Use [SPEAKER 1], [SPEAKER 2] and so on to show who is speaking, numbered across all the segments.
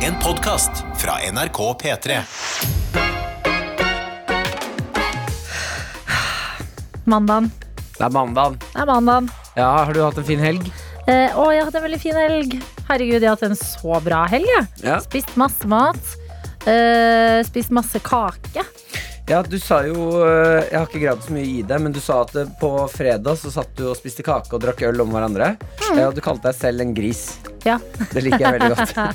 [SPEAKER 1] En podcast fra NRK P3.
[SPEAKER 2] Mandagen.
[SPEAKER 3] Det er mandag.
[SPEAKER 2] Det er mandagen.
[SPEAKER 3] Ja, har du hatt en fin helg?
[SPEAKER 2] Eh, å, jeg har hatt en veldig fin helg. Herregud, jeg har hatt en så bra helg. jeg.
[SPEAKER 3] Ja.
[SPEAKER 2] Spist masse mat. eh, spist masse kake.
[SPEAKER 3] du sa jo eh, Jeg har ikke gravd så mye i det, men du sa at eh, på fredag så satt du og spiste kake og drakk øl om hverandre.
[SPEAKER 2] Mm.
[SPEAKER 3] Ja, og du kalte deg selv en gris.
[SPEAKER 2] Ja.
[SPEAKER 3] Det liker jeg veldig godt.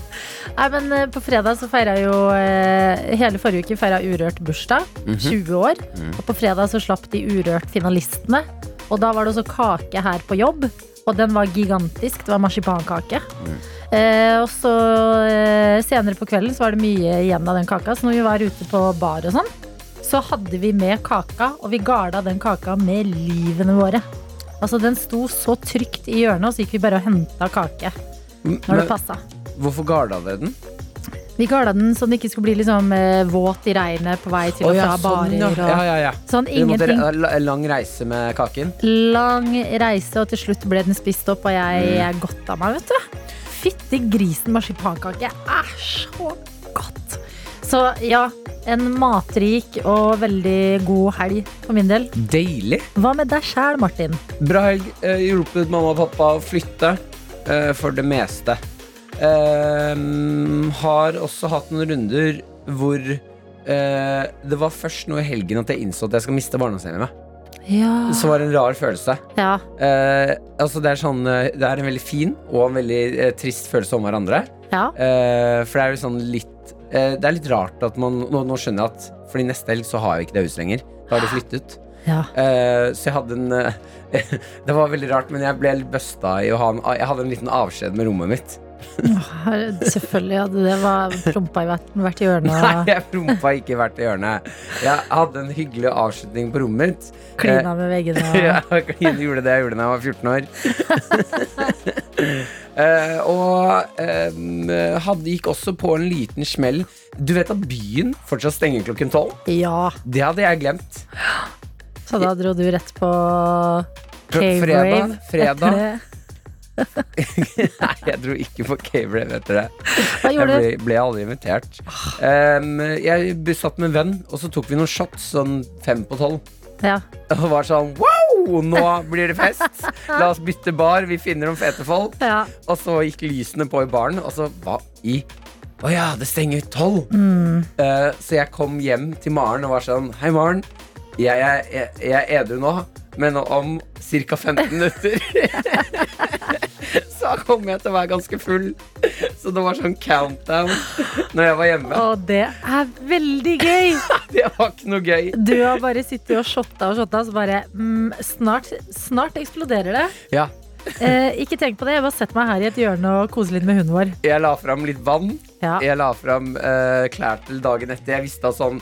[SPEAKER 2] Nei, men eh, på fredag så feira jo eh, Hele forrige uke feira Urørt bursdag. 20 år. Og på fredag så slapp de Urørt-finalistene. Og da var det også kake her på jobb. Og den var gigantisk. Det var marsipankake. Eh, og så eh, senere på kvelden så var det mye igjen av den kaka, så når vi var ute på bar og sånn, så hadde vi med kaka, og vi garda den kaka med livene våre. Altså Den sto så trygt i hjørnet, og så gikk vi bare og henta kake når det
[SPEAKER 3] Men,
[SPEAKER 2] passa.
[SPEAKER 3] hvorfor garda dere den?
[SPEAKER 2] Vi garda den så den ikke skulle bli liksom eh, våt i regnet på vei til og
[SPEAKER 3] Å,
[SPEAKER 2] fra
[SPEAKER 3] ja, sånn,
[SPEAKER 2] barer.
[SPEAKER 3] ja.
[SPEAKER 2] Og,
[SPEAKER 3] ja, ja, ja.
[SPEAKER 2] Sånn
[SPEAKER 3] Dere måtte
[SPEAKER 2] ingenting.
[SPEAKER 3] re- la- lang reise med kaken.
[SPEAKER 2] Lang reise, og til slutt ble den spist opp, og jeg
[SPEAKER 3] Mm.
[SPEAKER 2] er godt av meg, vet du. Fytti grisen, marsipankake er så godt. Så ja, en matrik og veldig god helg for min del.
[SPEAKER 3] Deilig.
[SPEAKER 2] Hva med deg sjæl, Martin?
[SPEAKER 3] Bra helg. Eh, hjulpet mamma og pappa å flytte. eh, for det meste. Eh, har også hatt noen runder hvor eh, det var først nå i helgen at jeg innså at jeg skal miste barndomshjemmet.
[SPEAKER 2] Ja.
[SPEAKER 3] Så var det en rar følelse.
[SPEAKER 2] ja.
[SPEAKER 3] Eh, altså det, er sånn, eh, det er en veldig fin og en veldig eh, trist følelse om hverandre.
[SPEAKER 2] Ja.
[SPEAKER 3] Eh, for det er jo sånn litt eh, Det er litt rart at man nå, nå skjønner jeg at Fordi neste helg så har jeg ikke det huset lenger. Da har de flyttet.
[SPEAKER 2] ja.
[SPEAKER 3] Eh, så jeg hadde en eh, Det var veldig rart, men jeg ble litt busta i å ha en ah, Jeg hadde en liten avskjed med rommet mitt.
[SPEAKER 2] Her- Selvfølgelig hadde det var prompa i hvert, hvert hjørne.
[SPEAKER 3] Nei,
[SPEAKER 2] og
[SPEAKER 3] jeg prompa ikke hvert hjørne. Jeg hadde en hyggelig avslutning på rommet mitt. Eh,
[SPEAKER 2] Klina med veggene. og-
[SPEAKER 3] Ja, jeg gjorde det jeg gjorde da jeg var 14 år. Eh, og em, hadde, gikk også på en liten smell. Du vet at byen fortsatt stenger klokken tolv?
[SPEAKER 2] ja.
[SPEAKER 3] Det hadde jeg glemt.
[SPEAKER 2] Så da dro du rett på
[SPEAKER 3] Fr-
[SPEAKER 2] Cave
[SPEAKER 3] fredag-
[SPEAKER 2] Rave.
[SPEAKER 3] fredag.
[SPEAKER 2] etter det.
[SPEAKER 3] Nei, jeg dro ikke på Cave-brev etter det.
[SPEAKER 2] Hva
[SPEAKER 3] Jeg
[SPEAKER 2] gjorde du?
[SPEAKER 3] ble, ble aldri invitert. Em, jeg b- satt med en venn, og så tok vi noen shots sånn fem på tolv.
[SPEAKER 2] Ja.
[SPEAKER 3] Og var sånn wow, nå blir det fest! La oss bytte bar, vi finner noen fete folk.
[SPEAKER 2] Ja.
[SPEAKER 3] Og så gikk lysene på i baren, og så hva i Å ja, det stenger tolv! Eh, så jeg kom hjem til Maren og var sånn Hei, Maren. Jeg, jeg, jeg, jeg er edru nå, men om ca. 15 minutter Så kom jeg til å være ganske full. Så det var sånn countdown når jeg var hjemme.
[SPEAKER 2] Og det er veldig gøy!
[SPEAKER 3] Det var ikke noe gøy.
[SPEAKER 2] Du har bare sittet og shotta og shotta, så bare mm, snart, snart eksploderer det.
[SPEAKER 3] Ja,
[SPEAKER 2] Eh, ikke tenk på det, jeg bare setter meg her i et hjørne og koser litt med hunden vår.
[SPEAKER 3] jeg la fram litt vann.
[SPEAKER 2] Ja.
[SPEAKER 3] Jeg la fram eh, klær til dagen etter. Jeg visste at sånn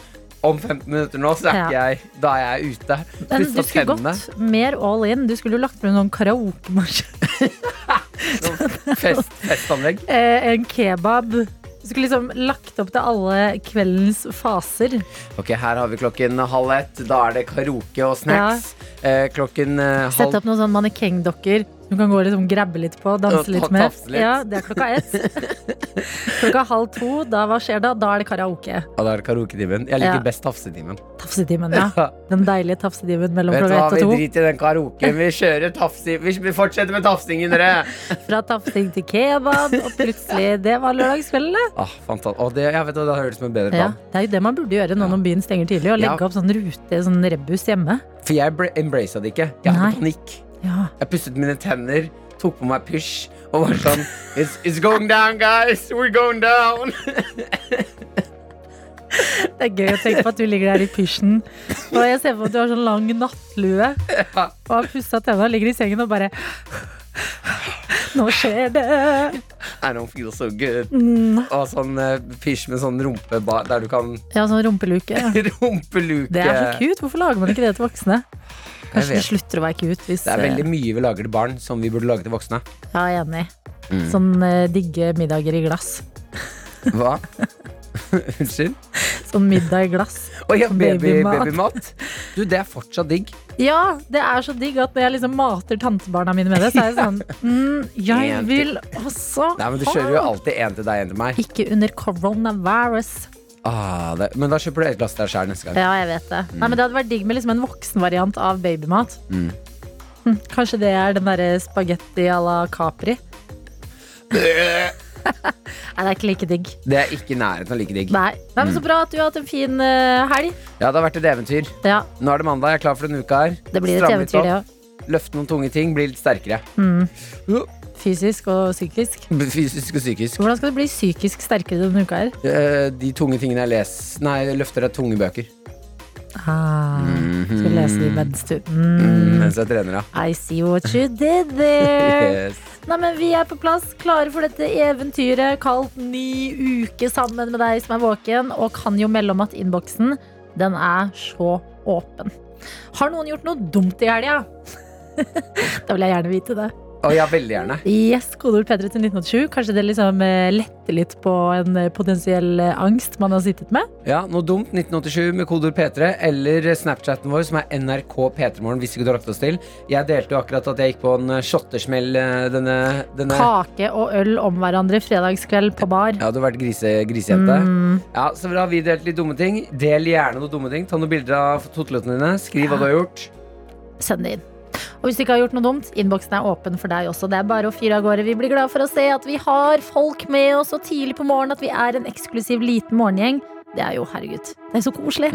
[SPEAKER 3] om 15 minutter nå, så er ikke jeg Da er jeg ute.
[SPEAKER 2] Men du
[SPEAKER 3] Pusset
[SPEAKER 2] skulle gått mer all in. Du skulle jo lagt med noen karaokemaskin.
[SPEAKER 3] Sånn Fest, festanlegg.
[SPEAKER 2] Eh, en kebab. Du skulle liksom lagt opp til alle kveldens faser.
[SPEAKER 3] Ok, Her har vi klokken halv ett. Da er det karaoke og snacks. Eh, klokken eh,
[SPEAKER 2] Sett
[SPEAKER 3] halv
[SPEAKER 2] opp noen sånn mannekengdokker som du kan gå og liksom grabbe litt på,
[SPEAKER 3] Og
[SPEAKER 2] danse
[SPEAKER 3] ta-
[SPEAKER 2] litt med.
[SPEAKER 3] tafse litt.
[SPEAKER 2] Ja, det er klokka ett. klokka halv to, da hva skjer da? Da er det karaoke.
[SPEAKER 3] Ja, da er det karaoketimen. Jeg liker
[SPEAKER 2] Ja.
[SPEAKER 3] best tafsetimen.
[SPEAKER 2] Tafsetimen, ja. Den deilige tafsetimen mellom
[SPEAKER 3] Vet du hva,
[SPEAKER 2] klokka
[SPEAKER 3] vi
[SPEAKER 2] ett og to.
[SPEAKER 3] driter i den karaoken. Vi kjører tafsi... Vi vi fortsetter med tafsingen, dere!
[SPEAKER 2] Fra tafsing til kebab, og plutselig Det var lørdagskvelden, det.
[SPEAKER 3] Ah, fanta- Å, det, jeg vet, hva, det høres ut som en bedre
[SPEAKER 2] Ja,
[SPEAKER 3] plan.
[SPEAKER 2] det er jo det man burde gjøre nå når byen stenger tidlig, å
[SPEAKER 3] Ja.
[SPEAKER 2] legge opp sånn rute, sånn rebus hjemme.
[SPEAKER 3] For jeg bra- embracet det ikke. Jeg hadde
[SPEAKER 2] Nei.
[SPEAKER 3] panikk.
[SPEAKER 2] Ja.
[SPEAKER 3] Jeg pusset mine tenner, tok på meg pysj og var sånn it's, it's going down, guys! We're going down!
[SPEAKER 2] Det er gøy å tenke på at du ligger der i pysjen. Og jeg ser på at du har sånn lang nattlue og har pussa tenna og ligger i sengen og bare Nå skjer det!
[SPEAKER 3] I don't feel so good.
[SPEAKER 2] Mm.
[SPEAKER 3] Og sånn eh, pysj med sånn rumpe ba- der du kan
[SPEAKER 2] Ja, sånn rumpeluke.
[SPEAKER 3] rumpeluke.
[SPEAKER 2] Det er så cute. Hvorfor lager man ikke det til voksne?
[SPEAKER 3] Jeg
[SPEAKER 2] Kanskje det
[SPEAKER 3] vet.
[SPEAKER 2] slutter å være cute hvis
[SPEAKER 3] Det er veldig mye vi lager til barn som vi burde lage til voksne.
[SPEAKER 2] eh, Ja, jeg er enig.
[SPEAKER 3] Mm.
[SPEAKER 2] Sånn eh, digge middager i glass.
[SPEAKER 3] Hva? Unnskyld?
[SPEAKER 2] Sånn middag i glass.
[SPEAKER 3] Å ja, baby,
[SPEAKER 2] Babymat.
[SPEAKER 3] babymat. Du, det er fortsatt digg.
[SPEAKER 2] Ja, det er så digg at når jeg liksom mater tantebarna mine med det, så er det sånn mm, Jeg
[SPEAKER 3] En til.
[SPEAKER 2] vil også
[SPEAKER 3] Nei, men Du kjører jo alltid en til deg, en til meg.
[SPEAKER 2] Ikke under coronavirus.
[SPEAKER 3] Ah, det, men da kjøper du et glass til deg sjæl neste gang.
[SPEAKER 2] Ja, jeg vet det. Nei, men det hadde vært digg med liksom en voksenvariant av babymat.
[SPEAKER 3] Mm.
[SPEAKER 2] Hm, Kanskje det er den derre spagetti à la Capri. Nei, det er ikke like digg.
[SPEAKER 3] Det er ikke i nærheten av like digg.
[SPEAKER 2] Nei. Mm. Nei, men Så bra at du har hatt en fin eh, helg.
[SPEAKER 3] Ja, det har vært et eventyr.
[SPEAKER 2] Ja,
[SPEAKER 3] Nå er det mandag, jeg er klar for denne uka her.
[SPEAKER 2] Det blir et
[SPEAKER 3] Stramme litt
[SPEAKER 2] eventyr, Mm. det
[SPEAKER 3] opp,
[SPEAKER 2] òg.
[SPEAKER 3] Løfte noen tunge ting, bli litt sterkere. Uh,
[SPEAKER 2] Fysisk og psykisk.
[SPEAKER 3] Fysisk og psykisk.
[SPEAKER 2] Hvordan skal du bli psykisk sterkere denne uka her?
[SPEAKER 3] Eh, De tunge tingene jeg leser Nei, jeg løfter er tunge bøker.
[SPEAKER 2] Ah, skal lese de mens du mm.
[SPEAKER 3] Mens jeg trener, ja.
[SPEAKER 2] I see what you did there.
[SPEAKER 3] Yes.
[SPEAKER 2] Nei, men Vi er på plass, klare for dette eventyret kalt ny uke sammen med deg som er våken, og kan jo melde om at innboksen den er så åpen. Har noen gjort noe dumt i helga? da vil jeg gjerne vite det.
[SPEAKER 3] Å ja, veldig gjerne.
[SPEAKER 2] Yes, kodeord P3 til 1987. Kanskje det liksom eh, letter litt på en eh, potensiell eh, angst man har sittet med?
[SPEAKER 3] Ja, Noe dumt, 1987 med kodord P3, eller Snapchaten vår, som er NRK P3morgen. Hvis ikke du har lagt oss til. Jeg delte jo akkurat at jeg gikk på en eh, shottersmell eh, denne, denne
[SPEAKER 2] Kake og øl om hverandre fredagskveld på bar.
[SPEAKER 3] Ja, du har vært grise, grisejente. Ja, så bra, vi delte litt dumme ting. Del gjerne noen dumme ting. Ta noen bilder av toteløttene dine. Skriv hva du har gjort.
[SPEAKER 2] Send det inn. Og hvis du ikke har gjort noe dumt, innboksen er åpen for deg også. Det er bare å fyre av gårde. Vi blir glad for å se at vi har folk med oss så tidlig på morgenen, at vi er en eksklusiv liten morgengjeng. Det er jo, herregud, det er så koselig.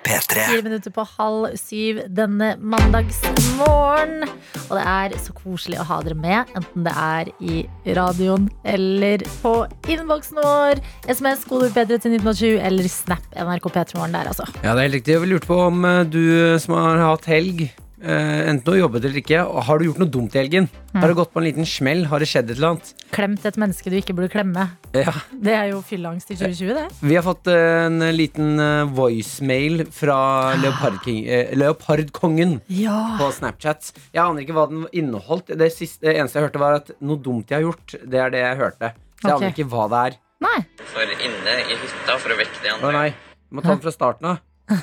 [SPEAKER 2] Fire minutter på halv syv denne mandagsmorgen. Og det er så koselig å ha dere med, enten det er i radioen eller på innboksen vår. SMS, kodeord P3 til 1920, eller Snap NRK P3morgen der, altså.
[SPEAKER 3] Ja, det er helt riktig. Jeg lurte på om eh, du som har hatt helg, eh, enten har jobbet eller ikke, og har du gjort noe dumt i helgen? Har du gått på en liten smell? Har det skjedd et eller annet?
[SPEAKER 2] Klemt et menneske du ikke burde klemme.
[SPEAKER 3] Ja.
[SPEAKER 2] Det er jo fylleangst i 2020, det.
[SPEAKER 3] Vi har fått eh, en liten eh, voicemail fra Leopard King- eh, Leopardkongen
[SPEAKER 2] Ja.
[SPEAKER 3] på Snapchat. Jeg aner ikke hva den inneholdt. Det, siste, det eneste jeg hørte, var at noe dumt jeg har gjort. Det er det jeg hørte. Så jeg
[SPEAKER 2] Ok.
[SPEAKER 3] aner ikke hva det er.
[SPEAKER 2] Nei.
[SPEAKER 4] for inne i hytta for å vekke de
[SPEAKER 3] Å
[SPEAKER 4] andre.
[SPEAKER 3] nei, du må ta den fra starten av.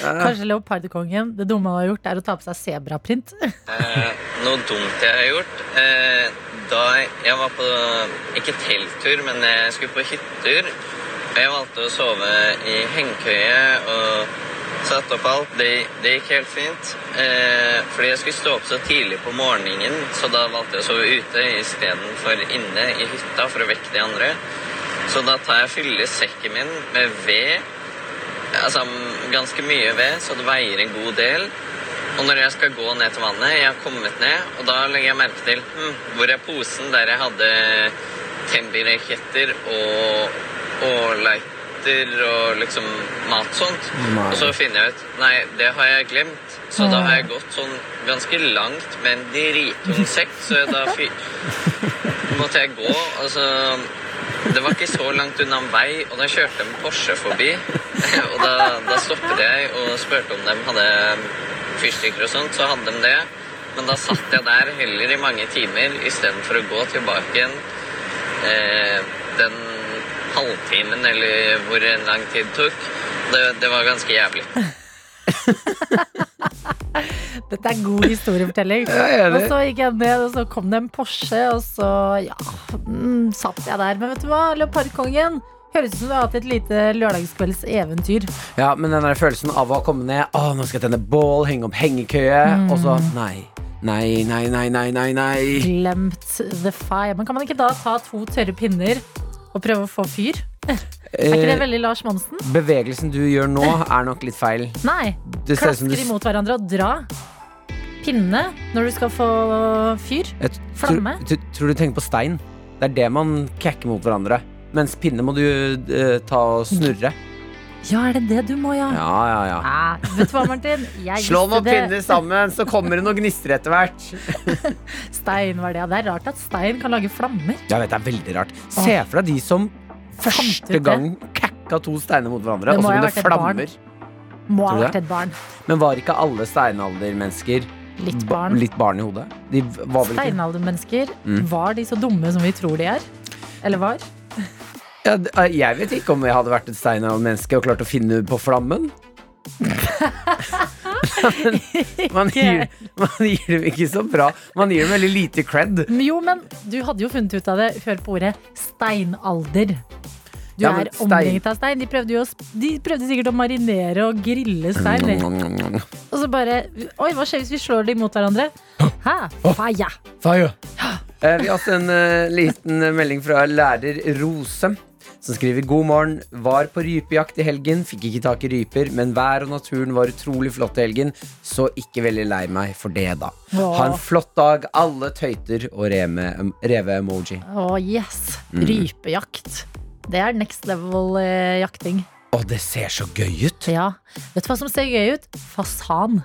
[SPEAKER 2] Kanskje leopardkongen. Det dumme han har gjort, er å ta på seg sebraprint.
[SPEAKER 4] Eh, noe dumt jeg har gjort eh, Da jeg var på Ikke telttur, men jeg skulle på hyttetur. Og jeg valgte å sove i hengekøye og satte opp alt. Det, det gikk helt fint. Eh, fordi jeg skulle stå opp så tidlig på morgenen, så da valgte jeg å sove ute istedenfor inne i hytta for å vekke de andre. Så da tar jeg fylle sekken min med ved. Altså ganske mye ved, så det veier en god del. Og når jeg skal gå ned til vannet, jeg har kommet ned, og da legger jeg merke til hm, hvor er posen der jeg hadde Tembi-raketter og, og lighter og liksom mat sånt.
[SPEAKER 3] Nei.
[SPEAKER 4] Og så finner jeg ut Nei, det har jeg glemt. Så da har jeg gått sånn ganske langt med en drittung sekk, så da fy måtte jeg gå, og så Det var ikke så langt unna en vei, og da kjørte en Porsche forbi. Og da, da stoppet jeg og spurte om de hadde fyrstikker og sånt, så hadde de det. Men da satt jeg der heller i mange timer istedenfor å gå tilbake igjen eh, den halvtimen eller hvor en lang tid tok. Det, det var ganske jævlig.
[SPEAKER 2] Dette er god historiefortelling.
[SPEAKER 3] Jeg er
[SPEAKER 2] Og
[SPEAKER 3] enig.
[SPEAKER 2] så gikk jeg ned, og så kom det en Porsche, og så ja, mm, satt jeg der. Men vet du hva, leopardkongen høres ut som du har hatt et lite lørdagskveldseventyr.
[SPEAKER 3] Ja, men den der følelsen av å komme ned Å, nå skal jeg tenne bål, henge opp hengekøye Og så,
[SPEAKER 2] Mm.
[SPEAKER 3] nei, nei, nei, nei, nei, nei, nei
[SPEAKER 2] Glemt the fire. Men kan man ikke da ta to tørre pinner og prøve å få fyr? Er ikke det
[SPEAKER 3] eh,
[SPEAKER 2] veldig Lars Monsen?
[SPEAKER 3] Bevegelsen du gjør nå er nok litt feil
[SPEAKER 2] Nei.
[SPEAKER 3] Det ser ut
[SPEAKER 2] Klasker
[SPEAKER 3] som du
[SPEAKER 2] imot hverandre og dra. Pinne når du skal få fyr.
[SPEAKER 3] Jeg t-
[SPEAKER 2] Flamme?
[SPEAKER 3] tror- t- Tror du tenker på stein? Det er det man kakker mot hverandre Mens pinne må du eh, ta og snurre
[SPEAKER 2] Ja, er det det du må, ja?
[SPEAKER 3] Ja, ja, ja
[SPEAKER 2] Nei, vet du hva, Martin? Jeg
[SPEAKER 3] Slå
[SPEAKER 2] visste
[SPEAKER 3] noen
[SPEAKER 2] det.
[SPEAKER 3] pinner sammen, så kommer det noen gnister etter hvert
[SPEAKER 2] Stein var det. Ja, det er rart at stein kan lage flammer.
[SPEAKER 3] Jeg vet, det er veldig rart Se for deg de som
[SPEAKER 2] Fant ut
[SPEAKER 3] første
[SPEAKER 2] det.
[SPEAKER 3] gang kakka to steiner mot hverandre
[SPEAKER 2] Det
[SPEAKER 3] Og
[SPEAKER 2] må
[SPEAKER 3] så
[SPEAKER 2] jo ha
[SPEAKER 3] ble det
[SPEAKER 2] vært et barn.
[SPEAKER 3] flammer
[SPEAKER 2] Må ha
[SPEAKER 3] Tror du
[SPEAKER 2] vært et barn.
[SPEAKER 3] Men var ikke alle steinaldermennesker
[SPEAKER 2] Litt
[SPEAKER 3] ba-
[SPEAKER 2] barn.
[SPEAKER 3] litt barn i hodet? De v- var vel ikke
[SPEAKER 2] Steinaldermennesker,
[SPEAKER 3] Mm.
[SPEAKER 2] var de så dumme som vi tror de er? Eller var?
[SPEAKER 3] ja, d- eh, Jeg vet ikke om jeg hadde vært et steinaldermenneske og klart å finne på flammen. Man gir, man gir dem ikke så bra. Man gir dem veldig lite cred.
[SPEAKER 2] Men Jo, men du hadde jo funnet ut av det før på ordet steinalder. Du
[SPEAKER 3] Ja, men
[SPEAKER 2] er
[SPEAKER 3] stein-
[SPEAKER 2] omringet av stein. De prøvde, jo, å sp- de prøvde sikkert å marinere og grille stein.
[SPEAKER 3] Mm.
[SPEAKER 2] de. Og så bare Oi, hva skjer hvis vi slår dem mot hverandre? Hæ? Faya.
[SPEAKER 3] Eh, Vi har også en eh, liten eh, melding fra lærer Rose. Som skriver God morgen. Var på rypejakt i helgen. Fikk ikke tak i ryper, men vær og naturen var utrolig flott i helgen. Så ikke veldig lei meg for det, da.
[SPEAKER 2] Åh.
[SPEAKER 3] Ha en flott dag, alle tøyter og reme- reve-emoji.
[SPEAKER 2] Å, yes.
[SPEAKER 3] Mm.
[SPEAKER 2] Rypejakt. Det er next level eh, jakting.
[SPEAKER 3] Å, det ser så gøy ut!
[SPEAKER 2] Ja. Vet du hva som ser gøy ut? Fasan.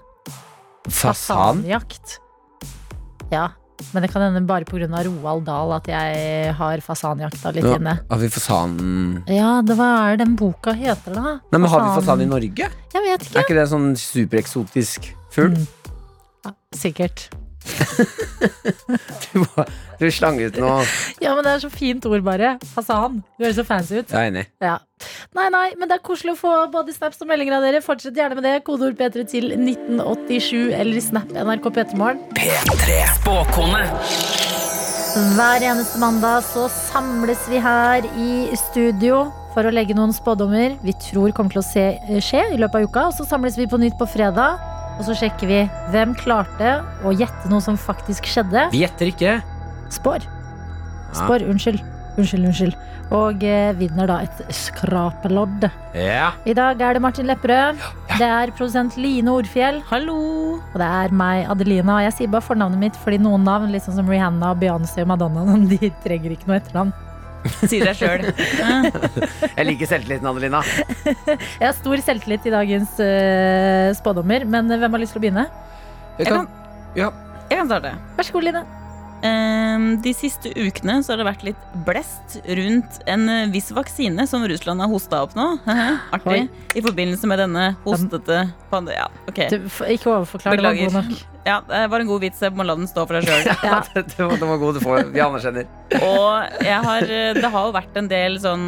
[SPEAKER 3] Fasan.
[SPEAKER 2] Fasanjakt. Ja. Men det kan hende bare pga. Roald Dahl at jeg har fasanjakta litt
[SPEAKER 3] Ja,
[SPEAKER 2] inne.
[SPEAKER 3] har vi fasan Nei,
[SPEAKER 2] Ja, det, hva er den boka heter, da?
[SPEAKER 3] men Har vi fasan i Norge?
[SPEAKER 2] Jeg vet ikke.
[SPEAKER 3] Er ikke det en sånn supereksotisk fugl?
[SPEAKER 2] Sikkert.
[SPEAKER 3] Du, bare- du slang ut noe.
[SPEAKER 2] Ja, men det er så fint ord, bare. Fasan. Du høres så fancy ut.
[SPEAKER 3] Jeg er enig.
[SPEAKER 2] Ja. Nei, nei, men det er koselig å få både snaps og meldinger av dere. Fortsett gjerne med det. Kodeord P3 til 1987 eller i Snap NRK P3morgen.
[SPEAKER 5] Spåkone.
[SPEAKER 2] Hver eneste mandag så samles vi her i studio for å legge noen spådommer vi tror kommer til å se, skje i løpet av uka. Og så samles vi på nytt på fredag, og så sjekker vi hvem klarte å gjette noe som faktisk skjedde.
[SPEAKER 3] Vi gjetter ikke.
[SPEAKER 2] Spår. Spår, unnskyld. Unnskyld, unnskyld. Og eh, vinner da et skrapelodd.
[SPEAKER 3] Ja.
[SPEAKER 2] I dag er det Martin Lepperød. Det er produsent Line Orfjell. Hallo. Og det er meg, Adelina. Og jeg sier bare fornavnet mitt fordi noen navn, litt sånn som Rihanna, Beyoncé og Madonna, de trenger ikke noe etternavn.
[SPEAKER 5] Si deg sjøl.
[SPEAKER 3] Jeg liker selvtilliten, Adelina.
[SPEAKER 2] Jeg har stor selvtillit i dagens eh, spådommer, men hvem har lyst til å begynne?
[SPEAKER 5] Jeg kan-
[SPEAKER 3] Ja.
[SPEAKER 5] Jeg kan starte.
[SPEAKER 2] Vær så god, Line.
[SPEAKER 5] Ehm, De siste ukene så har det vært litt blest rundt en eh, viss vaksine som Russland har hosta opp nå. Artig. I forbindelse med denne hostete pande... Ja, ok.
[SPEAKER 2] Du, f- ikke overforklar, det var
[SPEAKER 5] Eh, Beklager.
[SPEAKER 2] god nok.
[SPEAKER 5] Ja, det var en god vits. Jeg må la den stå for seg sjøl.
[SPEAKER 2] Ja.
[SPEAKER 3] Det var, den var god. Du får, vi anerkjenner.
[SPEAKER 5] Og jeg har, eh, det har jo vært en del sånn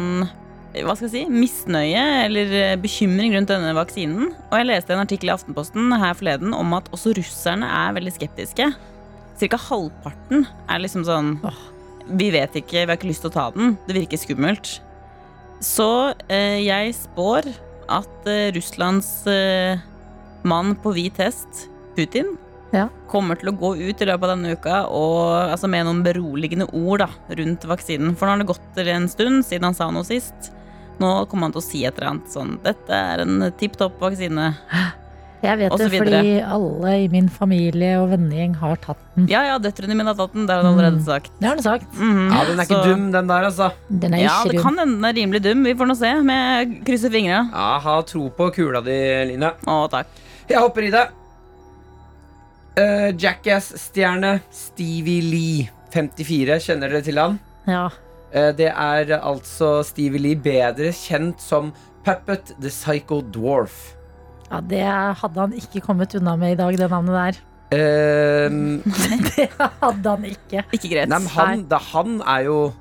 [SPEAKER 5] hva skal jeg si, misnøye eller eh, bekymring rundt denne vaksinen. Og jeg leste en artikkel i Aftenposten her forleden om at også russerne er veldig skeptiske. Cirka halvparten er liksom sånn Vi vet ikke, vi har ikke lyst til å ta den. Det virker skummelt. Så eh, jeg spår at eh, Russlands eh, mann på hvit hest, Putin, kommer til å gå ut i løpet av denne uka og, altså med noen beroligende ord da, rundt vaksinen. For nå har det gått til en stund siden han sa noe sist. Nå kommer han til å si et eller annet sånn Dette er en tipp topp vaksine.
[SPEAKER 2] Jeg vet
[SPEAKER 5] Og så
[SPEAKER 2] det fordi
[SPEAKER 5] videre.
[SPEAKER 2] alle i min familie og vennegjeng har tatt den.
[SPEAKER 5] Ja, ja, døtrene mine har tatt den. Det har han
[SPEAKER 2] Mm.
[SPEAKER 5] allerede sagt.
[SPEAKER 2] Det har du sagt.
[SPEAKER 5] Mhm,
[SPEAKER 3] Ja, Den er ikke
[SPEAKER 5] så-
[SPEAKER 3] dum, den der, altså.
[SPEAKER 2] Den er
[SPEAKER 5] Ja,
[SPEAKER 2] ikke
[SPEAKER 5] det
[SPEAKER 2] rund.
[SPEAKER 5] kan hende den er rimelig dum. Vi får nå se. Men jeg krysser fingra.
[SPEAKER 3] Ja, Ha tro på kula di, Line.
[SPEAKER 5] Å, takk.
[SPEAKER 3] Jeg hopper i det. Eh, Jackass-stjerne Stevie Lee, 54. Kjenner dere til han?
[SPEAKER 2] Ja.
[SPEAKER 3] Eh, Det er altså Stevie Lee, bedre kjent som Puppet the Psycho Dwarf.
[SPEAKER 2] ja, det hadde han ikke kommet unna med i dag, det navnet der.
[SPEAKER 3] Ehm,
[SPEAKER 2] Det hadde han ikke.
[SPEAKER 5] Ikke greit.
[SPEAKER 3] nei, men han, da, han er jo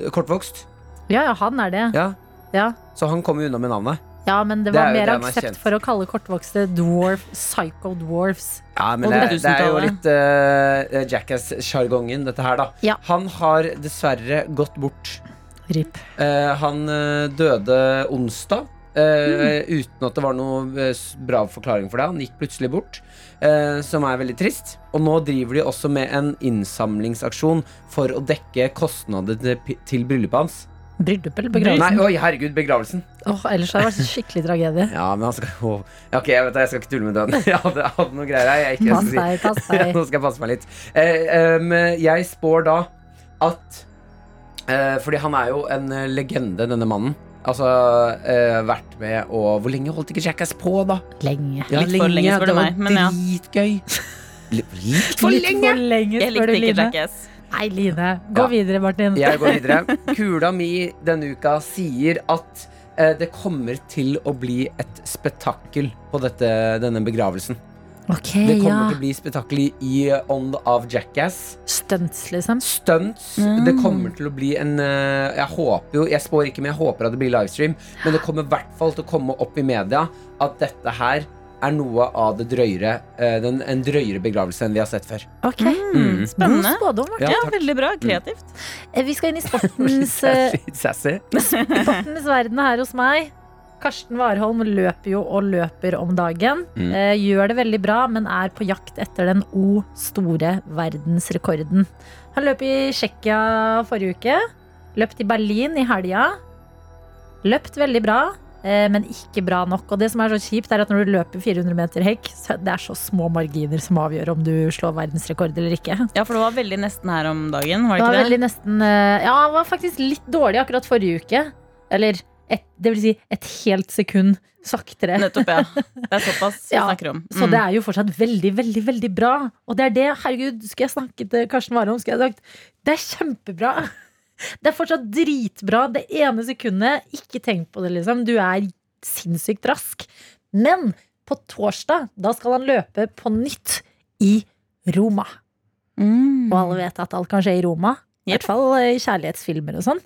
[SPEAKER 3] eh, kortvokst,
[SPEAKER 2] Ja, ja, han er det.
[SPEAKER 3] ja.
[SPEAKER 2] Ja.
[SPEAKER 3] så han kommer jo unna med navnet.
[SPEAKER 2] Ja, men det
[SPEAKER 3] Det
[SPEAKER 2] var
[SPEAKER 3] er jo
[SPEAKER 2] mer
[SPEAKER 3] det han er
[SPEAKER 2] aksept
[SPEAKER 3] kjent
[SPEAKER 2] for å kalle kortvokste dwarf psycho dwarfs.
[SPEAKER 3] Ja, men
[SPEAKER 5] Og
[SPEAKER 3] det,
[SPEAKER 5] det-
[SPEAKER 3] det er jo litt eh, Jackass-sjargongen, dette her, da.
[SPEAKER 2] Ja.
[SPEAKER 3] Han har dessverre gått bort.
[SPEAKER 2] RIP.
[SPEAKER 3] Eh, han eh, døde onsdag. eh, Uten at det var noe eh, s- bra forklaring for det. Han gikk plutselig bort, eh, som er veldig trist. Og nå driver de også med en innsamlingsaksjon for å dekke kostnader til, pi- til bryllupet hans.
[SPEAKER 2] Bryllup eller
[SPEAKER 3] Nei,
[SPEAKER 2] begravelse?
[SPEAKER 3] oi, herregud, begravelsen.
[SPEAKER 2] Åh, ellers hadde det vært skikkelig tragedie.
[SPEAKER 3] Ja, men han skal jo Ok, jeg vet det, jeg skal ikke tulle med døden. Jeg hadde, jeg hadde noe greier her. Jeg, ikke,
[SPEAKER 2] Pass
[SPEAKER 3] jeg skal si.
[SPEAKER 2] deg, pass
[SPEAKER 3] Ja,
[SPEAKER 2] deg.
[SPEAKER 3] nå skal jeg passe meg litt. Eh, em, jeg spår da at eh, Fordi han er jo en eh, legende, denne mannen. Altså eh, vært med og Hvor lenge holdt ikke Jackass på, da?
[SPEAKER 2] Lenge.
[SPEAKER 5] Litt for lenge, spør du
[SPEAKER 3] det var
[SPEAKER 5] meg, men ja.
[SPEAKER 3] dritgøy. Litt, litt for
[SPEAKER 2] Litt
[SPEAKER 3] lenge!
[SPEAKER 2] for lenge,
[SPEAKER 5] Jeg
[SPEAKER 2] spør
[SPEAKER 5] likte
[SPEAKER 2] du
[SPEAKER 5] ikke
[SPEAKER 2] Line.
[SPEAKER 5] Jackass.
[SPEAKER 2] Nei, Line. Gå
[SPEAKER 3] Ja.
[SPEAKER 2] videre, Martin.
[SPEAKER 3] Jeg går videre. Kula mi denne uka sier at eh, det kommer til å bli et spetakkel på dette, denne begravelsen.
[SPEAKER 2] Ok,
[SPEAKER 3] Det
[SPEAKER 2] Eh, ja.
[SPEAKER 3] kommer til å bli spetakkel i- i ånd av Jackass.
[SPEAKER 2] Stunts, liksom.
[SPEAKER 3] Stunts.
[SPEAKER 5] Mm.
[SPEAKER 3] Det kommer til å bli en eh, Jeg håper jo, jeg spår ikke, men jeg håper at det blir livestream. Men det kommer i hvert fall til å komme opp i media at dette her er noe av det drøyere eh, den, En drøyere begravelse enn vi har sett før.
[SPEAKER 2] Ok,
[SPEAKER 5] Mm,
[SPEAKER 2] God
[SPEAKER 5] spennende.
[SPEAKER 2] spådom, Martin.
[SPEAKER 5] Ja, veldig
[SPEAKER 3] Mm.
[SPEAKER 5] bra. Kreativt.
[SPEAKER 2] Eh, Vi skal inn i sportens, eh,
[SPEAKER 3] Sassy.
[SPEAKER 2] sportens verden her hos meg. Karsten Warholm løper jo og løper om dagen.
[SPEAKER 3] Mm.
[SPEAKER 2] Eh, gjør det veldig bra, men er på jakt etter den O store verdensrekorden. Han løp i Tsjekkia forrige uke. Løpt i Berlin i helga. Løpt veldig bra, eh, men ikke bra nok. Og det som er så kjipt, er at når du løper 400 meter hekk, så det er så små marginer som avgjør om du slår verdensrekord eller ikke.
[SPEAKER 5] Ja, for det var veldig nesten her om dagen, var
[SPEAKER 2] Det var
[SPEAKER 5] det ikke det?
[SPEAKER 2] veldig nesten eh, Ja, han var faktisk litt dårlig akkurat forrige uke. Eller et, det vil si et helt sekund saktere.
[SPEAKER 5] Nettopp, ja. Det er såpass vi
[SPEAKER 2] Ja,
[SPEAKER 5] snakker om.
[SPEAKER 2] Så det er jo fortsatt veldig, veldig veldig bra. Og det er det, herregud, skulle jeg snakket til Karsten Warholm, skulle jeg sagt det er kjempebra. Det er fortsatt dritbra det ene sekundet. Ikke tenk på det, liksom. Du er sinnssykt rask. Men på torsdag, da skal han løpe på nytt i Roma.
[SPEAKER 5] Mm.
[SPEAKER 2] Og alle vet at alt kan skje i Roma. I
[SPEAKER 5] Jep.
[SPEAKER 2] hvert fall eh, i kjærlighetsfilmer og sånn.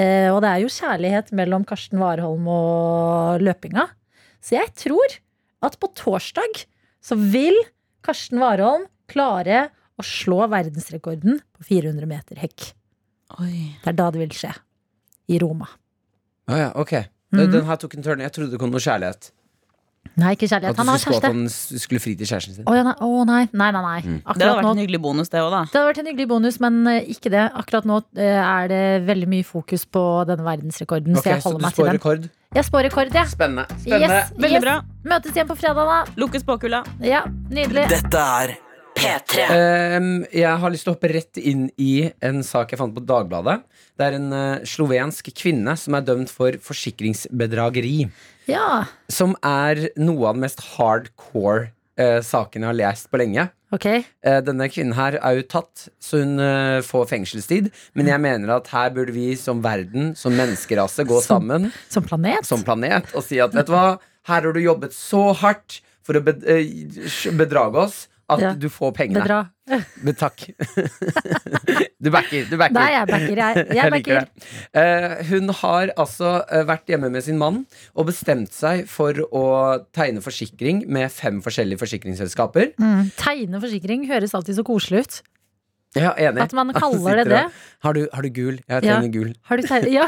[SPEAKER 2] Eh, og det er jo kjærlighet mellom Karsten Warholm og løpinga. Så jeg tror at på torsdag så vil Karsten Warholm klare å slå verdensrekorden på 400 meter hekk.
[SPEAKER 5] Oi.
[SPEAKER 2] Det er da det vil skje. I Roma.
[SPEAKER 3] Å ja, ok.
[SPEAKER 2] Mhm.
[SPEAKER 3] Den her tok en turn. Jeg trodde det kom noe kjærlighet.
[SPEAKER 2] Nei, ikke
[SPEAKER 3] At
[SPEAKER 2] kjærlighet.
[SPEAKER 3] du
[SPEAKER 2] Han har
[SPEAKER 3] skulle, at
[SPEAKER 2] kjæreste.
[SPEAKER 3] han s- skulle fri til kjæresten sin.
[SPEAKER 2] Å ja, nei. å, nei. Nei, nei, nei.
[SPEAKER 3] Mm.
[SPEAKER 5] Det hadde
[SPEAKER 2] Akkurat
[SPEAKER 5] vært
[SPEAKER 2] nå
[SPEAKER 5] en hyggelig bonus, det òg, da.
[SPEAKER 2] Det hadde vært en hyggelig bonus, men eh, ikke det. Akkurat nå eh, er det veldig mye fokus på denne verdensrekorden,
[SPEAKER 3] Ok,
[SPEAKER 2] så jeg
[SPEAKER 3] så
[SPEAKER 2] holder
[SPEAKER 3] du
[SPEAKER 2] meg til
[SPEAKER 3] spår
[SPEAKER 2] den.
[SPEAKER 3] rekord?
[SPEAKER 2] Jeg spår rekord, jeg.
[SPEAKER 3] Spennende. Spennende.
[SPEAKER 2] Yes,
[SPEAKER 5] Veldig
[SPEAKER 2] yes.
[SPEAKER 5] bra.
[SPEAKER 2] Møtes igjen på fredag, da.
[SPEAKER 5] Lukke spåkula.
[SPEAKER 2] Ja, Nydelig.
[SPEAKER 6] Dette er P3.
[SPEAKER 3] Ehm, jeg har lyst til å hoppe rett inn i en sak jeg fant på Dagbladet. Det er en eh, slovensk kvinne som er dømt for forsikringsbedrageri.
[SPEAKER 2] Ja,
[SPEAKER 3] Som er noe av den mest hardcore eh, saken jeg har lest på lenge.
[SPEAKER 2] ok.
[SPEAKER 3] Eh, Denne kvinnen her er jo tatt, så hun eh, får fengselstid. Men jeg mener at her burde vi som verden, som menneskerase, gå
[SPEAKER 2] Som-
[SPEAKER 3] sammen
[SPEAKER 2] Som planet?
[SPEAKER 3] som planet og si at vet du hva, her har du jobbet så hardt for å bed eh, bedrage oss at
[SPEAKER 2] Ja.
[SPEAKER 3] du får pengene.
[SPEAKER 2] Bedra.
[SPEAKER 3] Men takk. du backer. Du backer.
[SPEAKER 2] Nei, jeg backer. Jeg, jeg backer.
[SPEAKER 3] det. Eh, hun har altså eh, vært hjemme med sin mann og bestemt seg for å tegne forsikring med fem forskjellige forsikringsselskaper.
[SPEAKER 2] Mm. Tegne forsikring høres alltid så koselig ut.
[SPEAKER 3] Ja, enig.
[SPEAKER 2] At man
[SPEAKER 3] Han
[SPEAKER 2] kaller det
[SPEAKER 3] sitter
[SPEAKER 2] det.
[SPEAKER 3] og, Har du, har du gul? Jeg
[SPEAKER 2] Ja.
[SPEAKER 3] tegner gul.
[SPEAKER 2] Har du tegnet Ja.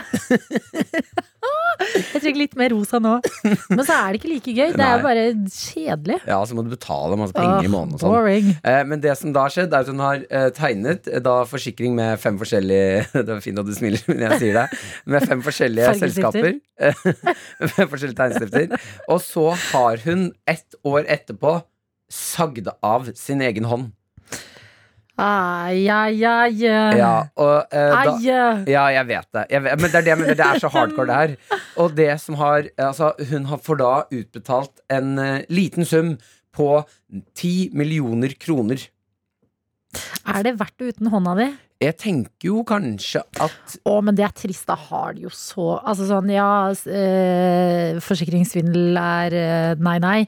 [SPEAKER 2] Jeg trenger litt mer rosa nå. Men så er det ikke like gøy. Det er
[SPEAKER 3] Nei.
[SPEAKER 2] jo bare kjedelig.
[SPEAKER 3] Ja, så må du betale masse penger i
[SPEAKER 2] Åh,
[SPEAKER 3] måneden og sånn.
[SPEAKER 2] boring.
[SPEAKER 3] Eh, Men det som da har skjedd, er at hun har eh, tegnet eh, da forsikring med fem forskjellige Det var fint at du smiler når jeg sier det. Med fem forskjellige selskaper.
[SPEAKER 2] Fargestifter.
[SPEAKER 3] Eh, med forskjellige tegnestifter. Og så har hun ett år etterpå sagd av sin egen hånd.
[SPEAKER 2] Ai, ai, ai.
[SPEAKER 3] Ja, og eh, da
[SPEAKER 2] Ai.
[SPEAKER 3] ja, jeg vet det. Jeg vet, men det er det jeg mener. Det er så hardcore, det her. Og det som har Altså, hun har for da utbetalt en eh, liten sum på ti millioner kroner.
[SPEAKER 2] Er det verdt det uten hånda di?
[SPEAKER 3] Jeg tenker jo kanskje at
[SPEAKER 2] Å, men det er trist. Da har de jo så Altså sånn, ja, s- eh, forsikringssvindel er eh, nei, nei.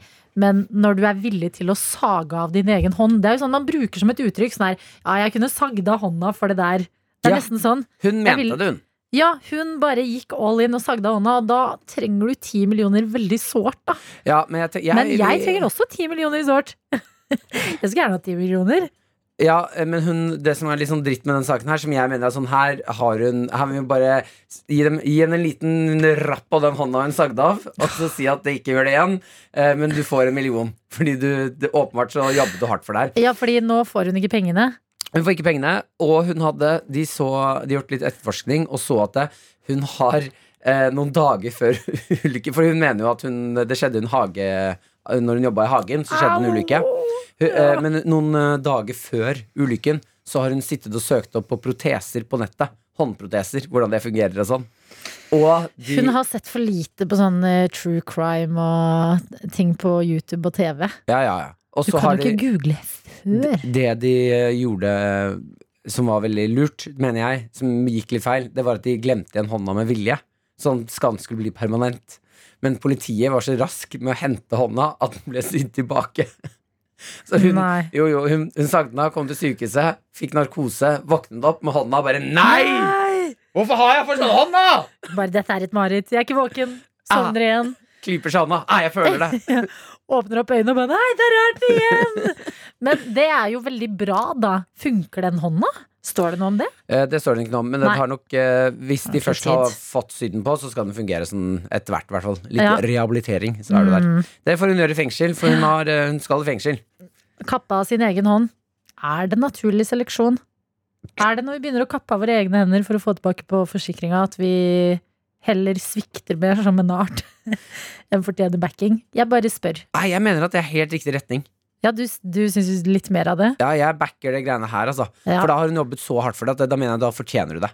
[SPEAKER 2] Men når du er villig til å sage av din egen hånd Det er jo sånn man bruker som et uttrykk. Sånn her Ja, jeg kunne sagd av hånda for det der. Det er
[SPEAKER 3] Ja.
[SPEAKER 2] nesten sånn.
[SPEAKER 3] Hun
[SPEAKER 2] Jeg
[SPEAKER 3] mente
[SPEAKER 2] vil-
[SPEAKER 3] det, hun.
[SPEAKER 2] Ja, hun bare gikk all in og sagde av hånda, og da trenger du ti millioner veldig sårt, da.
[SPEAKER 3] Ja, men jeg, te- jeg,
[SPEAKER 2] Men jeg trenger også ti millioner sårt. jeg skulle gjerne hatt ti millioner.
[SPEAKER 3] Ja, men hun, det som er litt sånn dritt med den saken her, som jeg mener er sånn Her har hun Her vil vi bare gi, dem, gi henne en liten rapp på den hånda hun sagde av, og så si at det ikke gjør det igjen, eh, men du får en million. Fordi du det, åpenbart så jobbet du hardt for det her.
[SPEAKER 2] Ja, fordi nå får hun ikke pengene.
[SPEAKER 3] Hun får ikke pengene, og hun hadde De så De gjort litt etterforskning og så at det, hun har eh, noen dager før ulykken For hun mener jo at hun, det skjedde en hage Når hun jobba i hagen, så skjedde en ulykke. Hun, eh, men noen eh, dager før ulykken så har hun sittet og søkt opp på proteser på nettet. Håndproteser, hvordan det fungerer og sånn. Og de,
[SPEAKER 2] Hun har sett for lite på sånn eh, true crime og ting på YouTube og TV.
[SPEAKER 3] ja, ja, ja. Og
[SPEAKER 2] Du
[SPEAKER 3] så
[SPEAKER 2] kan
[SPEAKER 3] har
[SPEAKER 2] jo ikke
[SPEAKER 3] de,
[SPEAKER 2] google før.
[SPEAKER 3] det de eh, gjorde eh, som var veldig lurt, mener jeg, som gikk litt feil, det var at de glemte igjen hånda med vilje. Sånn at skaden skulle bli permanent. Men politiet var så rask med å hente hånda at den ble sydd tilbake. Så hun,
[SPEAKER 2] Nei.
[SPEAKER 3] jo, jo, hun, hun sagde den av, kom til sykehuset, fikk narkose, våknet opp med hånda bare Nei!
[SPEAKER 2] Ah!
[SPEAKER 3] Hvorfor har jeg fortsatt hånda?! Ah.
[SPEAKER 2] Bare dette er et mareritt. Jeg er ikke våken. Sovner igjen.
[SPEAKER 3] Klyper seg i hånda. Nei, jeg føler det.
[SPEAKER 2] Åpner opp øynene og bare Nei, det er rart igjen! Men det er jo veldig bra, da. Funker den hånda? Står det noe om det?
[SPEAKER 3] Eh, Det står det ikke noe om, men den
[SPEAKER 2] Nei.
[SPEAKER 3] har nok, eh, hvis de
[SPEAKER 2] Den tar
[SPEAKER 3] først har
[SPEAKER 2] tid.
[SPEAKER 3] fått syden på, så skal den fungere sånn etter hvert, i hvert fall. Litt
[SPEAKER 2] Ja. Mm.
[SPEAKER 3] rehabilitering, så er du der. Det får hun gjøre i fengsel, for hun, har, eh, hun skal i fengsel.
[SPEAKER 2] Kappa av sin egen hånd. Er det naturlig seleksjon? Er det når vi begynner å kappe av våre egne hender for å få tilbake på forsikringa, at vi heller svikter mer som en art enn fortjener backing? Jeg bare spør.
[SPEAKER 3] Nei, jeg mener at det er helt riktig retning.
[SPEAKER 2] Ja, du, du syns litt mer av det?
[SPEAKER 3] Ja, jeg backer det greiene her, altså.
[SPEAKER 2] Ja.
[SPEAKER 3] For da har hun jobbet så hardt for det, at da mener jeg da fortjener du det.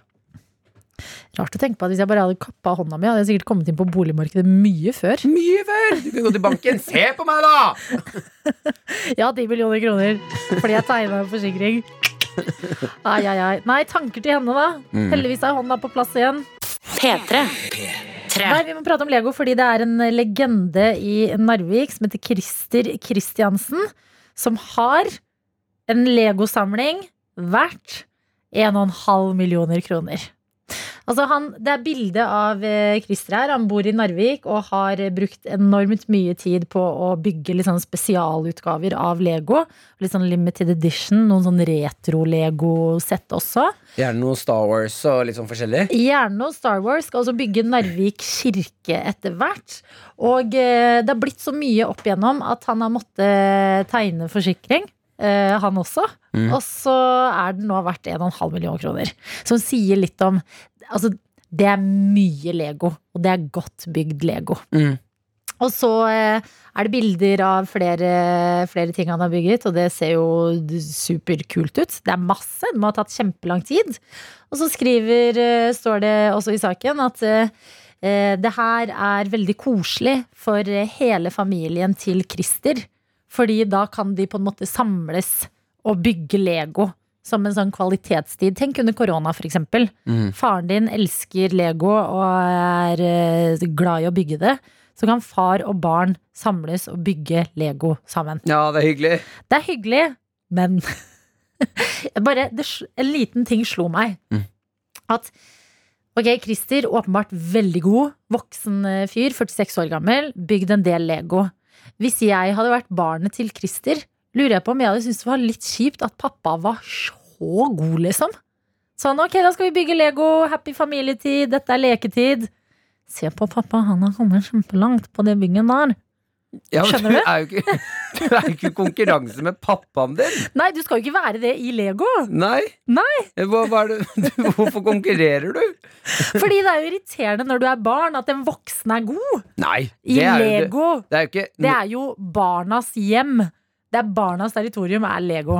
[SPEAKER 2] Rart å tenke på at hvis jeg bare hadde kappa av hånda mi, hadde jeg sikkert kommet inn på boligmarkedet mye før.
[SPEAKER 3] Mye før! Du kan gå til banken. Se på meg, da!
[SPEAKER 2] Ja, 10 millioner kroner. Fordi jeg tegna en forsikring. Ai, ai, ai. Nei, tanker til henne, da.
[SPEAKER 3] Mm.
[SPEAKER 2] Heldigvis er hånda på plass igjen.
[SPEAKER 6] P3.
[SPEAKER 2] Nei, Vi må prate om Lego, fordi det er en legende i Narvik som heter Christer Christiansen. Som har en Lego-samling verdt 1,5 millioner kroner. Altså han, det er bilde av eh, Christer her. Han bor i Narvik og har eh, brukt enormt mye tid på å bygge litt sånn spesialutgaver av Lego. Litt sånn limited edition, noen sånn retro-Lego-sett også.
[SPEAKER 3] Gjerne noe Star Wars og litt sånn forskjellig.
[SPEAKER 2] Gjerne og Star Wars skal også bygge Narvik kirke etter hvert. Og eh, det har blitt så mye opp igjennom at han har måttet eh, tegne forsikring. Eh, han også. Og så er den nå verdt 1,5 million kroner. Som sier litt om Altså, det er mye Lego. Og det er godt bygd Lego.
[SPEAKER 3] Mm.
[SPEAKER 2] Og så eh, er det bilder av flere, flere ting han har bygget, og det ser jo superkult ut. Det er masse, det må ha tatt kjempelang tid. Og så skriver, eh, står det også i saken at eh, eh, det her er veldig koselig for eh, hele familien til Christer. Fordi da kan de på en måte samles og bygge Lego som en sånn kvalitetstid. Tenk under korona, for eksempel. Faren din elsker Lego og er eh, glad i å bygge det. Så kan far og barn samles og bygge Lego sammen.
[SPEAKER 3] Ja, det er hyggelig.
[SPEAKER 2] Det er hyggelig, men Bare det, sl- en liten ting slo meg.
[SPEAKER 3] Mm.
[SPEAKER 2] At ok, Christer, åpenbart veldig god, voksen eh, fyr, 46 år gammel, bygd en del Lego. Hvis jeg hadde vært barnet til Christer, lurer jeg på om jeg hadde syntes det var litt kjipt at pappa var så god, liksom. Sånn, ok, da skal vi bygge Lego, happy familietid, dette er leketid. Se på pappa, han har kommet kjempelangt på det bygget der.
[SPEAKER 3] Ja, men
[SPEAKER 2] Skjønner
[SPEAKER 3] du?
[SPEAKER 2] du?
[SPEAKER 3] Er jo ikke, du er jo ikke i konkurranse med pappaen din.
[SPEAKER 2] Nei, du skal jo ikke være det i Lego!
[SPEAKER 3] Nei. Hva, hva er det, du, hvorfor konkurrerer du?
[SPEAKER 2] Fordi det er jo irriterende når du er barn at en voksen er god
[SPEAKER 3] Nei.
[SPEAKER 2] i
[SPEAKER 3] det er jo det-
[SPEAKER 2] Lego.
[SPEAKER 3] Det er jo ikke
[SPEAKER 2] Det er jo barnas hjem. Det er barnas territorium er Lego.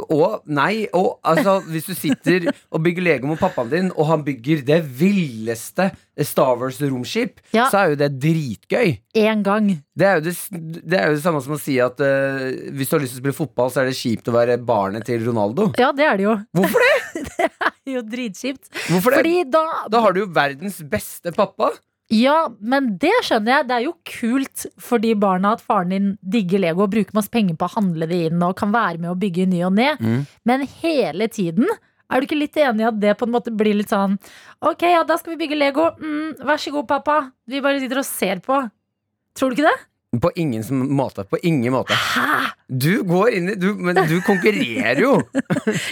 [SPEAKER 3] Og, nei, og altså, hvis du sitter og bygger Lego med pappaen din, og han bygger det villeste Star Wars-romskip,
[SPEAKER 2] Ja.
[SPEAKER 3] så er jo det dritgøy.
[SPEAKER 2] Én gang.
[SPEAKER 3] Det er, jo det, s- det er jo det samme som å si at eh, hvis du har lyst til å spille fotball, så er det kjipt å være barnet til Ronaldo.
[SPEAKER 2] Ja, det er det jo.
[SPEAKER 3] Hvorfor det?
[SPEAKER 2] Det er jo dritkjipt.
[SPEAKER 3] Hvorfor det?
[SPEAKER 2] Fordi da
[SPEAKER 3] Da har du jo verdens beste pappa.
[SPEAKER 2] Ja, men det skjønner jeg. Det er jo kult for de barna at faren din digger Lego og bruker masse penger på å handle det inn og kan være med å bygge i ny og ne.
[SPEAKER 3] Mm.
[SPEAKER 2] Men hele tiden er du ikke litt enig i at det på en måte blir litt sånn Ok, ja, da skal vi bygge Lego. Mm, vær så god, pappa. Vi bare sitter og ser på. Tror du ikke det?
[SPEAKER 3] På ingen som måte. På ingen måte.
[SPEAKER 2] Hæ?
[SPEAKER 3] Du går inn i du, Men du konkurrerer jo!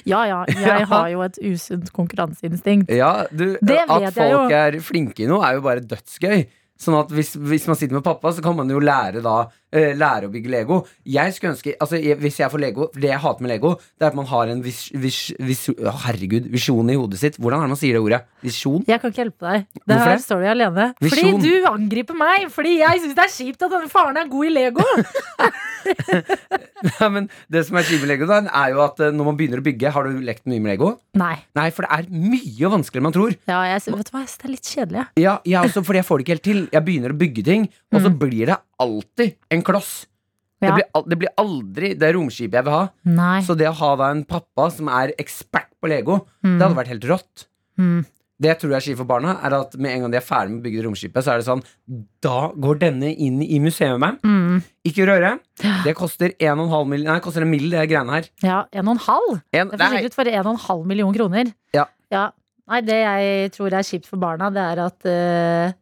[SPEAKER 2] Ja ja, jeg har jo et usunt konkurranseinstinkt.
[SPEAKER 3] Ja, du,
[SPEAKER 2] Det vet
[SPEAKER 3] At
[SPEAKER 2] jeg jo.
[SPEAKER 3] folk er flinke i noe, er jo bare dødsgøy. Sånn at hvis, hvis man sitter med pappa, så kan man jo lære da eh, Lære å bygge Lego. Jeg skulle ønske altså, jeg, Hvis jeg får Lego Det jeg hater med Lego, det er at man har en vis, vis, vis, å, herregud, visjon i hodet sitt. Hvordan er det man sier det ordet? Visjon?
[SPEAKER 2] Jeg kan ikke hjelpe deg. Det
[SPEAKER 3] Hvorfor
[SPEAKER 2] her
[SPEAKER 3] det?
[SPEAKER 2] står du alene.
[SPEAKER 3] Visjon.
[SPEAKER 2] Fordi du angriper meg! Fordi jeg syns det er kjipt at denne faren er god i Lego!
[SPEAKER 3] Nei, men det som er kjipt med Lego, da, er jo at eh, når man begynner å bygge Har du lekt mye med Lego?
[SPEAKER 2] Nei.
[SPEAKER 3] Nei, for det er mye vanskeligere enn man tror.
[SPEAKER 2] Ja, jeg, sy- vet du hva, jeg syns det er litt kjedelig. jeg.
[SPEAKER 3] Ja, jeg også, fordi jeg får det ikke helt til. Jeg begynner å bygge ting, og så blir det alltid en kloss. Det,
[SPEAKER 2] Mm. Ja.
[SPEAKER 3] blir, al- det blir aldri det romskipet jeg vil ha.
[SPEAKER 2] Nei.
[SPEAKER 3] Så det å ha da en pappa som er ekspert på Lego, det hadde vært helt rått.
[SPEAKER 2] Mm.
[SPEAKER 3] Det jeg tror jeg sier for barna, er at med en gang de er ferdig med å bygge det romskipet, så er det sånn Da går denne inn i museet, ma'am.
[SPEAKER 2] Mm.
[SPEAKER 3] Ikke røre. Det koster 1,5 mill. Nei, det koster en mill, det greiene her.
[SPEAKER 2] Ja, en og en halv.
[SPEAKER 3] En,
[SPEAKER 2] Det er
[SPEAKER 3] nei,
[SPEAKER 2] forsikret for en og en halv million kroner.
[SPEAKER 3] Ja.
[SPEAKER 2] Nei, det jeg tror er kjipt for barna, det er at eh,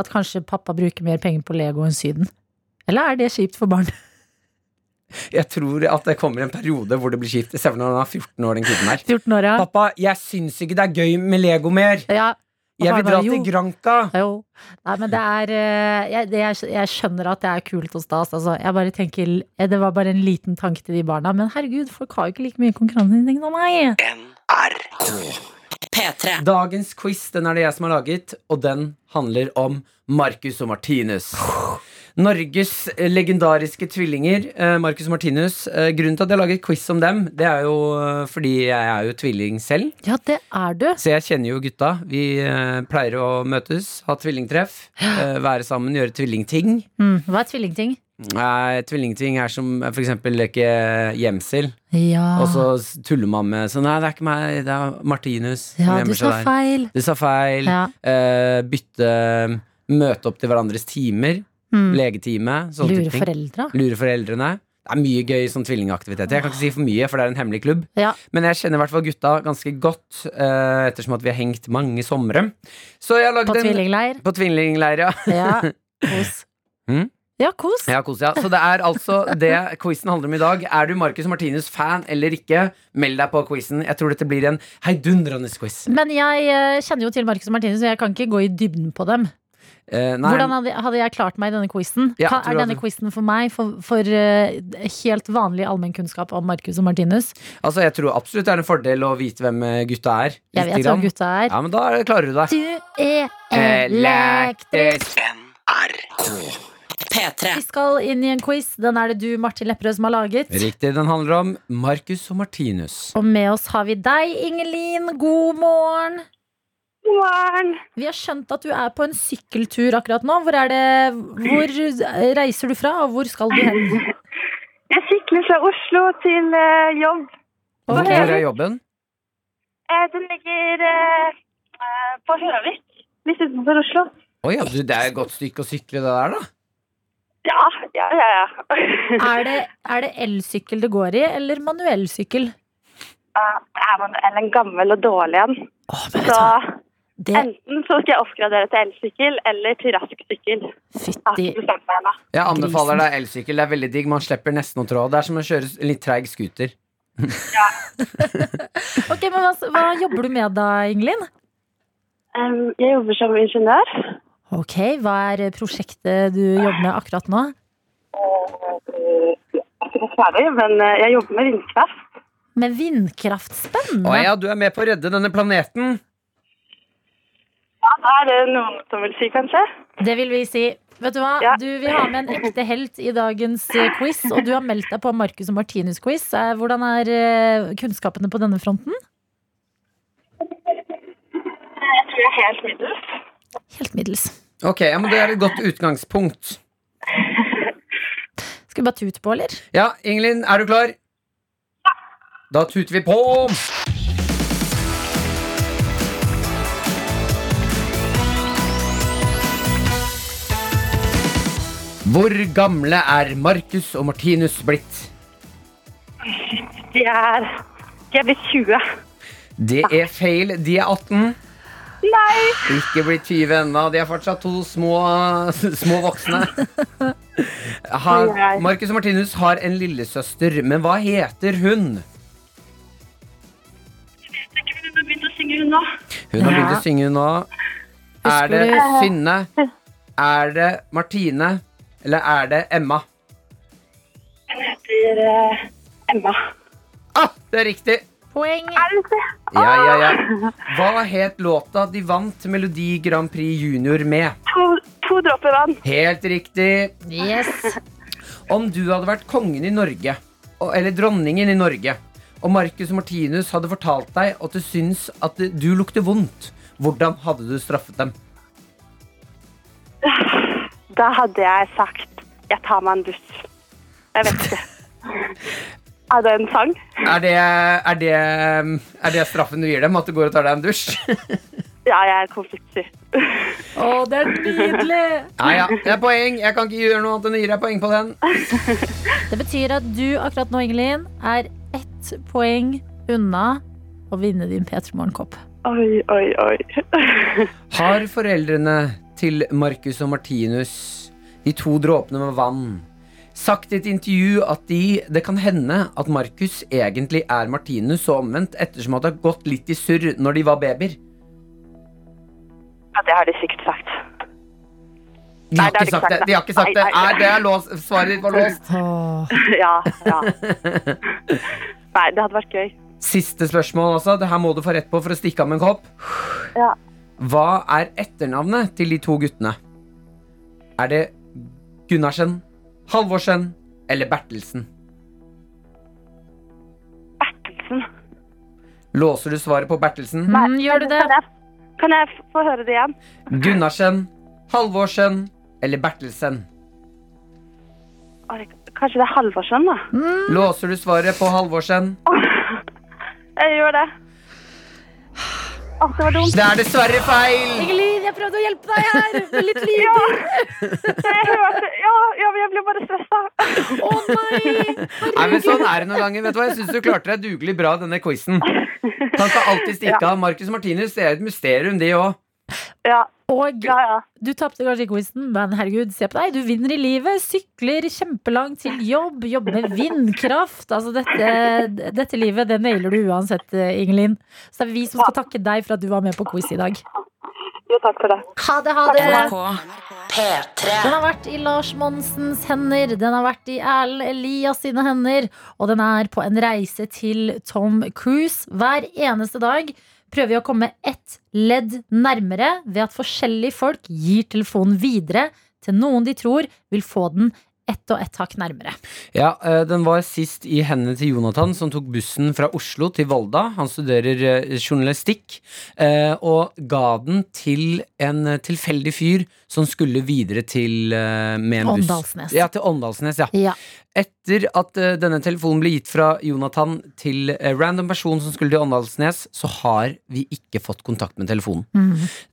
[SPEAKER 2] At kanskje pappa bruker mer penger på Lego enn Syden. Eller er det kjipt for barn?
[SPEAKER 3] Jeg tror at det kommer en periode hvor det blir kjipt. Se for deg når han er 14 år, den kiden her.
[SPEAKER 2] 14 år, ja.
[SPEAKER 3] Pappa, jeg syns ikke det er gøy med Lego mer.
[SPEAKER 2] ja. Og
[SPEAKER 3] Jeg vil
[SPEAKER 2] faren
[SPEAKER 3] dra
[SPEAKER 2] bare,
[SPEAKER 3] til
[SPEAKER 2] jo.
[SPEAKER 3] Granca.
[SPEAKER 2] Jo. Nei, men det er eh, jeg, det, jeg, jeg skjønner at det er kult og stas. Altså. Jeg bare tenker, eh, det var bare en liten tanke til de barna. Men herregud, folk har jo ikke like mye konkurranseinstinkt som meg.
[SPEAKER 6] P3.
[SPEAKER 3] Dagens quiz den er det jeg som har laget, og den handler om Marcus og Martinus. Norges eh, legendariske tvillinger, eh, Marcus og Martinus. Eh, Grunnen til at jeg har laget quiz om dem, det er jo eh, fordi jeg er jo tvilling selv.
[SPEAKER 2] Ja, det er du.
[SPEAKER 3] Så jeg kjenner jo gutta. Vi eh, pleier å møtes, ha tvillingtreff, eh, være sammen, gjøre tvillingting.
[SPEAKER 2] Mm. Hva er tvillingting?
[SPEAKER 3] Nei, tvillingting er som eh, for eksempel leke gjemsel,
[SPEAKER 2] Ja,
[SPEAKER 3] og så s- tuller man med sånn Nei, det er ikke meg, det er Martinus. som
[SPEAKER 2] ja du
[SPEAKER 3] gjemmer seg
[SPEAKER 2] sa
[SPEAKER 3] der.»
[SPEAKER 2] feil.
[SPEAKER 3] Du sa feil.
[SPEAKER 2] Ja.
[SPEAKER 3] Eh, bytte Møte opp til hverandres timer.
[SPEAKER 2] Mm.
[SPEAKER 3] Legetime. Sånne
[SPEAKER 2] Lure
[SPEAKER 3] Sånn type ting.
[SPEAKER 2] foreldra.
[SPEAKER 3] Lure foreldrene. Det er mye gøy sånn tvillingaktivitet. Jeg kan ikke si for mye, for det er en hemmelig klubb.
[SPEAKER 2] Ja.
[SPEAKER 3] Men jeg kjenner i hvert fall gutta ganske godt, eh, ettersom at vi har hengt mange somre. Så jeg har
[SPEAKER 2] På
[SPEAKER 3] lagd en
[SPEAKER 2] tvillingleir.
[SPEAKER 3] På tvillingleir, ja.
[SPEAKER 2] Ja, kos.
[SPEAKER 3] Mm?
[SPEAKER 2] Ja, kos.
[SPEAKER 3] Ja, kos, ja. Så det er altså det quizen handler om i dag. Er du Marcus Martinus-fan eller ikke, meld deg på quizen. Jeg tror dette blir en heidundrende quiz.
[SPEAKER 2] Men jeg eh, kjenner jo til Marcus og Martinus, så jeg kan ikke gå i dybden på dem.
[SPEAKER 3] Eh, nei,
[SPEAKER 2] Hvordan hadde, hadde jeg klart meg i denne quizen?
[SPEAKER 3] Ja,
[SPEAKER 2] Kan-
[SPEAKER 3] tror
[SPEAKER 2] er
[SPEAKER 3] du
[SPEAKER 2] denne
[SPEAKER 3] at-
[SPEAKER 2] quizen for meg for, for eh, helt vanlig allmennkunnskap om Marcus og Martinus?
[SPEAKER 3] Altså, jeg tror absolutt det er en fordel å vite hvem eh, gutta er.
[SPEAKER 2] Jeg
[SPEAKER 3] lite
[SPEAKER 2] vet hva
[SPEAKER 3] grann.
[SPEAKER 2] gutta er.
[SPEAKER 3] Ja, men da er- klarer du deg.
[SPEAKER 2] Du er elektrisk!
[SPEAKER 6] P3.
[SPEAKER 2] Vi skal inn i en quiz. Den er det du, Martin Lepperød, som har laget.
[SPEAKER 3] Riktig. Den handler om Marcus og Martinus.
[SPEAKER 2] Og med oss har vi deg, Ingelin. God morgen.
[SPEAKER 7] God morgen.
[SPEAKER 2] Vi har skjønt at du er på en sykkeltur akkurat nå. Hvor, er det, hvor reiser du fra, og hvor skal du hen?
[SPEAKER 7] Jeg sykler fra Oslo til eh, jobb.
[SPEAKER 3] Hvor
[SPEAKER 2] Ok.
[SPEAKER 3] er jobben?
[SPEAKER 7] Eh, den ligger eh, eh, på Høvik, litt utenfor Oslo.
[SPEAKER 3] Å ja, du, det er et godt stykke å sykle det der, da.
[SPEAKER 7] Ja, ja, ja. ja.
[SPEAKER 2] Er det, er det elsykkel det går i, eller manuell sykkel?
[SPEAKER 7] Eh, er man eller en gammel og dårlig en?
[SPEAKER 2] Åh, men vet du
[SPEAKER 7] Så
[SPEAKER 2] hva? Det,
[SPEAKER 7] enten så skal jeg oppgradere til elsykkel eller til rask sykkel. Jeg har
[SPEAKER 2] fytti
[SPEAKER 7] ikke bestemt meg ennå.
[SPEAKER 3] Jeg anbefaler deg elsykkel. Det er veldig digg. Man slipper nesten å trå. Det er som å kjøre s- litt treig scooter.
[SPEAKER 2] Ok, men hva, hva jobber du med da, Ingelin?
[SPEAKER 7] Em, jeg jobber som ingeniør.
[SPEAKER 2] Ok, hva er prosjektet du jobber med akkurat nå?
[SPEAKER 7] Eh, Jeg er ikke helt ferdig, men eh, jeg jobber med vindkraft.
[SPEAKER 2] Med vindkraft. Spennende!
[SPEAKER 3] Å ja, du er med på å redde denne planeten.
[SPEAKER 7] Ja, da er det noen som vil si, kanskje.
[SPEAKER 2] Det vil vi si. Vet du hva?
[SPEAKER 7] Ja.
[SPEAKER 2] Du vil ha med en ekte helt i dagens eh, quiz, og du har meldt deg på Marcus og Martinus-quiz. Eh, Hvordan er eh, kunnskapene på denne fronten?
[SPEAKER 7] Jeg tror jeg er helt middels.
[SPEAKER 2] Helt middels.
[SPEAKER 3] Ok, ja, men Det er et godt utgangspunkt.
[SPEAKER 2] Skal vi bare tute på, eller?
[SPEAKER 3] Ja, Ingelin, er du klar? Da tuter vi på! Hvor gamle er Marcus og Martinus blitt?
[SPEAKER 7] De er De er blitt 20.
[SPEAKER 3] Det er feil. De er 18.
[SPEAKER 7] Nei!
[SPEAKER 3] Ikke blitt 20 ennå. De er fortsatt to små, små voksne. Har, Marcus og Martinus har en lillesøster, men hva heter hun?
[SPEAKER 7] Jeg tror hun har begynt å synge, hun nå.
[SPEAKER 3] Hun har
[SPEAKER 2] Ja.
[SPEAKER 3] begynt å synge nå. Er det
[SPEAKER 2] du-
[SPEAKER 3] Synne? Er det Martine? Eller er det Emma?
[SPEAKER 7] Hun heter eh, Emma.
[SPEAKER 3] Ah, det er riktig!
[SPEAKER 2] Poeng.
[SPEAKER 3] Ja, ja, ja. Hva het låta de vant Melodi Grand Prix Junior med?
[SPEAKER 7] To, to dråper vann.
[SPEAKER 3] Helt riktig.
[SPEAKER 2] Yes.
[SPEAKER 3] Om du hadde vært kongen i Norge, og- eller dronningen i Norge, og Marcus og Martinus hadde fortalt deg at du syns at du lukter vondt, hvordan hadde du straffet dem?
[SPEAKER 7] Da hadde jeg sagt 'Jeg tar meg en buss'. Jeg vet ikke. Er det en sang?
[SPEAKER 3] Er det, er det, er det straffen du gir dem? At du går og tar deg en dusj?
[SPEAKER 7] Ja, jeg er konfliktsky.
[SPEAKER 2] Å, det er nydelig!
[SPEAKER 3] Ja, ja. Det er poeng. Jeg kan ikke gjøre noe annet enn å gi deg poeng på den.
[SPEAKER 2] Det betyr at du akkurat nå, Ingelin, er ett poeng unna å vinne din P3 Morgenkopp.
[SPEAKER 7] Oi, oi, oi.
[SPEAKER 3] Har foreldrene til Marcus og Martinus de to dråpene med vann. Sagt i et intervju at de, det kan hende at Markus egentlig er Martinus og omvendt, ettersom at det har gått litt i surr når de var babyer.
[SPEAKER 7] Ja, det har de sikkert sagt.
[SPEAKER 3] De
[SPEAKER 7] Nei,
[SPEAKER 3] har
[SPEAKER 7] det
[SPEAKER 3] ikke sagt det. De har ikke sagt
[SPEAKER 7] Nei,
[SPEAKER 3] det.
[SPEAKER 7] nei.
[SPEAKER 3] Nei, det er låst. Svaret ditt var låst.
[SPEAKER 2] Åh.
[SPEAKER 7] ja, ja. Nei, det hadde vært gøy.
[SPEAKER 3] Siste spørsmål også. Det her må du få rett på for å stikke av med en kopp.
[SPEAKER 7] Ja.
[SPEAKER 3] Hva er etternavnet til de to guttene? Er det Gunnarsen, Halvorsen eller Bertelsen?
[SPEAKER 7] Bertelsen.
[SPEAKER 3] Låser du svaret på Bertelsen?
[SPEAKER 2] Mm, gjør du det?
[SPEAKER 7] Kan jeg, kan jeg f- få høre det igjen?
[SPEAKER 3] Gunnarsen, Halvorsen eller Bertelsen?
[SPEAKER 7] Å, det- Kanskje det er Halvorsen, da?
[SPEAKER 3] Låser du svaret på Halvorsen?
[SPEAKER 2] Mm.
[SPEAKER 7] Jeg gjør det. Å, det var dumt.
[SPEAKER 3] Det er dessverre feil!
[SPEAKER 2] Elin, jeg prøvde å hjelpe deg her med litt lyder.
[SPEAKER 7] Ja, jeg hørte Ja, ja men jeg ble bare stressa.
[SPEAKER 2] Å nei!
[SPEAKER 3] Nei, men Sånn er det noen ganger. Vet du hva? Jeg syns du klarte deg dugelig bra i denne quizen. Han skal alltid stikke av. Marcus Martinus det er et mysterium, de òg.
[SPEAKER 7] Ja,
[SPEAKER 2] Og
[SPEAKER 7] ja, ja.
[SPEAKER 2] du tapte kanskje i quizen, men herregud, se på deg. Du vinner i livet. Sykler kjempelangt til jobb. Jobber med vindkraft. Altså, dette, dette livet, det nailer du uansett, eh, Ingelin. Så det er vi som skal takke deg for at du var med på quiz i dag.
[SPEAKER 7] Jo, takk for det.
[SPEAKER 2] Ha det, ha det!
[SPEAKER 6] NRK P3.
[SPEAKER 2] Den har vært i Lars Monsens hender, den har vært i Erlend Elias sine hender, og den er på en reise til Tom Cruise. Hver eneste dag prøver vi å komme ett ledd nærmere ved at forskjellige folk gir telefonen videre til noen de tror vil få den ett og ett hakk nærmere.
[SPEAKER 3] Ja, eh, Den var sist i hendene til Jonathan, som tok bussen fra Oslo til Volda. Han studerer eh, journalistikk, eh, og ga den til en eh, tilfeldig fyr som skulle videre til eh, med en buss.
[SPEAKER 2] Åndalsnes.
[SPEAKER 3] Ja, til Åndalsnes, ja.
[SPEAKER 2] Ja.
[SPEAKER 3] Etter at eh, denne telefonen ble gitt fra Jonathan til eh, random person som skulle til Åndalsnes, så har vi ikke fått kontakt med telefonen.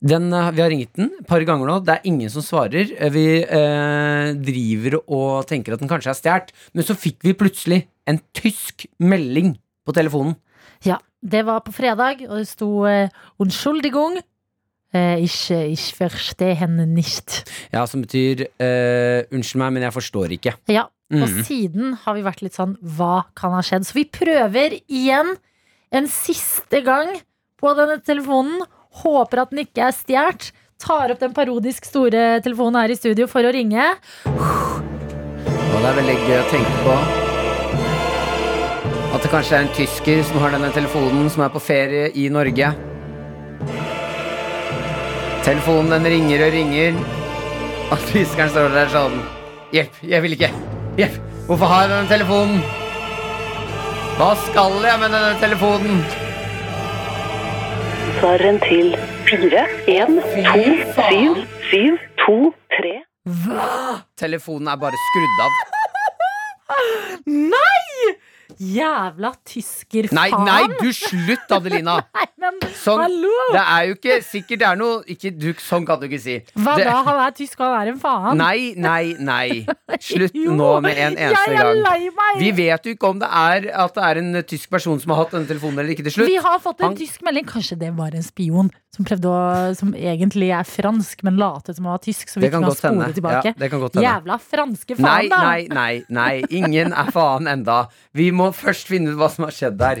[SPEAKER 3] Den, eh, vi har ringt den et par ganger nå. Det er ingen som svarer. Eh, Vi eh, driver og tenker at den kanskje er stjålet, men så fikk vi plutselig en tysk melding på telefonen.
[SPEAKER 2] ja. Det var på fredag, og det sto eh, 'Unschuldigung'. Eh, ich, ich verstehe henne nicht.
[SPEAKER 3] Ja, Som betyr eh, 'unnskyld meg, men jeg forstår ikke'.
[SPEAKER 2] Ja, Og
[SPEAKER 3] Mhm.
[SPEAKER 2] siden har vi vært litt sånn Hva kan ha skjedd? Så vi prøver igjen en siste gang på denne telefonen. Håper at den ikke er stjålet. Tar opp den parodisk store telefonen her i studio for å ringe.
[SPEAKER 3] Og det er veldig gøy å tenke på at det kanskje er en tysker som har denne telefonen, som er på ferie i Norge. Telefonen den ringer og ringer, og tyskeren står der sånn Hjelp, jeg vil ikke. Hjelp, hvorfor har jeg denne telefonen? Hva skal jeg med denne telefonen?
[SPEAKER 8] Svaren til 4, 1, 2, 7, 7, 2, 3.
[SPEAKER 3] Telefonen er bare skrudd av.
[SPEAKER 2] Jævla tysker,
[SPEAKER 3] Nei,
[SPEAKER 2] faen!
[SPEAKER 3] nei, du slutt, Adelina!
[SPEAKER 2] Nei, men
[SPEAKER 3] Sånn,
[SPEAKER 2] hallo!
[SPEAKER 3] det er jo ikke sikkert det er noe ikke, du, Sånn kan du ikke si.
[SPEAKER 2] Hva
[SPEAKER 3] det,
[SPEAKER 2] da? Han er tysk, og han er en faen.
[SPEAKER 3] Nei, nei, nei. Slutt
[SPEAKER 2] Jo,
[SPEAKER 3] nå med en eneste
[SPEAKER 2] Jeg er
[SPEAKER 3] gang.
[SPEAKER 2] lei meg!
[SPEAKER 3] Vi vet jo ikke om det er at det er en eh, tysk person som har hatt denne telefonen eller ikke til slutt.
[SPEAKER 2] Vi har fått en
[SPEAKER 3] Han-
[SPEAKER 2] tysk melding. Kanskje det var en spion som, prøvde å, som egentlig er fransk, men latet som han var tysk. Så vi
[SPEAKER 3] Det
[SPEAKER 2] ikke
[SPEAKER 3] kan
[SPEAKER 2] kan
[SPEAKER 3] godt hende.
[SPEAKER 2] spole
[SPEAKER 3] Ja,
[SPEAKER 2] tilbake.
[SPEAKER 3] det kan godt hende.
[SPEAKER 2] Jævla franske faen,
[SPEAKER 3] Nei,
[SPEAKER 2] da!
[SPEAKER 3] nei, nei, nei. Ingen er faen enda. Vi må først finne ut hva som har skjedd der.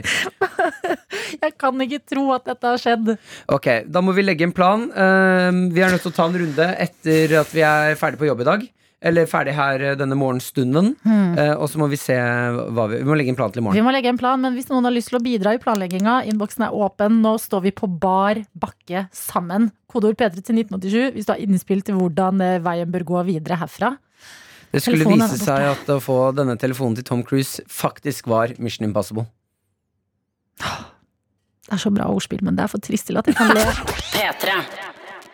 [SPEAKER 2] Jeg kan ikke tro at dette har skjedd.
[SPEAKER 3] Ok, Da må vi legge en plan. Ehm, vi er nødt til å ta en runde etter at vi er ferdig på jobb i dag. Eller ferdig her eh, denne morgenstunden.
[SPEAKER 2] Hmm.
[SPEAKER 3] Eh, og så må vi se hva vi Vi må legge en plan til i morgen.
[SPEAKER 2] Vi må legge en plan, men hvis noen har lyst til å bidra i planlegginga, innboksen er åpen. Nå står vi på bar bakke sammen. Kodeord P3 til 1987 hvis du har innspill til hvordan eh, veien bør gå videre herfra.
[SPEAKER 3] Det skulle
[SPEAKER 2] Telefonen er
[SPEAKER 3] vise seg at å få denne telefonen til Tom Cruise faktisk var Mission Impossible.
[SPEAKER 2] Det er så bra ordspill, men det er for trist til at jeg kan le.
[SPEAKER 6] P3.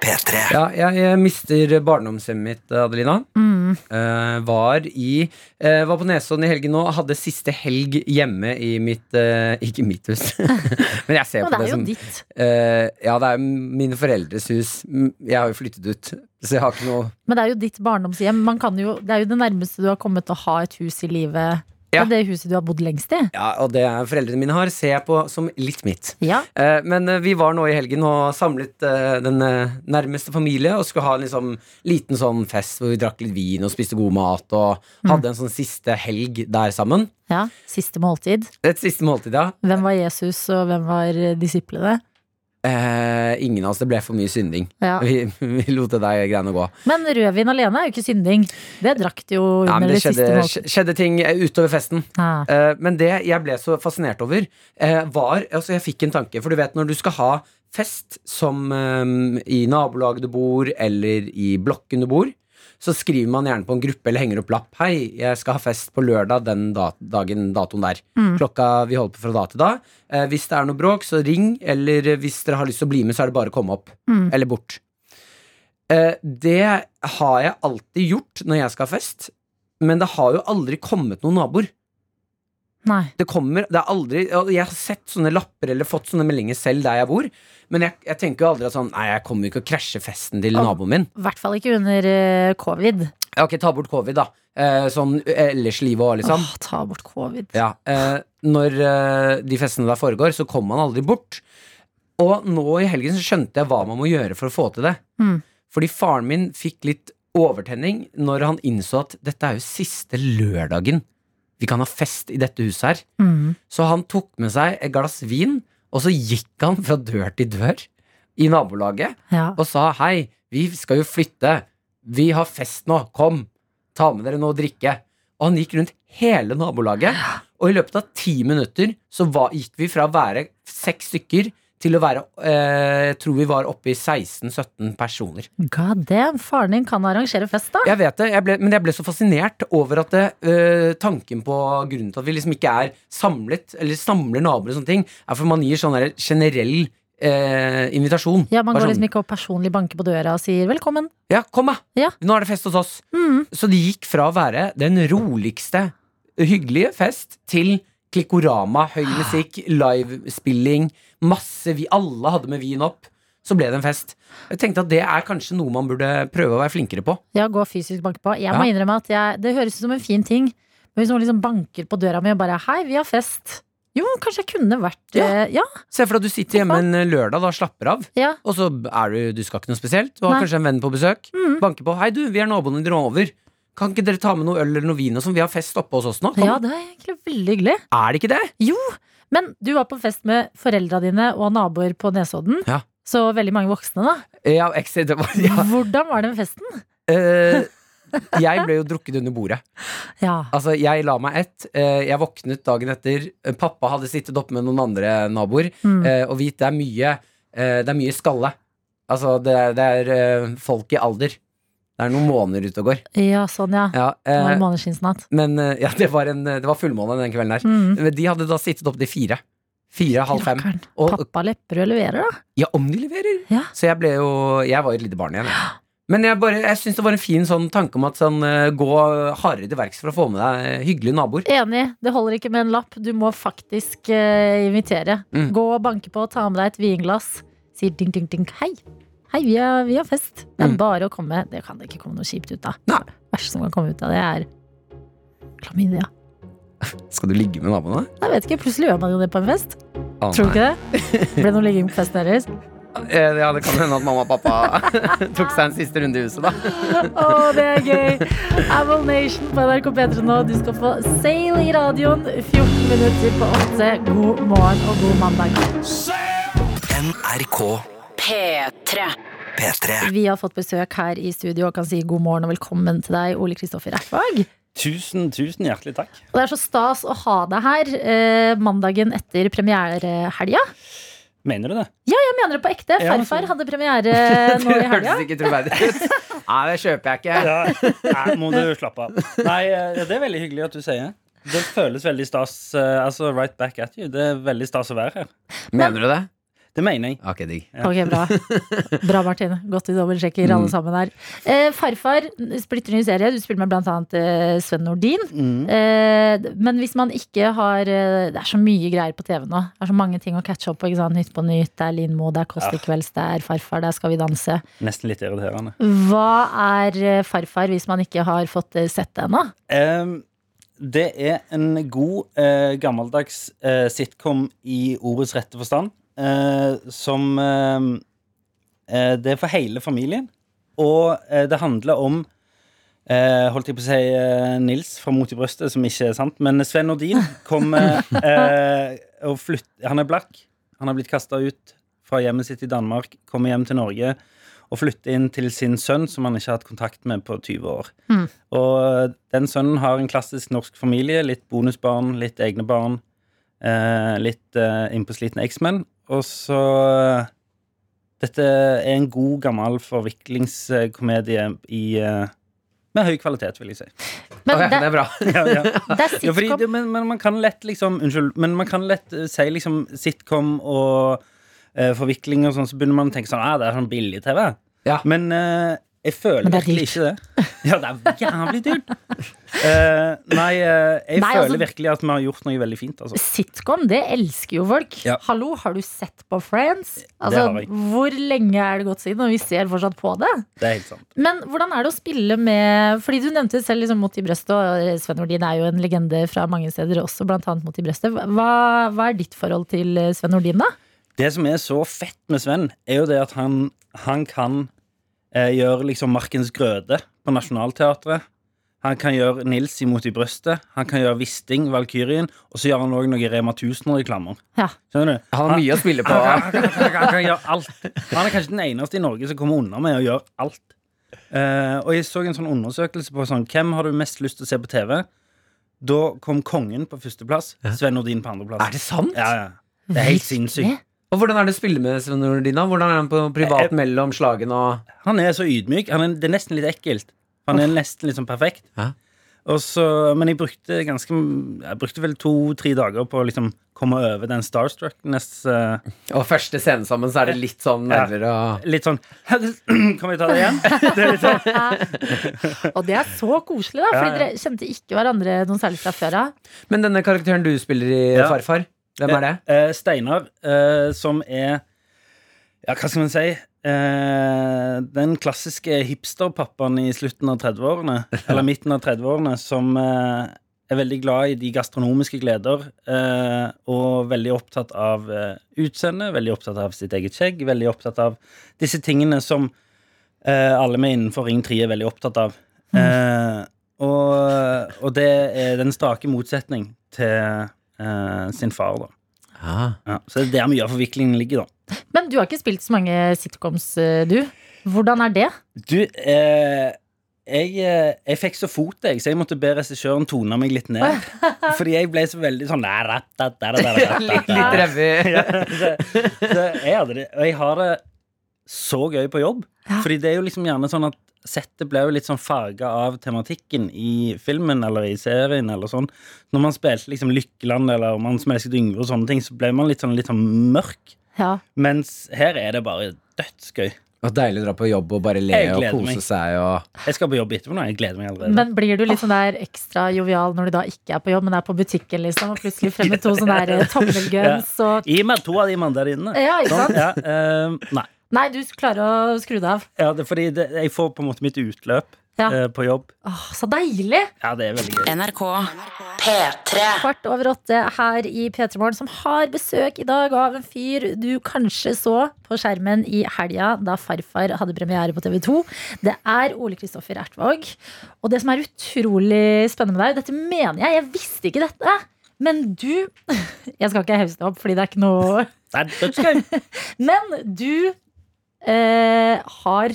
[SPEAKER 1] P3.
[SPEAKER 3] Ja, jeg, jeg mister barndomshjemmet mitt, Adelina.
[SPEAKER 2] Mm.
[SPEAKER 3] Eh, var, i, eh, var på Nesodden i helgen nå, hadde siste helg hjemme i mitt eh, Ikke mitt hus, men jeg ser
[SPEAKER 2] Men det
[SPEAKER 3] på det, sånn-
[SPEAKER 2] er jo
[SPEAKER 3] som
[SPEAKER 2] ditt.
[SPEAKER 3] eh, Ja, det er mine foreldres hus. Mm, Jeg har jo flyttet ut, så jeg har ikke noe
[SPEAKER 2] Men det er jo ditt barndomshjem. Man kan jo, det er jo det nærmeste du har kommet å ha et hus i livet
[SPEAKER 3] Ja.
[SPEAKER 2] Det er det huset du har bodd lengst i.
[SPEAKER 3] Ja, og det er foreldrene mine har, ser jeg på som litt mitt.
[SPEAKER 2] Ja.
[SPEAKER 3] Eh, Men eh, vi var nå i helgen og samlet eh, den eh, nærmeste familie og skulle ha en liksom, liten sånn fest hvor vi drakk litt vin og spiste god mat og
[SPEAKER 2] Mm.
[SPEAKER 3] hadde en sånn siste helg der sammen.
[SPEAKER 2] ja. Siste måltid.
[SPEAKER 3] Et siste måltid, ja.
[SPEAKER 2] Hvem var Jesus, og hvem var eh, disiplene?
[SPEAKER 3] Eh, ingen av oss, det ble for mye synding.
[SPEAKER 2] Ja.
[SPEAKER 3] Vi, vi lot det der greiene gå.
[SPEAKER 2] Men rødvin alene er jo ikke synding. Det drakk du jo
[SPEAKER 3] Nei,
[SPEAKER 2] under
[SPEAKER 3] men
[SPEAKER 2] det,
[SPEAKER 3] det skjedde,
[SPEAKER 2] siste måltidet.
[SPEAKER 3] skj- skjedde ting eh, utover festen.
[SPEAKER 2] Ah.
[SPEAKER 3] Eh, Men det jeg ble så fascinert over, eh, var Altså, jeg fikk en tanke. For du vet, når du skal ha fest som eh, i nabolaget du bor, eller i blokken du bor, så skriver man gjerne på en gruppe eller henger opp lapp. 'Hei, jeg skal ha fest på lørdag den da dagen, datoen der.' Klokka vi holder på fra da til da. Eh, Hvis det er noe bråk, så ring, eller eh, hvis dere har lyst til å bli med, så er det bare å komme opp.
[SPEAKER 2] Mm,
[SPEAKER 3] Eller bort. Eh, Det har jeg alltid gjort når jeg skal ha fest, men det har jo aldri kommet noen naboer.
[SPEAKER 2] Nei.
[SPEAKER 3] Det kommer, det er aldri og Jeg har sett sånne lapper eller fått sånne meldinger selv der jeg bor, men jeg, jeg tenker jo aldri at sånn Nei, jeg kommer ikke å krasje festen til
[SPEAKER 2] Al-
[SPEAKER 3] naboen min.
[SPEAKER 2] I hvert fall ikke under eh, covid.
[SPEAKER 3] Ja, Ok, ta bort covid, da. Eh, sånn ellers i livet òg, liksom.
[SPEAKER 2] Åh, ta bort covid.
[SPEAKER 3] Ja, eh, når eh, de festene der foregår, så kommer man aldri bort. Og nå i helgen så skjønte jeg hva man må gjøre for å få til det.
[SPEAKER 2] Mm.
[SPEAKER 3] Fordi faren min fikk litt overtenning når han innså at dette er jo siste lørdagen vi kan ha fest i dette huset her.
[SPEAKER 2] Mm.
[SPEAKER 3] Så han tok med seg et glass vin, og så gikk han fra dør til dør i nabolaget
[SPEAKER 2] Ja.
[SPEAKER 3] og sa hei, vi skal jo flytte, vi har fest nå, kom, ta med dere noe å drikke. Og han gikk rundt hele nabolaget, og i løpet av ti minutter så var, gikk vi fra å være seks stykker til å være, eh, jeg tror vi var oppe i 16-17 personer.
[SPEAKER 2] God damn, faren din kan arrangere fest, da.
[SPEAKER 3] Jeg vet det, jeg ble, men jeg ble så fascinert over at det, øh, tanken på grunnen til at vi liksom ikke er samlet, eller samler naboer og sånne ting, er for man gir sånn der generell øh, invitasjon.
[SPEAKER 2] Ja, Man
[SPEAKER 3] Bare
[SPEAKER 2] går
[SPEAKER 3] sånn,
[SPEAKER 2] liksom ikke og personlig banker på døra og sier 'velkommen'.
[SPEAKER 3] Ja, kom da!
[SPEAKER 2] Ja.
[SPEAKER 3] Nå er det fest hos oss.
[SPEAKER 2] Mm.
[SPEAKER 3] Så det gikk fra å være den roligste, hyggelige fest til Klikkorama, høy musikk, livespilling, masse vi Alle hadde med vin opp. Så ble det en fest. Jeg tenkte at det er kanskje noe man burde prøve å være flinkere på.
[SPEAKER 2] Ja, gå fysisk banke på. Jeg må
[SPEAKER 3] Ja.
[SPEAKER 2] innrømme at jeg, det høres ut som en fin ting. Men hvis noen liksom banker på døra mi og bare 'hei, vi har fest'. Jo, kanskje jeg kunne vært
[SPEAKER 3] Ja.
[SPEAKER 2] eh, ja,
[SPEAKER 3] Se for deg at du sitter hjemme en eh, lørdag da, og slapper av.
[SPEAKER 2] ja.
[SPEAKER 3] Og så er du, du skal ikke noe spesielt. Du har
[SPEAKER 2] Nei. Mm.
[SPEAKER 3] kanskje en venn på besøk. Banker på. 'Hei, du, vi er naboene dine over. Kan ikke dere ta med noe øl eller noe vin og sånn? Vi har fest oppe hos oss nå. Kom.
[SPEAKER 2] ja, det er egentlig veldig hyggelig.
[SPEAKER 3] Er det ikke det?
[SPEAKER 2] Jo, men du var på fest med foreldra dine og naboer på Nesodden.
[SPEAKER 3] Ja.
[SPEAKER 2] Så veldig mange voksne, da.
[SPEAKER 3] Ja, ekstra, det var, ja.
[SPEAKER 2] Hvordan var den festen?
[SPEAKER 3] Eh, jeg ble jo drukket under bordet.
[SPEAKER 2] Ja.
[SPEAKER 3] Altså, jeg la meg ett. eh, jeg våknet dagen etter. Eh, Pappa hadde sittet oppe med noen andre naboer.
[SPEAKER 2] Mm.
[SPEAKER 3] Eh, og hvit, det er mye eh, Det er mye skalle. Altså, det er, det er eh, folk i alder. Det er noen måneder ute og går.
[SPEAKER 2] ja, sånn, ja.
[SPEAKER 3] Ja,
[SPEAKER 2] Det var
[SPEAKER 3] eh,
[SPEAKER 2] en måneskinnsnatt.
[SPEAKER 3] men eh, ja, det var, en, det var fullmåne den kvelden der.
[SPEAKER 2] Mm.
[SPEAKER 3] Men De hadde da sittet opp til fire. Fire, halv fem.
[SPEAKER 2] Rakkeren.
[SPEAKER 3] Og
[SPEAKER 2] Pappa Lepperød leverer, da.
[SPEAKER 3] ja, om de leverer!
[SPEAKER 2] Ja.
[SPEAKER 3] Så jeg ble jo Jeg var jo et lite barn igjen. jeg. Men jeg, bare- jeg syns det var en fin sånn tanke om at sånn, eh, gå hardere til verks for å få med deg eh, hyggelige naboer.
[SPEAKER 2] Enig, det holder ikke med en lapp. Du må faktisk eh, invitere.
[SPEAKER 3] Mm.
[SPEAKER 2] Gå og banke på, ta med deg et vinglass. Sier ding, ding, ding. Hei. Hei, vi har, vi har fest. Det er
[SPEAKER 3] Mm.
[SPEAKER 2] bare å komme. Det kan det ikke komme noe kjipt ut av.
[SPEAKER 3] Nei.
[SPEAKER 2] Det verste som kan komme ut av det, er klamydia.
[SPEAKER 3] Skal du ligge med naboene?
[SPEAKER 2] Jeg vet ikke, Plutselig gjør man jo det på en fest.
[SPEAKER 3] Å,
[SPEAKER 2] Tror du ikke det? Ble det noe ligging på festen deres?
[SPEAKER 3] nei. Eh, Ja, det kan hende at mamma og pappa tok seg en siste runde i huset, da.
[SPEAKER 2] Å, det er gøy! Aval Nation på NRK P3 nå. Du skal få Sail i radioen 14 minutter på 8. God morgen og god mandag.
[SPEAKER 1] NRK
[SPEAKER 6] P3.
[SPEAKER 1] P3.
[SPEAKER 2] Vi har fått besøk her i studio og kan si god morgen og velkommen til deg, Ole Kristoffer Ertvag.
[SPEAKER 9] Tusen, tusen hjertelig takk.
[SPEAKER 2] Og det er så stas å ha deg her eh, mandagen etter premierehelga.
[SPEAKER 9] Mener du det?
[SPEAKER 2] Jeg mener det på ekte.
[SPEAKER 9] Ja, så-
[SPEAKER 2] Farfar hadde premiere nå i helga.
[SPEAKER 3] ikke troverdig ut. Nei, det kjøper jeg ikke.
[SPEAKER 9] Ja. Nei, må du slappe av. Nei, eh, det er veldig hyggelig at du sier. Det føles veldig stas. eh, Altså, right back at you. Det er veldig stas å være her.
[SPEAKER 3] Mener du det?
[SPEAKER 9] Det mener jeg.
[SPEAKER 3] Ok, digg.
[SPEAKER 2] Ok, bra. Bra, Martin. Godt vi dobbeltsjekker
[SPEAKER 9] Mm.
[SPEAKER 2] alle sammen her. Eh, farfar, splitter ny serie. Du spiller med blant annet eh, Sven Nordin.
[SPEAKER 9] Mm.
[SPEAKER 2] Eh, men hvis man ikke har eh, Det er så mye greier på TV nå. Det er så mange ting å catche opp på. ikke sant? Nytt på nytt, det er Lindmo,
[SPEAKER 9] Ah.
[SPEAKER 2] det er Kåss til kvelds, det er Farfar, der skal vi danse.
[SPEAKER 9] Nesten litt irriterende.
[SPEAKER 2] Hva er eh, Farfar hvis man ikke har fått eh, sett det ennå?
[SPEAKER 9] Em, det er en god, eh, gammeldags eh, sitcom i ordets rette forstand. Eh, som eh, eh, Det er for hele familien. Og eh, det handler om eh, Holdt jeg på å si eh, Nils fra Mot i brøstet, som ikke er sant. Men Sven Nordin kommer eh, og flytter Han er blakk. Han har blitt kasta ut fra hjemmet sitt i Danmark, kommer hjem til Norge og flytter inn til sin sønn, som han ikke har hatt kontakt med på 20 år. Og eh, den sønnen har en klassisk norsk familie. Litt bonusbarn, litt egne barn. Eh, litt eh, innpåslitne eksmenn. Og så eh, Dette er en god, gammel forviklingskomedie i eh, med høy kvalitet, vil jeg si.
[SPEAKER 2] Men
[SPEAKER 3] Ok, det
[SPEAKER 2] det,
[SPEAKER 3] er bra.
[SPEAKER 9] Ja, ja.
[SPEAKER 2] det er
[SPEAKER 9] Ja, fordi
[SPEAKER 2] sitcom.
[SPEAKER 9] det, men, men man kan lett liksom Unnskyld, men man kan lett eh, si liksom sitcom og eh, forvikling og sånn, så begynner man å tenke sånn ah, det er sånn billig-TV.
[SPEAKER 3] Ja.
[SPEAKER 9] Men eh, jeg føler
[SPEAKER 2] Men det er
[SPEAKER 9] virkelig ikke det. Ja, det er jævlig dyrt. Eh, nei, eh, jeg
[SPEAKER 2] Nei,
[SPEAKER 9] føler
[SPEAKER 2] altså-
[SPEAKER 9] virkelig at vi har gjort noe veldig fint, altså.
[SPEAKER 2] Sitcom, det elsker jo folk.
[SPEAKER 9] Ja.
[SPEAKER 2] Hallo, har du sett på Friends?
[SPEAKER 9] har jeg.
[SPEAKER 2] Altså, hvor lenge er det gått siden, og vi ser fortsatt på det?
[SPEAKER 9] Det er helt sant.
[SPEAKER 2] Men hvordan er det å spille med Fordi du nevnte selv liksom Mot i brøstet, og Sven Nordin er jo en legende fra mange steder også, blant annet Mot i brøstet. Hva, hva er ditt forhold til eh, Sven Nordin, da?
[SPEAKER 9] Det som er så fett med Sven, er jo det at han, han kan eh, gjøre liksom Markens Grøde på Nationaltheatret. Han kan gjøre Nils imot i brøstet. Han kan gjøre Wisting, Valkyrien. Og så gjør han òg noe Rema 1000-reklamer.
[SPEAKER 2] Ja.
[SPEAKER 9] Skjønner du?
[SPEAKER 3] Han har mye å spille på.
[SPEAKER 9] Han kan, han kan, han kan gjøre alt. Han er kanskje den eneste i Norge som kommer unna med å gjøre alt. Eh, og jeg så en sånn undersøkelse på sånn, hvem har du mest lyst til å se på TV. Da kom Kongen på førsteplass, Sven Nordin på andreplass.
[SPEAKER 3] Er det sant?
[SPEAKER 9] Ja, ja. Det er helt
[SPEAKER 2] Virkelig?
[SPEAKER 9] sinnssykt.
[SPEAKER 3] Og hvordan er det å spille med Sven Nordina? Hvordan er han på privat mellom slagene og
[SPEAKER 9] Han er så ydmyk. Han er, det er nesten litt ekkelt. Han er nesten litt sånn perfekt.
[SPEAKER 3] Ja.
[SPEAKER 9] Og så- men jeg brukte ganske Jeg brukte vel to-tre dager på å liksom komme over den starstruckness. eh,
[SPEAKER 3] Og første scene sammen, så er det litt sånn nerver og
[SPEAKER 9] litt sånn Kan vi ta det igjen? Det er litt sånn.
[SPEAKER 2] Og det er så koselig, da, fordi
[SPEAKER 9] Ja, ja.
[SPEAKER 2] dere kjente ikke hverandre noe særlig fra før av.
[SPEAKER 3] Men denne karakteren du spiller i
[SPEAKER 9] Ja.
[SPEAKER 3] Farfar, hvem er det?
[SPEAKER 9] Eh, Steinar, eh, som er Ja, hva skal man si? Eh, den klassiske hipsterpappaen i slutten av 30-årene, eller midten av 30-årene, som eh, er veldig glad i de gastronomiske gleder, eh, og veldig opptatt av eh, utseende, veldig opptatt av sitt eget skjegg, veldig opptatt av disse tingene som eh, alle vi innenfor Ring 3 er veldig opptatt av. Eh, og, og det er den strake motsetning til eh, sin far, da. Ja, så det er der mye av forviklingen ligger, da.
[SPEAKER 2] Men du har ikke spilt så mange sitcoms, eh, du. Hvordan er det?
[SPEAKER 9] Du, eh, jeg, eh, jeg fikk så fot, jeg, så jeg måtte be regissøren tone meg litt ned. Fordi jeg ble så veldig sånn "Nei, rat, rat, rat, rat, rat, rat, rat."
[SPEAKER 3] Litt revy.
[SPEAKER 9] Ja, så, så jeg hadde det, og jeg har det så gøy på jobb.
[SPEAKER 2] Ja.
[SPEAKER 9] Fordi det er jo liksom gjerne sånn at settet ble jo litt sånn farga av tematikken i filmen eller i serien eller sånn. Når man spilte liksom Lykkeland eller Man som elsket Yngve og sånne ting, så ble man litt sånn, litt sånn mørk.
[SPEAKER 2] Ja.
[SPEAKER 9] Mens her er det bare dødsgøy.
[SPEAKER 3] Og deilig å dra på jobb og bare le
[SPEAKER 9] Jeg
[SPEAKER 3] og
[SPEAKER 9] gleder
[SPEAKER 3] kose
[SPEAKER 9] meg.
[SPEAKER 3] seg og
[SPEAKER 9] Jeg skal på jobb etterpå nå. Jeg gleder meg allerede.
[SPEAKER 2] Men blir du litt sånn der ekstra jovial når du da ikke er på jobb, men er på butikken, liksom, og plutselig fremmer to sånne der eh, tommelguns og
[SPEAKER 9] Gi meg to av de mandarinene.
[SPEAKER 2] Ja, ikke sant?
[SPEAKER 9] Ja, eh, nei.
[SPEAKER 2] Nei, du klarer å skru det av.
[SPEAKER 9] Ja, det er fordi det, jeg får på en måte mitt utløp
[SPEAKER 2] Ja.
[SPEAKER 9] eh, på jobb.
[SPEAKER 2] Åh, Ah, så deilig!
[SPEAKER 9] Ja, det er veldig gøy.
[SPEAKER 6] NRK P3.
[SPEAKER 2] Kvart over åtte her i P3 Morgen, som har besøk i dag av en fyr du kanskje så på skjermen i helga da farfar hadde premiere på TV 2. Det er Ole Kristoffer Ertvåg. Og det som er utrolig spennende med deg, dette mener jeg, jeg visste ikke dette, men du Jeg skal ikke hausse deg opp, fordi det er ikke noe
[SPEAKER 9] Det er dødsgøy.
[SPEAKER 2] Men du eh, har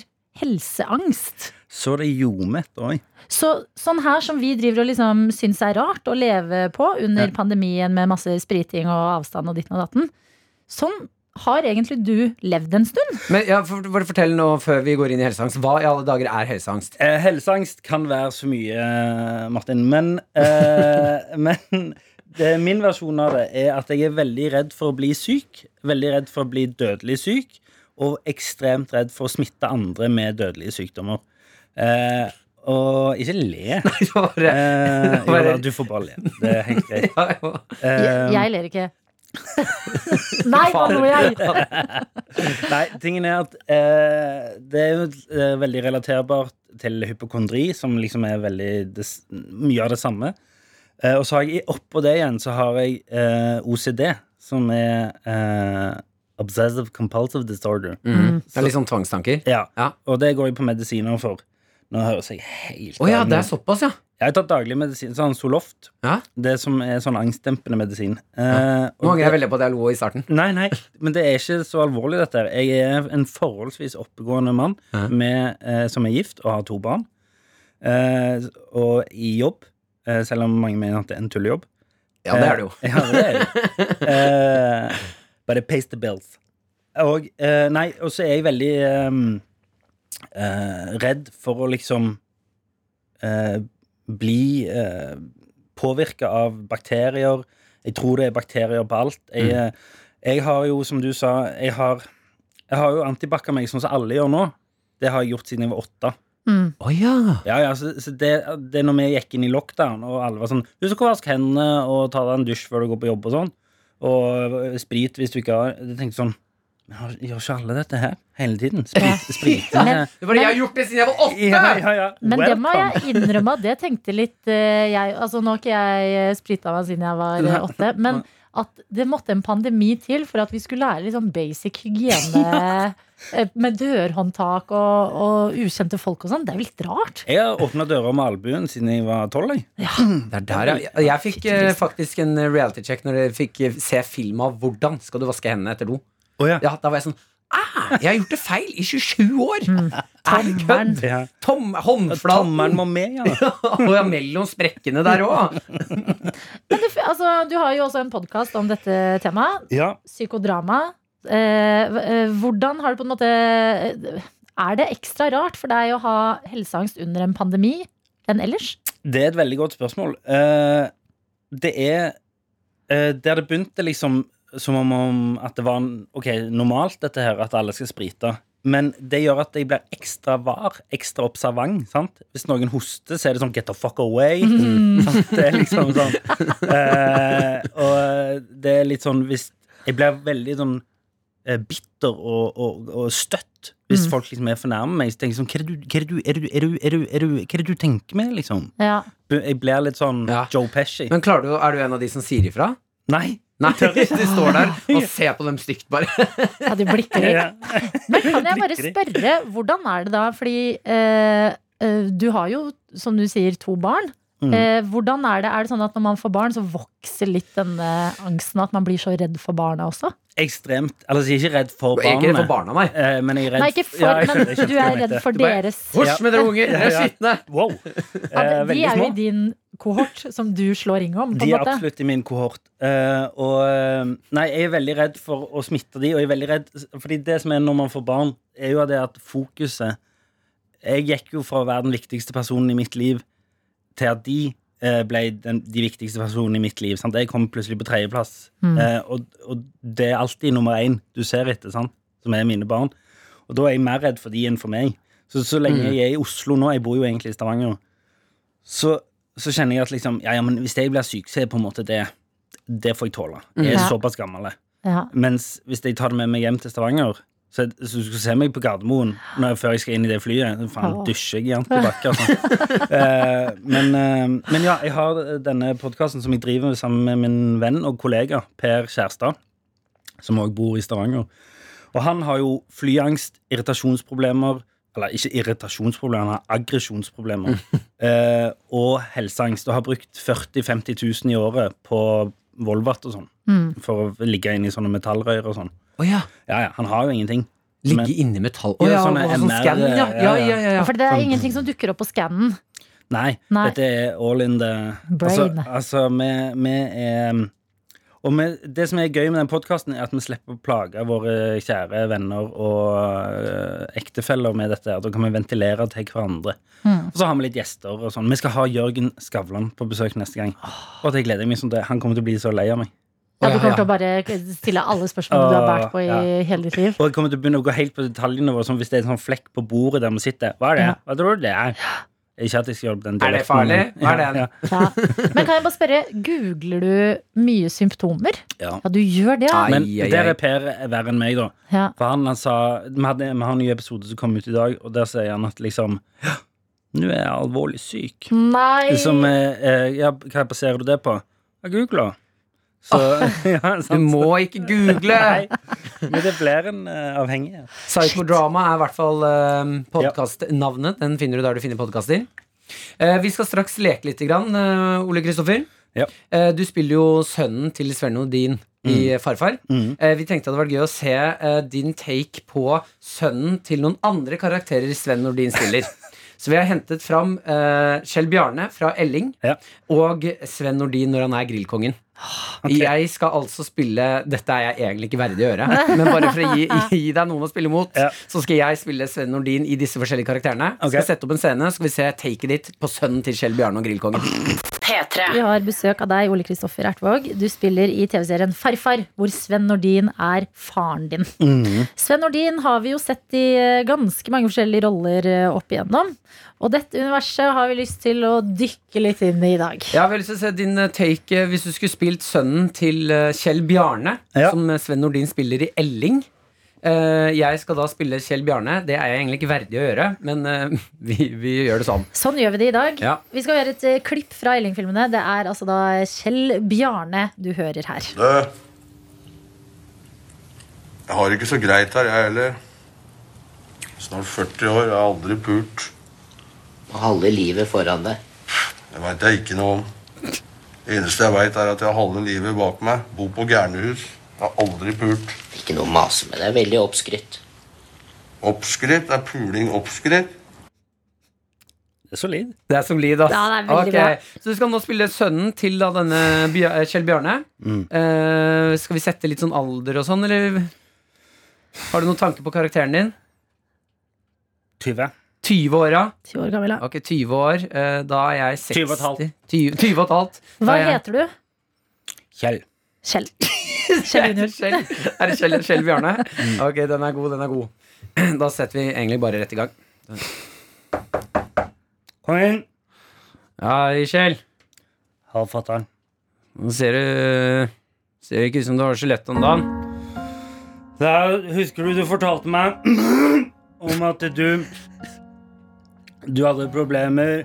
[SPEAKER 2] helseangst.
[SPEAKER 9] Så det ljomet òg.
[SPEAKER 2] Så, sånn her som vi driver og liksom syns er rart å leve på under
[SPEAKER 9] Ja.
[SPEAKER 2] pandemien med masse spriting og avstand og ditten og datten, sånn har egentlig du levd en stund.
[SPEAKER 3] Men ja, for, bare fortell nå før vi går inn i helseangst. Hva i alle dager er helseangst?
[SPEAKER 9] Eh, helseangst kan være så mye, eh, Martin, men, eh, men det, min versjon av det er at jeg er veldig redd for å bli syk. Veldig redd for å bli dødelig syk, og ekstremt redd for å smitte andre med dødelige sykdommer. Eh, og ikke le.
[SPEAKER 3] Det var bare-
[SPEAKER 9] Eh, jo,
[SPEAKER 3] Bare-
[SPEAKER 9] da, du får bare le. Det er helt greit.
[SPEAKER 3] Ja, ja.
[SPEAKER 2] Jeg,
[SPEAKER 9] Eh,
[SPEAKER 2] jeg ler ikke. Nei, hva
[SPEAKER 3] Fader.
[SPEAKER 2] lo jeg?
[SPEAKER 9] nei, tingen er at eh, det er jo eh, veldig relaterbart til hypokondri, som liksom er veldig det, s- mye av det samme. Eh, og så har jeg i- oppå det igjen så har jeg eh, OCD, som er eh, Obsessive Compulsive Disorder.
[SPEAKER 3] Mhm. Det er litt sånn tvangstanker.
[SPEAKER 9] Ja.
[SPEAKER 3] Ja.
[SPEAKER 9] Og det går jeg på medisiner for. Nå høres jeg helt
[SPEAKER 3] Å ja,
[SPEAKER 9] galen
[SPEAKER 3] det er
[SPEAKER 9] ut.
[SPEAKER 3] såpass, ja.
[SPEAKER 9] Jeg har tatt daglig medisin, sånn Zoloft.
[SPEAKER 3] Ja.
[SPEAKER 9] Det som er sånn angstdempende medisin. Eh,
[SPEAKER 3] Nå
[SPEAKER 9] og
[SPEAKER 3] angrer jeg
[SPEAKER 9] det-
[SPEAKER 3] veldig på at jeg lo i starten.
[SPEAKER 9] Nei, nei, men det er ikke så alvorlig, dette her. Jeg er en forholdsvis oppegående mann
[SPEAKER 3] Ja.
[SPEAKER 9] med, eh, som er gift og har to barn. Eh, og i jobb, eh, selv om mange mener at det er en tullejobb.
[SPEAKER 3] Ja, det er det jo.
[SPEAKER 9] Eh, Ja, det er det. Eh, but it pays the bills. Og eh, nei, og så er jeg veldig eh, eh, redd for å liksom eh, bli uh, påvirka av bakterier. Jeg tror det er bakterier på alt.
[SPEAKER 3] Mm.
[SPEAKER 9] Jeg, eh, jeg har jo, som du sa, jeg har, jeg har jo antibac meg sånn som alle gjør nå. Det har jeg gjort siden jeg var åtte.
[SPEAKER 2] Mm.
[SPEAKER 3] Å ja.
[SPEAKER 9] Ja, ja, så, så det, det er når vi gikk inn i lockdown, og alle var sånn Husk å vaske hendene og ta deg en dusj før du går på jobb og sånn. Og øh, sprit hvis du ikke har Jeg tenkte sånn men har- Gjør ikke alle dette her hele tiden? Sprit, spriten
[SPEAKER 2] Men-
[SPEAKER 9] er-
[SPEAKER 3] Det var det jeg har gjort det siden jeg var
[SPEAKER 9] ja,
[SPEAKER 3] åtte!
[SPEAKER 9] ja, ja.
[SPEAKER 2] Men det må
[SPEAKER 9] Welcome.
[SPEAKER 2] jeg innrømme at det tenkte litt eh, jeg Altså nå har ikke jeg eh, sprita meg siden jeg var eh, åtte, men at det måtte en pandemi til for at vi skulle lære litt sånn basic hygiene eh, med dørhåndtak og, og ukjente folk og sånn. Det er jo litt rart.
[SPEAKER 9] Jeg har åpna dører med albuen siden jeg var tolv. jeg.
[SPEAKER 3] Det er der, ja. Jeg fikk eh, faktisk en reality check når jeg fikk eh, se film av hvordan skal du vaske hendene etter do. Ja, da var jeg sånn Ah, jeg har gjort det feil i 27 år! Er det kødd?
[SPEAKER 9] Ja.
[SPEAKER 3] Tom,
[SPEAKER 9] Mm. Tommelen
[SPEAKER 3] håndflaten!
[SPEAKER 9] må med, ja.
[SPEAKER 3] Og ja, mellom sprekkene der òg.
[SPEAKER 2] Men det, altså, du har jo også en podkast om dette temaet.
[SPEAKER 9] ja.
[SPEAKER 2] Psykodrama. Eh, hv- eh, hvordan har du på en måte eh, Er det ekstra rart for deg å ha helseangst under en pandemi enn ellers?
[SPEAKER 9] Det er et veldig godt spørsmål. Eh, det er eh, Der det begynte liksom som om, om at det var en- Ok, normalt dette her, at alle skal sprite. Men det gjør at jeg blir ekstra var, ekstra observant. sant? Hvis noen hoster, så er det sånn 'get the fuck away'. Sant? Det er liksom sånn. Eh, og det er litt sånn hvis Jeg blir veldig sånn eh, bitter og, og, og støtt hvis
[SPEAKER 2] Mm.
[SPEAKER 9] folk liksom er fornærmer meg. Så tenker jeg sånn, hva er det du, hva er det du, er det du, er det du, er det du, er det du, hva er det du tenker med, liksom?
[SPEAKER 2] Ja.
[SPEAKER 9] Bu- Jeg blir litt sånn
[SPEAKER 3] Ja.
[SPEAKER 9] Joe Pesci.
[SPEAKER 3] Men klarer du, er du en av de som sier ifra?
[SPEAKER 9] Nei!
[SPEAKER 3] Nei, du står der og ser på dem stygt, bare.
[SPEAKER 2] ja du blikker i.
[SPEAKER 9] Ja.
[SPEAKER 2] Men kan jeg bare
[SPEAKER 9] Drikker i.
[SPEAKER 2] spørre, hvordan er det da? Fordi eh, eh, du har jo, som du sier, to barn.
[SPEAKER 9] Mm.
[SPEAKER 2] Eh, hvordan Er det Er det sånn at når man får barn, så vokser litt denne angsten? At man blir så redd for barna også?
[SPEAKER 9] Ekstremt. Eller så jeg er ikke redd for
[SPEAKER 3] Jeg er ikke
[SPEAKER 9] barna.
[SPEAKER 3] redd for barna, nei.
[SPEAKER 9] Eh, men jeg er redd
[SPEAKER 2] Nei, ikke for,
[SPEAKER 9] Ja, jeg skjønner- jeg
[SPEAKER 2] men
[SPEAKER 9] skjønte
[SPEAKER 2] du
[SPEAKER 9] hva
[SPEAKER 2] er
[SPEAKER 9] jeg
[SPEAKER 2] rett
[SPEAKER 9] mente.
[SPEAKER 2] for
[SPEAKER 3] Du bare-
[SPEAKER 2] deres
[SPEAKER 3] Hysj med dere unger! Dere er
[SPEAKER 9] Ja, ja.
[SPEAKER 3] skitne!
[SPEAKER 9] Wow!
[SPEAKER 2] ja,
[SPEAKER 9] Eh,
[SPEAKER 2] De
[SPEAKER 9] veldig
[SPEAKER 2] er jo
[SPEAKER 9] små.
[SPEAKER 2] i din kohort, som du slår ring om, på en
[SPEAKER 9] De er
[SPEAKER 2] måte.
[SPEAKER 9] absolutt i min kohort. Eh, og eh, Nei, jeg er veldig redd for å smitte de, og jeg er veldig redd Fordi det som er når man får barn, er jo det at fokuset Jeg gikk jo fra å være den viktigste personen i mitt liv til at de eh, ble den, de viktigste personene i mitt liv. Sant? Jeg kom plutselig på tredjeplass.
[SPEAKER 2] Mm.
[SPEAKER 9] Eh, og, og det er alltid nummer én du ser etter, sant? som er mine barn. Og da er jeg mer redd for de enn for meg. Så, så lenge jeg er i Oslo nå, jeg bor jo egentlig i Stavanger, så, så kjenner jeg at liksom, ja, ja, men hvis jeg blir syk, så er på en måte det Det får jeg tåle. Jeg er
[SPEAKER 2] Ja.
[SPEAKER 9] såpass gammel. jeg.
[SPEAKER 2] Ja.
[SPEAKER 9] Mens hvis jeg tar det med meg hjem til Stavanger så så du skal se meg på Gardermoen når, før jeg skal inn i det flyet. Faen,
[SPEAKER 2] Åh.
[SPEAKER 9] dusjer jeg i antibac? Altså. Eh, men, eh, men ja, jeg har denne podkasten som jeg driver sammen med min venn og kollega Per Kjærstad, som òg bor i Stavanger. Og han har jo flyangst, irritasjonsproblemer Eller ikke irritasjonsproblemer, han har aggresjonsproblemer. eh, og helseangst. Og har brukt 40 000-50 000 i året på Volvat og sånn
[SPEAKER 2] Mm.
[SPEAKER 9] for å ligge inne i sånne metallrøyer og sånn.
[SPEAKER 3] Å ja.
[SPEAKER 9] Ja, ja, han har jo ingenting.
[SPEAKER 3] Ligge
[SPEAKER 9] Men-
[SPEAKER 3] inni metall Å
[SPEAKER 9] Ja,
[SPEAKER 3] ja,
[SPEAKER 9] sånne
[SPEAKER 3] og sånn
[SPEAKER 9] MR,
[SPEAKER 3] skann, ja. Ja, ja, ja, ja.
[SPEAKER 2] For det
[SPEAKER 9] Sånn-
[SPEAKER 2] er ingenting som dukker opp på skannen.
[SPEAKER 9] Nei,
[SPEAKER 2] Nei.
[SPEAKER 9] dette er all in the
[SPEAKER 2] Brain.
[SPEAKER 9] Altså, altså vi, vi er um, Og vi, det som er gøy med den podkasten, er at vi slipper å plage våre kjære venner og øh, ektefeller med dette. her. Da kan vi ventilere til hverandre.
[SPEAKER 2] Mm.
[SPEAKER 9] Og så har vi litt gjester og sånn. Vi skal ha Jørgen Skavlan på besøk neste gang. Og det gleder jeg meg sånn til. Han kommer til å bli så lei av meg.
[SPEAKER 2] Ja,
[SPEAKER 3] Å,
[SPEAKER 2] du
[SPEAKER 3] ja,
[SPEAKER 2] kommer til
[SPEAKER 3] ja.
[SPEAKER 2] å bare stille alle spørsmålene du har båret på i
[SPEAKER 9] Åh,
[SPEAKER 2] hele ditt liv.
[SPEAKER 9] Og jeg kommer til å begynne å gå helt på detaljene våre, som hvis det er en sånn flekk på bordet der vi sitter. Hva er det?
[SPEAKER 2] Ja.
[SPEAKER 9] Hva tror du det er? Ikke at jeg skal hjelpe den
[SPEAKER 3] Er det
[SPEAKER 9] dialekten,
[SPEAKER 3] farlig?
[SPEAKER 9] men-
[SPEAKER 3] Hva er det?
[SPEAKER 9] Ja,
[SPEAKER 2] Ja. Men kan jeg bare spørre, googler du mye symptomer?
[SPEAKER 9] ja.
[SPEAKER 2] Ja, du gjør det, ja.
[SPEAKER 3] Nei.
[SPEAKER 9] Men
[SPEAKER 3] Ai, ai,
[SPEAKER 9] der
[SPEAKER 3] ai.
[SPEAKER 9] er Per verre enn meg, da.
[SPEAKER 2] ja.
[SPEAKER 9] For han, han sa Vi, hadde, vi har en ny episode som kom ut i dag, og der sier han at liksom Nå er jeg alvorlig syk.
[SPEAKER 2] Nei!
[SPEAKER 9] Liksom, eh, eh, ja, hva baserer du det på? Jeg googla. Så ja,
[SPEAKER 3] Du
[SPEAKER 9] sant?
[SPEAKER 3] må ikke google!
[SPEAKER 9] Nei, men det blir en eh, avhengighet.
[SPEAKER 3] Psychodrama er i hvert fall eh, podkastnavnet. Den finner du der du finner podkaster. Eh, vi skal straks leke litt, grann, eh, Ole Kristoffer.
[SPEAKER 9] Ja.
[SPEAKER 3] Eh, du spiller jo sønnen til Sven Odin i
[SPEAKER 9] Mm.
[SPEAKER 3] Farfar. Eh, vi tenkte det hadde vært gøy å se eh, din take på sønnen til noen andre karakterer Sven Nordin spiller. Så vi har hentet fram eh, Kjell Bjarne fra Elling
[SPEAKER 9] Ja.
[SPEAKER 3] og Sven Nordin når han er grillkongen. Jeg skal altså spille Dette er jeg egentlig ikke verdig å gjøre, men bare for å gi, gi deg noen å spille mot,
[SPEAKER 9] Ja.
[SPEAKER 3] så skal jeg spille Sven Nordin i disse forskjellige karakterene.
[SPEAKER 9] Ok.
[SPEAKER 3] Skal sette opp en scene, skal vi se taket ditt på sønnen til Kjell Bjarne og
[SPEAKER 9] Ah.
[SPEAKER 3] grillkongen.
[SPEAKER 6] P3.
[SPEAKER 2] Vi har besøk av deg, Ole Kristoffer Ertvåg. Du spiller i TV-serien Farfar, hvor Sven Nordin er faren din. Sven Nordin har vi jo sett i eh, ganske mange forskjellige roller eh, opp igjennom. Og dette universet har vi lyst til å dykke litt inn i i dag.
[SPEAKER 3] Jeg har vel lyst til å se din eh, take eh, hvis du skulle spilt sønnen til eh, Kjell Bjarne,
[SPEAKER 9] Ja.
[SPEAKER 3] som eh, Sven Nordin spiller i Elling. Eh, Jeg skal da spille Kjell Bjarne. Det er jeg egentlig ikke verdig å gjøre, men eh, vi, vi gjør det sånn.
[SPEAKER 2] Sånn gjør vi det i dag.
[SPEAKER 3] Ja.
[SPEAKER 2] Vi skal gjøre et eh, klipp fra Elling-filmene. Det er altså da Kjell Bjarne du hører her.
[SPEAKER 10] Jeg har det ikke så greit her, jeg heller. Snart 40 år, jeg har aldri pult.
[SPEAKER 1] Halve livet foran deg.
[SPEAKER 10] Det veit jeg ikke noe om. Det eneste jeg veit, er at jeg har halve livet bak meg. Bor på gærnehus. Jeg har aldri pult.
[SPEAKER 1] Ikke noe mase med deg. Veldig oppskrytt.
[SPEAKER 10] Oppskritt er puling oppskritt.
[SPEAKER 9] Det er solid.
[SPEAKER 3] Det er solid, ass.
[SPEAKER 2] Ja, det er veldig
[SPEAKER 3] Ok, Så du skal nå spille sønnen til da denne Bja- eh, Kjell Bjarne. Eh, skal vi sette litt sånn alder og sånn, eller har du noen tanke på karakteren din?
[SPEAKER 9] 20.
[SPEAKER 3] 20 år, ja.
[SPEAKER 2] 20 år gammel. ja.
[SPEAKER 3] Ok, 20 år. eh, da er jeg 60.
[SPEAKER 9] 20 og et halvt.
[SPEAKER 3] 20, 20 og et halvt. Da
[SPEAKER 2] Hva
[SPEAKER 3] er jeg-
[SPEAKER 2] heter du?
[SPEAKER 9] Kjell.
[SPEAKER 2] Kjell. Kjell junior.
[SPEAKER 3] Kjell, er det Kjell, Kjell Bjarne? Ok, den er god, den er god. Da setter vi egentlig bare rett i gang.
[SPEAKER 9] Kom inn.
[SPEAKER 3] Hei, Kjell.
[SPEAKER 9] Har fått den.
[SPEAKER 3] Nå ser du Ser ikke ut som du har skjelett om dagen.
[SPEAKER 9] Da husker du du fortalte meg om at du Du hadde problemer,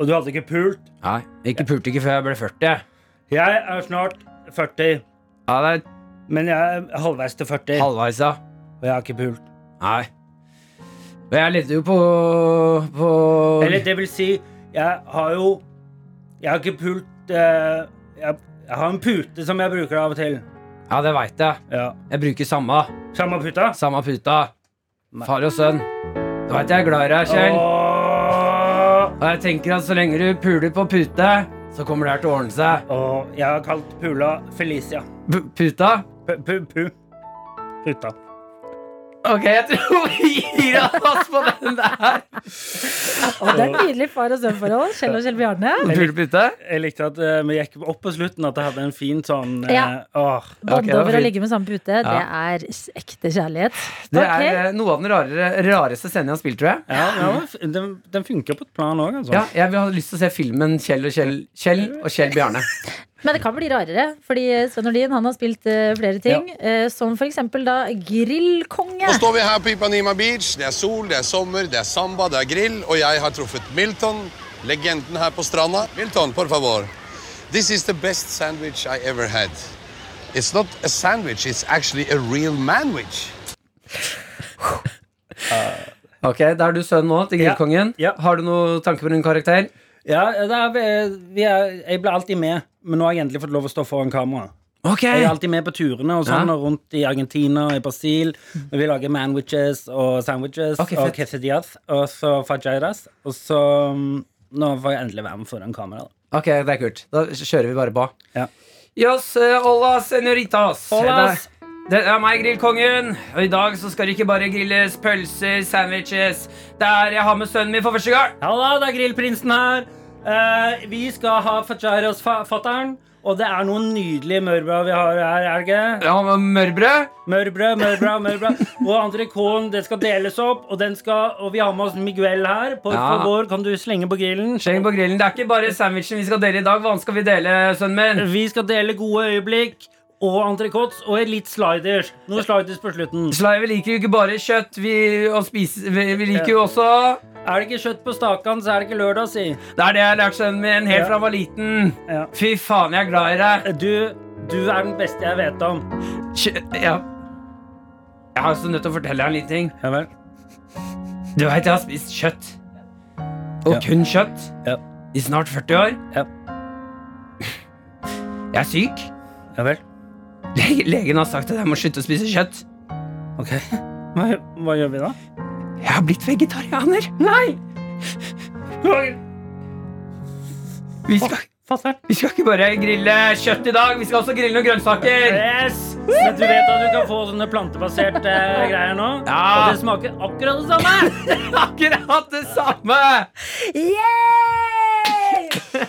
[SPEAKER 9] og du hadde ikke pult.
[SPEAKER 3] Nei, ikke pulte ikke før jeg ble 40.
[SPEAKER 9] Jeg er snart 40,
[SPEAKER 3] Ja, det
[SPEAKER 9] men jeg er halvveis til
[SPEAKER 3] er
[SPEAKER 9] 40,
[SPEAKER 3] halvveis, da.
[SPEAKER 9] og jeg har ikke pult.
[SPEAKER 3] Nei. Men jeg levde jo på, på
[SPEAKER 9] Eller det vil si, jeg har jo Jeg har ikke pult eh, jeg, jeg har en pute som jeg bruker av og til.
[SPEAKER 3] Ja, det veit jeg.
[SPEAKER 9] Ja.
[SPEAKER 3] Jeg bruker samme.
[SPEAKER 9] Samme puta?
[SPEAKER 3] Samme puta. Far og sønn. Du veit jeg er glad i deg, Kjell.
[SPEAKER 9] Åh,
[SPEAKER 3] Og jeg tenker at så lenge du puler på pute, så kommer det her til å ordne seg.
[SPEAKER 9] åh, jeg har kalt pula Felicia.
[SPEAKER 3] P puta?
[SPEAKER 9] Pu-pu-pu. Puta.
[SPEAKER 3] Ok, jeg tror vi gir oss på den der.
[SPEAKER 2] Å, det er nydelig far og sønn-forhold. Kjell og Kjell Bjarne.
[SPEAKER 3] Pule pute?
[SPEAKER 9] Jeg likte at eh, vi gikk opp på slutten at jeg hadde en fin sånn eh,
[SPEAKER 2] Ja.
[SPEAKER 9] åh.
[SPEAKER 2] Bonde
[SPEAKER 3] Ok, det var
[SPEAKER 2] over å
[SPEAKER 3] fint.
[SPEAKER 2] ligge med samme pute, det er s- ekte kjærlighet.
[SPEAKER 3] Det
[SPEAKER 2] Ok.
[SPEAKER 3] er eh, noe av den rarere, rareste scenen jeg har spilt, tror jeg.
[SPEAKER 9] Ja, ja, men f- den, den funker på et plan òg, altså.
[SPEAKER 3] Ja, jeg vil ha lyst til å se filmen Kjell og Kjell, Kjell og Kjell Bjarne.
[SPEAKER 2] Men det kan bli rarere, fordi Sven Nordin han har spilt eh, flere ting. eh, som for eksempel da Grillkonge.
[SPEAKER 10] står vi her på Ipanema Beach. Det er sol, det er sommer, det er samba, det er grill, og jeg har truffet Milton, legenden her på stranda. Milton, por favor. This is the best sandwich I ever had. It's not a sandwich, it's actually a real manwich.
[SPEAKER 3] Ok, Da er du sønn nå til Grillkongen.
[SPEAKER 9] Ja. Ja.
[SPEAKER 3] Har du noen tanker på din karakter?
[SPEAKER 9] Ja, det er, vi- vi er, jeg blir alltid med, men nå har jeg endelig fått lov å stå foran kamera.
[SPEAKER 3] Ok
[SPEAKER 9] Jeg er alltid med på turene og
[SPEAKER 3] Ja.
[SPEAKER 9] sånn,
[SPEAKER 3] Mm.
[SPEAKER 9] og rundt i Argentina og i Brasil. Og vi lager manwiches og sandwiches
[SPEAKER 3] Ok,
[SPEAKER 9] og
[SPEAKER 3] fett.
[SPEAKER 9] quesadillas og så fajitas. Og så mm, Nå får jeg endelig være med foran kamera. da.
[SPEAKER 3] Ok, det er kult. Da kjører vi bare på.
[SPEAKER 9] Ja.
[SPEAKER 3] Yes, eh, hola, senoritas.
[SPEAKER 9] Holas.
[SPEAKER 3] Det det er meg, Grillkongen. Og i dag så skal det ikke bare grilles pølser, sandwiches. Det er jeg har med sønnen min for første gang.
[SPEAKER 9] Halla, det er Grillprinsen her. Eh, vi skal ha fajitas, fa fatter'n. Og det er noen nydelige mørbrød vi har her, er det ikke?
[SPEAKER 3] Jeg har med mørbrød.
[SPEAKER 9] Mørbrød, mørbrød, mørbrød. Og entrecôten, det skal deles opp. Og, den skal, og vi har med oss Miguel her. Por
[SPEAKER 3] Ja.
[SPEAKER 9] favor, kan du slenge på grillen?
[SPEAKER 3] Sleng på grillen. Det er ikke bare sandwichen vi skal dele i dag. Hva annet skal vi dele, sønnen min?
[SPEAKER 9] Vi skal dele gode øyeblikk og entrecôtes og litt sliders. Noen sliders på slutten.
[SPEAKER 3] Slaive liker jo ikke bare kjøtt. Vi, og spise, vi, vi liker jo også
[SPEAKER 9] Er det ikke kjøtt på stakene, så er det ikke lørdag, si.
[SPEAKER 3] Det er det jeg har lært sønnen min helt
[SPEAKER 9] Ja.
[SPEAKER 3] fra han var liten.
[SPEAKER 9] Ja.
[SPEAKER 3] Fy faen, jeg er glad i deg.
[SPEAKER 9] Du, du er den beste jeg vet om.
[SPEAKER 3] Kjø- Ja. Jeg har også nødt til å fortelle deg en liten ting.
[SPEAKER 9] Ja vel.
[SPEAKER 3] Du veit jeg har spist kjøtt. Og
[SPEAKER 9] Ja.
[SPEAKER 3] kun kjøtt.
[SPEAKER 9] Ja.
[SPEAKER 3] I snart 40 år.
[SPEAKER 9] Ja.
[SPEAKER 3] Jeg er syk.
[SPEAKER 9] Ja vel.
[SPEAKER 3] Le- Legen har sagt at jeg må slutte å spise kjøtt.
[SPEAKER 9] Ok. Hva, hva gjør vi da?
[SPEAKER 3] Jeg har blitt vegetarianer. Nei! Vi skal,
[SPEAKER 9] Fatter'n.
[SPEAKER 3] vi skal ikke bare grille kjøtt i dag, vi skal også grille noen grønnsaker.
[SPEAKER 9] Yes! Men du vet at du kan få sånne plantebaserte eh, greier nå?
[SPEAKER 3] Ja.
[SPEAKER 9] Og det smaker akkurat det samme!
[SPEAKER 3] Akkurat det samme!
[SPEAKER 2] Yeah!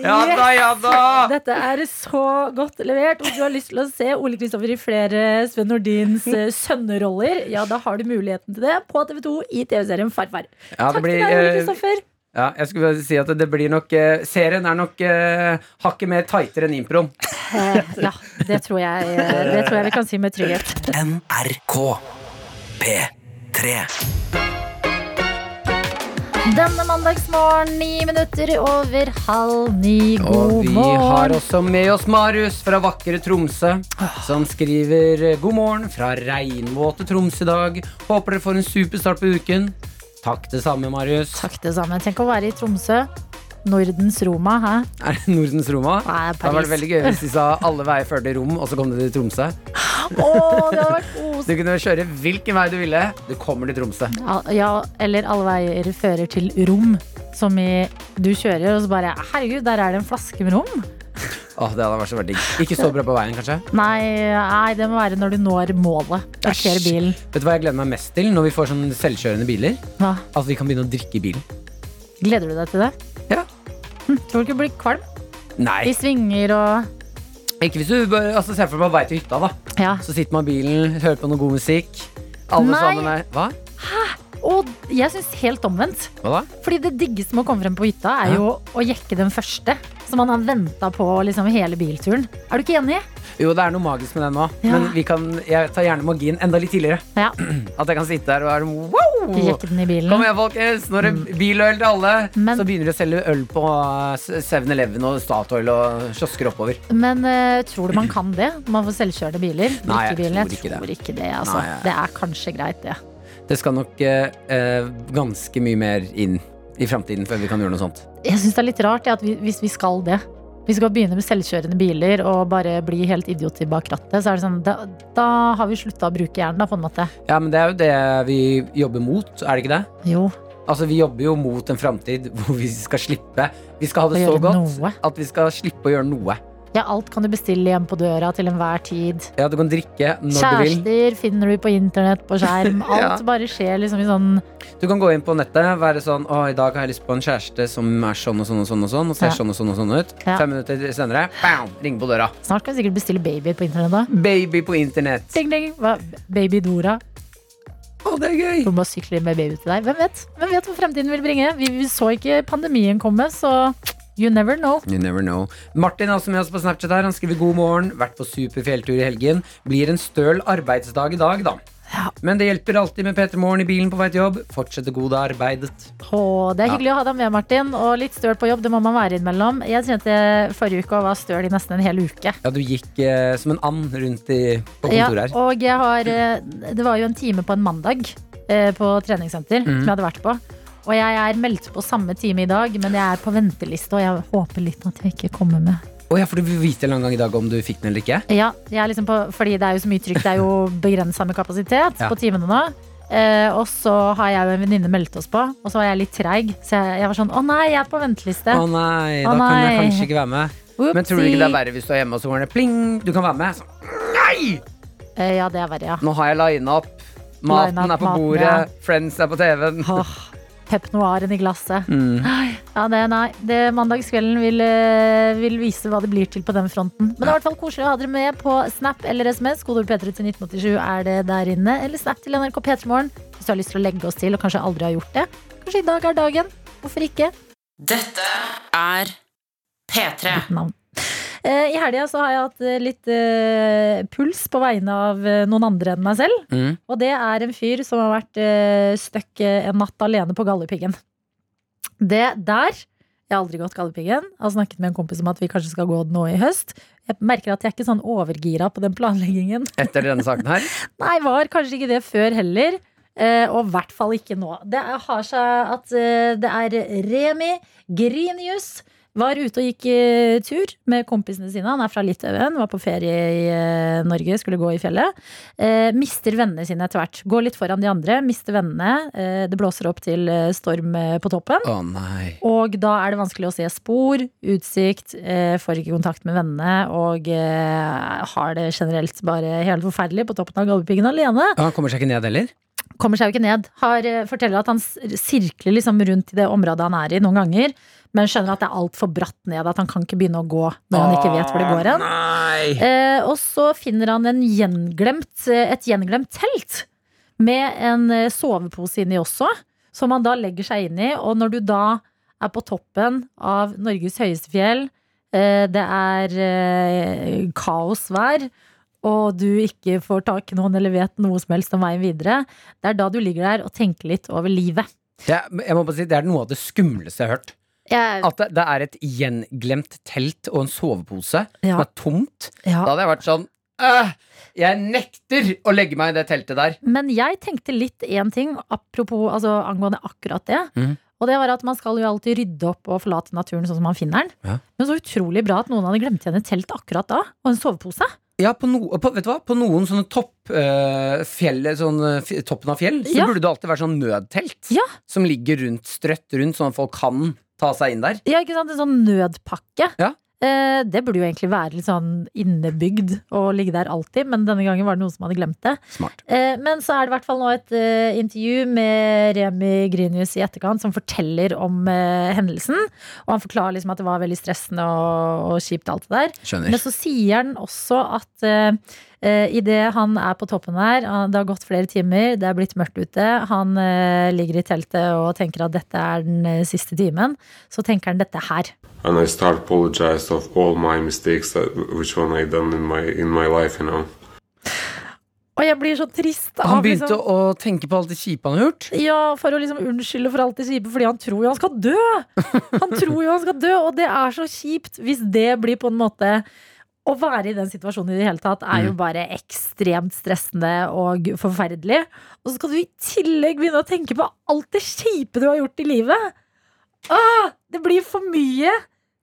[SPEAKER 3] Ja da, ja da.
[SPEAKER 2] Dette er så godt levert. Om du har lyst til å se Ole Kristoffer i flere Sven Nordins eh, sønneroller, ja, da har du muligheten til det på TV2 i TV-serien Farfar.
[SPEAKER 3] Ja, det
[SPEAKER 2] Takk
[SPEAKER 3] blir,
[SPEAKER 2] til deg, Ole
[SPEAKER 3] eh,
[SPEAKER 2] Kristoffer.
[SPEAKER 3] ja, jeg skulle bare si at det blir nok eh, Serien er nok eh, hakket mer tightere enn improen.
[SPEAKER 2] Eh, Ja, det tror, jeg, eh, det tror jeg vi kan si med trygghet. Denne mandagsmorgen, ni minutter over halv ni. God
[SPEAKER 3] Og vi har
[SPEAKER 2] morgen.
[SPEAKER 3] også med oss Marius fra vakre Tromsø, som skriver eh, god morgen fra regnvåte Troms i dag. Håper dere får en superstart på uken. Takk det samme, Marius.
[SPEAKER 2] Takk det samme. Tenk å være i Tromsø. Nordens Roma, hæ?
[SPEAKER 3] Er det Nordens Roma?
[SPEAKER 2] Nei,
[SPEAKER 3] Det hadde vært
[SPEAKER 2] Paris.
[SPEAKER 3] veldig gøy hvis de sa alle veier før til Rom, og så kom du til Tromsø.
[SPEAKER 2] Å, det hadde vært
[SPEAKER 3] Du
[SPEAKER 2] koselig.
[SPEAKER 3] kunne kjøre hvilken vei du ville. Du kommer til Tromsø.
[SPEAKER 2] Ja, Ja, eller alle veier fører til rom. Som i du kjører, og så bare Herregud, der er det en flaske med rom.
[SPEAKER 3] Åh, det hadde vært så veldig digg. Ikke så bra på veien, kanskje.
[SPEAKER 2] Nei, nei, det må være når du når målet. Parker
[SPEAKER 3] Æsj.
[SPEAKER 2] bilen.
[SPEAKER 3] Vet du hva jeg gleder meg mest til når vi får sånne selvkjørende biler?
[SPEAKER 2] Hva?
[SPEAKER 3] At vi kan begynne å drikke i bilen.
[SPEAKER 2] Gleder du deg til det?
[SPEAKER 3] Ja.
[SPEAKER 2] Hm, tror du ikke du blir kvalm?
[SPEAKER 3] Nei,
[SPEAKER 2] I svinger og
[SPEAKER 3] ikke hvis du bare altså, ser for deg på vei til hytta, da.
[SPEAKER 2] Ja.
[SPEAKER 3] Så sitter man i bilen, hører på noe god musikk. Alle
[SPEAKER 2] Nei.
[SPEAKER 3] sammen er Hva?
[SPEAKER 2] Og jeg syns helt omvendt.
[SPEAKER 3] Hva da?
[SPEAKER 2] Fordi det diggeste med å komme frem på hytta, er jo å jekke den første. Som man har venta på liksom, hele bilturen. Er du ikke enig?
[SPEAKER 3] Jo, det er noe magisk med den nå.
[SPEAKER 2] Ja.
[SPEAKER 3] Men vi kan, jeg tar gjerne magien enda litt tidligere.
[SPEAKER 2] Ja.
[SPEAKER 3] At jeg kan sitte der og være wow!
[SPEAKER 2] Jekke den i bilen. Mm.
[SPEAKER 3] Kom igjen, folkens! Nå er det biløl til alle.
[SPEAKER 2] Men-
[SPEAKER 3] Så begynner de å selge øl på eh, 7-Eleven og Statoil og kiosker oppover.
[SPEAKER 2] Men eh, tror du man kan det? Man får selvkjørende biler?
[SPEAKER 3] Nei, jeg
[SPEAKER 2] drikkebilen?
[SPEAKER 3] tror ikke det.
[SPEAKER 2] tror ikke det. Altså.
[SPEAKER 3] Nei, jeg-
[SPEAKER 2] Det er kanskje greit, det.
[SPEAKER 3] Det skal nok eh, eh, ganske mye mer inn i framtiden før vi kan gjøre noe sånt.
[SPEAKER 2] Jeg syns det er litt rart jeg, at vi, hvis vi skal det. Vi skal begynne med selvkjørende biler og bare bli helt idioter bak rattet. Så er det sånn, da, da har vi slutta å bruke hjernen, da, på en måte.
[SPEAKER 3] Ja, men det er jo det vi jobber mot, er det ikke det?
[SPEAKER 2] Jo.
[SPEAKER 3] Altså, Vi jobber jo mot en framtid hvor vi skal slippe Vi skal ha det
[SPEAKER 2] Å
[SPEAKER 3] så
[SPEAKER 2] gjøre
[SPEAKER 3] godt
[SPEAKER 2] noe.
[SPEAKER 3] at vi skal slippe å gjøre noe.
[SPEAKER 2] Ja, alt kan du bestille hjem på døra til enhver tid.
[SPEAKER 3] Ja, Du kan drikke når du vil.
[SPEAKER 2] Kjærester finner du på internett, på skjerm. Alt
[SPEAKER 3] Ja.
[SPEAKER 2] bare skjer liksom i sånn
[SPEAKER 3] Du kan gå inn på nettet være sånn Å, i dag har jeg lyst på en kjæreste som er sånn og sånn og sånn og sånn, og ser
[SPEAKER 2] Ja.
[SPEAKER 3] sånn og sånn og sånn ut.
[SPEAKER 2] Ja.
[SPEAKER 3] Fem minutter senere, bam, ring på døra.
[SPEAKER 2] Snart kan vi sikkert bestille babyer på internett, da.
[SPEAKER 3] Baby på internett.
[SPEAKER 2] Ding, ding. Hva? Baby Dora.
[SPEAKER 3] Å, det er gøy!
[SPEAKER 2] Du må sykle med baby til deg. Hvem vet? Hvem vet hva fremtiden vil bringe? Vi, vi så ikke pandemien komme, så you never know.
[SPEAKER 3] You never know. Martin er også med oss på Snapchat her. Han skriver god morgen. Vært på superfjelltur i helgen. Blir en støl arbeidsdag i dag, da.
[SPEAKER 2] Ja.
[SPEAKER 3] Men det hjelper alltid med P3 Morgen i bilen på vei til jobb. Fortsette gode arbeidet.
[SPEAKER 2] Å, det er hyggelig å ha deg med, Martin. Og litt støl på jobb, det må man være innimellom. Jeg kjente forrige uke og var støl i nesten en hel uke.
[SPEAKER 3] Ja, du gikk eh, som en and rundt i, på kontoret her.
[SPEAKER 2] og jeg har eh, Det var jo en time på en mandag eh, på treningssenter
[SPEAKER 3] Mm.
[SPEAKER 2] som jeg hadde vært på. Og jeg er meldt på samme time i dag, men jeg er på venteliste, og jeg håper litt at jeg ikke kommer med.
[SPEAKER 3] Å ja, for du vil vite en eller annen gang i dag om du fikk den eller ikke?
[SPEAKER 2] Ja, jeg er liksom på, fordi det er jo så mye trykk. Det er jo begrensa med kapasitet
[SPEAKER 3] Ja.
[SPEAKER 2] på timene nå. Eh, og så har jeg og en venninne meldt oss på, og så var jeg litt treig. Så jeg, jeg var sånn Å nei, jeg er på venteliste.
[SPEAKER 3] Å nei,
[SPEAKER 2] Å
[SPEAKER 3] da kan jeg
[SPEAKER 2] nei.
[SPEAKER 3] kanskje ikke være med. Men tror du ikke det er verre hvis du er hjemme og så går det pling, du kan være med? Så,
[SPEAKER 2] Eh, ja, det er verre, ja.
[SPEAKER 3] nå har jeg lina opp. Maten
[SPEAKER 2] Line up
[SPEAKER 3] er på
[SPEAKER 2] maten,
[SPEAKER 3] bordet,
[SPEAKER 2] ja.
[SPEAKER 3] Friends er på TV-en.
[SPEAKER 2] Åh, Pep noiren i glasset. Ai, Ja, det, nei, det Mandagskvelden vil, eh, vil vise hva det blir til på den fronten. Men det er i hvert fall koselig å ha dere med på Snap eller SMS. Kodord P3 til 1987 er det der inne. Eller Snap til NRK P3morgen hvis du har lyst til å legge oss til og kanskje aldri har gjort det. Kanskje i dag er dagen. Hvorfor ikke?
[SPEAKER 6] Dette er P3.
[SPEAKER 2] Navn. Eh, I helga så har jeg hatt eh, litt eh, puls på vegne av eh, noen andre enn meg selv.
[SPEAKER 3] Mm.
[SPEAKER 2] Og det er en fyr som har vært eh, støkk eh, en natt alene på Galdhøpiggen. Det der Jeg har aldri gått Galdhøpiggen. Jeg Har snakket med en kompis om at vi kanskje skal gå nå i høst. Jeg merker at jeg er ikke sånn overgira på den planleggingen.
[SPEAKER 3] Etter denne saken her.
[SPEAKER 2] Nei, var kanskje ikke det før heller. eh, Og i hvert fall ikke nå. Det er- har seg at eh, det er Remi Grinius. Var ute og gikk eh, tur med kompisene sine. Han er fra Litauen, var på ferie i eh, Norge, skulle gå i fjellet. Eh, mister vennene sine etter hvert. Går litt foran de andre, mister vennene. Eh, det blåser opp til eh, storm eh, på toppen.
[SPEAKER 3] Å nei.
[SPEAKER 2] Og da er det vanskelig å se spor, utsikt, eh, får ikke kontakt med vennene og eh, har det generelt bare helt forferdelig på toppen av Galdhøpiggen alene.
[SPEAKER 3] Han kommer seg ikke ned heller?
[SPEAKER 2] Kommer seg jo ikke ned. Har, eh, forteller at han s- sirkler liksom rundt i det området han er i noen ganger, men skjønner at det er altfor bratt ned, at han kan ikke begynne å gå når han ikke vet hvor det går hen.
[SPEAKER 3] Nei!
[SPEAKER 2] Eh, og så finner han en gjenglemt, eh, et gjenglemt telt med en eh, sovepose inni også, som han da legger seg inn i. Og når du da er på toppen av Norges høyeste fjell, eh, det er eh, kaosvær, og du ikke får tak i noen eller vet noe som helst om veien videre, det er da du ligger der og tenker litt over livet.
[SPEAKER 3] Det er, jeg må bare si, det er noe av det skumleste jeg har hørt.
[SPEAKER 2] Jeg,
[SPEAKER 3] At det, det er et gjenglemt telt og en sovepose
[SPEAKER 2] Ja.
[SPEAKER 3] som er tomt.
[SPEAKER 2] ja.
[SPEAKER 3] Da hadde jeg vært sånn «Åh, Jeg nekter å legge meg i det teltet der.
[SPEAKER 2] Men jeg tenkte litt én ting apropos, altså, angående akkurat det.
[SPEAKER 3] Mhm.
[SPEAKER 2] Og det var at man skal jo alltid rydde opp og forlate naturen sånn som man finner den.
[SPEAKER 3] Ja.
[SPEAKER 2] Men så utrolig bra at noen hadde glemt igjen et telt akkurat da, og en sovepose.
[SPEAKER 3] Ja, på, no, på, vet du hva? på noen sånne topp eh, fjell, sånn, eh, f- toppen av fjell, så
[SPEAKER 2] Ja.
[SPEAKER 3] burde det alltid være sånn nødtelt
[SPEAKER 2] Ja.
[SPEAKER 3] som ligger rundt, strøtt rundt, sånn at folk kan ta seg inn der.
[SPEAKER 2] Ja, ikke sant? En sånn nødpakke.
[SPEAKER 3] Ja.
[SPEAKER 2] Eh, det burde jo egentlig være litt sånn innebygd og ligge der alltid, men denne gangen var det noen som hadde glemt det.
[SPEAKER 3] Smart.
[SPEAKER 2] Eh, men så er det i hvert fall nå et eh, intervju med Remi Grinius i etterkant som forteller om eh, hendelsen. Og han forklarer liksom at det var veldig stressende og, og kjipt alt det der.
[SPEAKER 3] Skjønner.
[SPEAKER 2] Men så sier han også at uh, idet han er på toppen her, han- det har gått flere timer, det er blitt mørkt ute, han eh, ligger i teltet og tenker at dette er den eh, siste timen, så tenker han dette her.
[SPEAKER 11] and I start apologize of all my mistakes uh, which one I done in my in my life, you know.
[SPEAKER 2] Og jeg blir så trist. av
[SPEAKER 3] Han begynte
[SPEAKER 2] liksom,
[SPEAKER 3] å tenke på alt det kjipe han har gjort.
[SPEAKER 2] ja, For å liksom unnskylde for alt det kjipe, fordi han tror jo han skal dø! Han tror jo han skal dø, og det er så kjipt hvis det blir på en måte Å være i den situasjonen i det hele tatt er jo
[SPEAKER 3] Mm.
[SPEAKER 2] bare ekstremt stressende og forferdelig. Og så skal du i tillegg begynne å tenke på alt det kjipe du har gjort i livet! Åh, det blir for mye!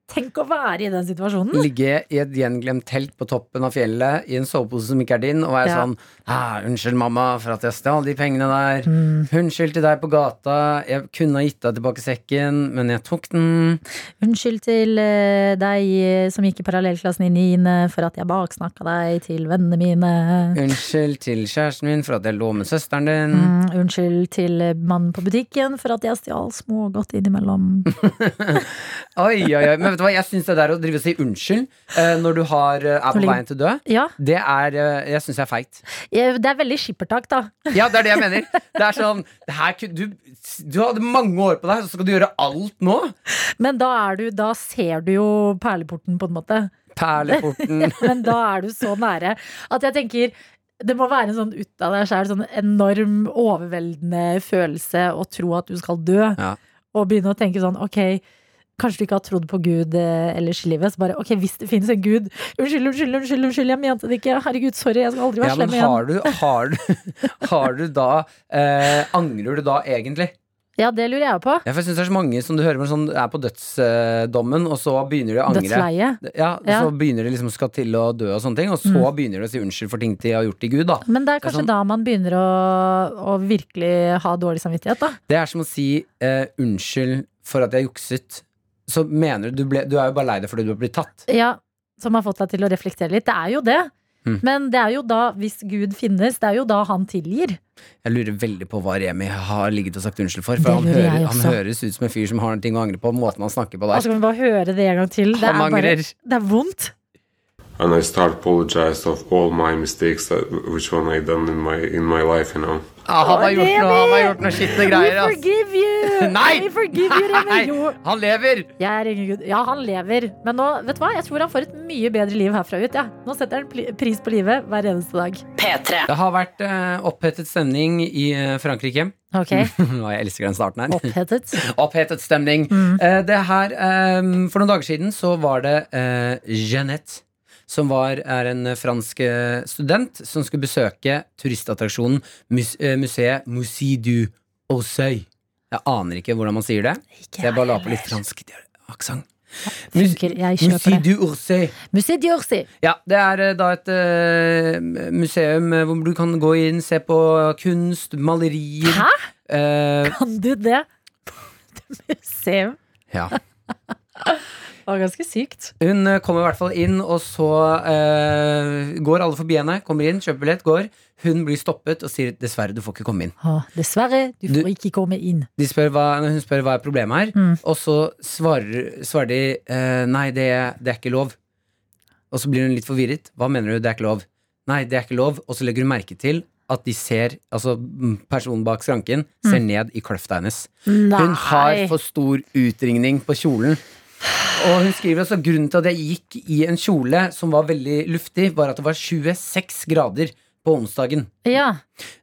[SPEAKER 2] Tenk å være i den situasjonen.
[SPEAKER 3] Ligge i et gjenglemt telt på toppen av fjellet i en sovepose som ikke er din, og være
[SPEAKER 2] Ja.
[SPEAKER 3] sånn ah, 'Unnskyld, mamma, for at jeg stjal de pengene der.' 'Unnskyld til deg på gata. Jeg kunne ha gitt deg tilbake sekken, men jeg tok den.'
[SPEAKER 2] Unnskyld til eh, deg eh, som gikk i parallellklassen i niende for at jeg baksnakka deg til vennene mine.
[SPEAKER 3] 'Unnskyld til kjæresten min for at jeg lå med søsteren din.'
[SPEAKER 2] Mm, unnskyld til eh, mannen på butikken for at jeg stjal smågodt innimellom.
[SPEAKER 3] Oi, oi, oi. Men vet du hva, jeg syns det der å drive og si unnskyld eh, når du har, eh, er på
[SPEAKER 2] ligger-
[SPEAKER 3] veien til å dø,
[SPEAKER 2] Ja,
[SPEAKER 3] det er eh, Jeg syns jeg er feigt.
[SPEAKER 2] eh, det er veldig skippertak, da.
[SPEAKER 3] Ja, det er det jeg mener. Det er sånn det her, kunne- du, du hadde mange år på deg, så skal du gjøre alt nå?
[SPEAKER 2] Men da, er du, da ser du jo perleporten, på en måte.
[SPEAKER 3] Perleporten.
[SPEAKER 2] Men da er du så nære at jeg tenker det må være en sånn ut av deg sjæl, sånn enorm, overveldende følelse å tro at du skal dø.
[SPEAKER 3] Ja.
[SPEAKER 2] Og begynne å tenke sånn, ok, kanskje du ikke har trodd på Gud eh, ellers i livet. Så bare, ok, hvis det finnes en Gud Unnskyld, unnskyld, unnskyld, unnskyld, jeg mente det ikke. Herregud, sorry, jeg skal aldri være
[SPEAKER 3] Ja, men
[SPEAKER 2] slem igjen.
[SPEAKER 3] har du, har du, har du da eh, Angrer du da egentlig?
[SPEAKER 2] Ja, det lurer jeg på.
[SPEAKER 3] Ja, for jeg synes det er så mange som du hører om sånn, er på dødsdommen, og så begynner de å angre.
[SPEAKER 2] Dødsleie.
[SPEAKER 3] Ja, og
[SPEAKER 2] Ja. Mm.
[SPEAKER 3] Så begynner de liksom skal til å dø og sånne ting, og så begynner de å si unnskyld for ting de har gjort til Gud, da.
[SPEAKER 2] Men det er
[SPEAKER 3] Det er
[SPEAKER 2] kanskje
[SPEAKER 3] sånn-
[SPEAKER 2] da man begynner å, å virkelig ha dårlig samvittighet, da.
[SPEAKER 3] Det er som å si eh, unnskyld for at jeg jukset. Så mener du du ble, Du er jo bare lei deg fordi du har blitt tatt.
[SPEAKER 2] Ja, som har fått deg til å reflektere litt. Det er jo det.
[SPEAKER 3] Mm.
[SPEAKER 2] Men det er jo da, hvis Gud finnes, det er jo da han tilgir.
[SPEAKER 3] Jeg lurer veldig på hva Remi har ligget og sagt unnskyld for,
[SPEAKER 2] Det
[SPEAKER 3] for han,
[SPEAKER 2] lurer jeg
[SPEAKER 3] hører, han
[SPEAKER 2] også.
[SPEAKER 3] høres ut som en fyr som har ting å angre på, måten han snakker på
[SPEAKER 2] Og så
[SPEAKER 3] der.
[SPEAKER 2] Altså, kan vi bare høre det en gang til. Det
[SPEAKER 3] Han
[SPEAKER 2] er, bare,
[SPEAKER 3] angrer.
[SPEAKER 2] det er vondt.
[SPEAKER 11] And I start apologize of all my mistakes uh, which one I done in my in my life, you know.
[SPEAKER 3] Ja, Ah, han har gjort noe, han har gjort noe skitne greier,
[SPEAKER 2] We
[SPEAKER 3] ass.
[SPEAKER 2] forgive you!
[SPEAKER 3] Nei!
[SPEAKER 2] We forgive you, Remi. Jo.
[SPEAKER 3] Han lever!
[SPEAKER 2] Jeg er ingen gud. Ja, han lever. Men nå, vet du hva? jeg tror han får et mye bedre liv herfra ut. Ja. Nå setter han pli- pris på livet hver eneste dag. P3.
[SPEAKER 3] Det har vært eh, opphetet stemning i eh, Frankrike.
[SPEAKER 2] Ok.
[SPEAKER 3] Å, jeg elsker den starten her.
[SPEAKER 2] Opphetet.
[SPEAKER 3] stemning.
[SPEAKER 2] Mm.
[SPEAKER 3] Eh, det her, eh, for noen dager siden så var det eh, Jeanette, som var, er en eh, fransk eh, student, som skulle besøke turistattraksjonen mus, eh, museet Musée du Osøy. Jeg aner ikke hvordan man sier det. så jeg bare la på litt fransk aksent.
[SPEAKER 2] Funker. Jeg
[SPEAKER 3] Musée
[SPEAKER 2] kjøper det.
[SPEAKER 3] du Osøy.
[SPEAKER 2] Musée d'Orsay.
[SPEAKER 3] Ja, det er eh, da et eh, museum eh, hvor du kan gå inn, se på kunst, malerier
[SPEAKER 2] Hæ?
[SPEAKER 3] Eh,
[SPEAKER 2] Kan du det? Museum.
[SPEAKER 3] ja.
[SPEAKER 2] Det var ganske sykt.
[SPEAKER 3] Hun eh, kommer i hvert fall inn, og så eh, går alle forbi henne. Kommer inn, kjøper billett, går. Hun blir stoppet og sier dessverre, du får ikke komme inn.
[SPEAKER 2] Å, dessverre, du får ikke komme inn.
[SPEAKER 3] De spør hva, hun spør hva er problemet her, og så svarer, svarer de eh, nei, det, det er ikke lov. Og så blir hun litt forvirret. Hva mener du, det er ikke lov? Nei, det er ikke lov. Og så legger hun merke til at de ser, altså mm, personen bak skranken ser ned i kløfta hennes. Hun har
[SPEAKER 2] Nei.
[SPEAKER 3] for stor utringning på kjolen. Og hun skriver også grunnen til at jeg gikk i en kjole som var veldig luftig, var at det var 26 grader på onsdagen
[SPEAKER 2] Ja,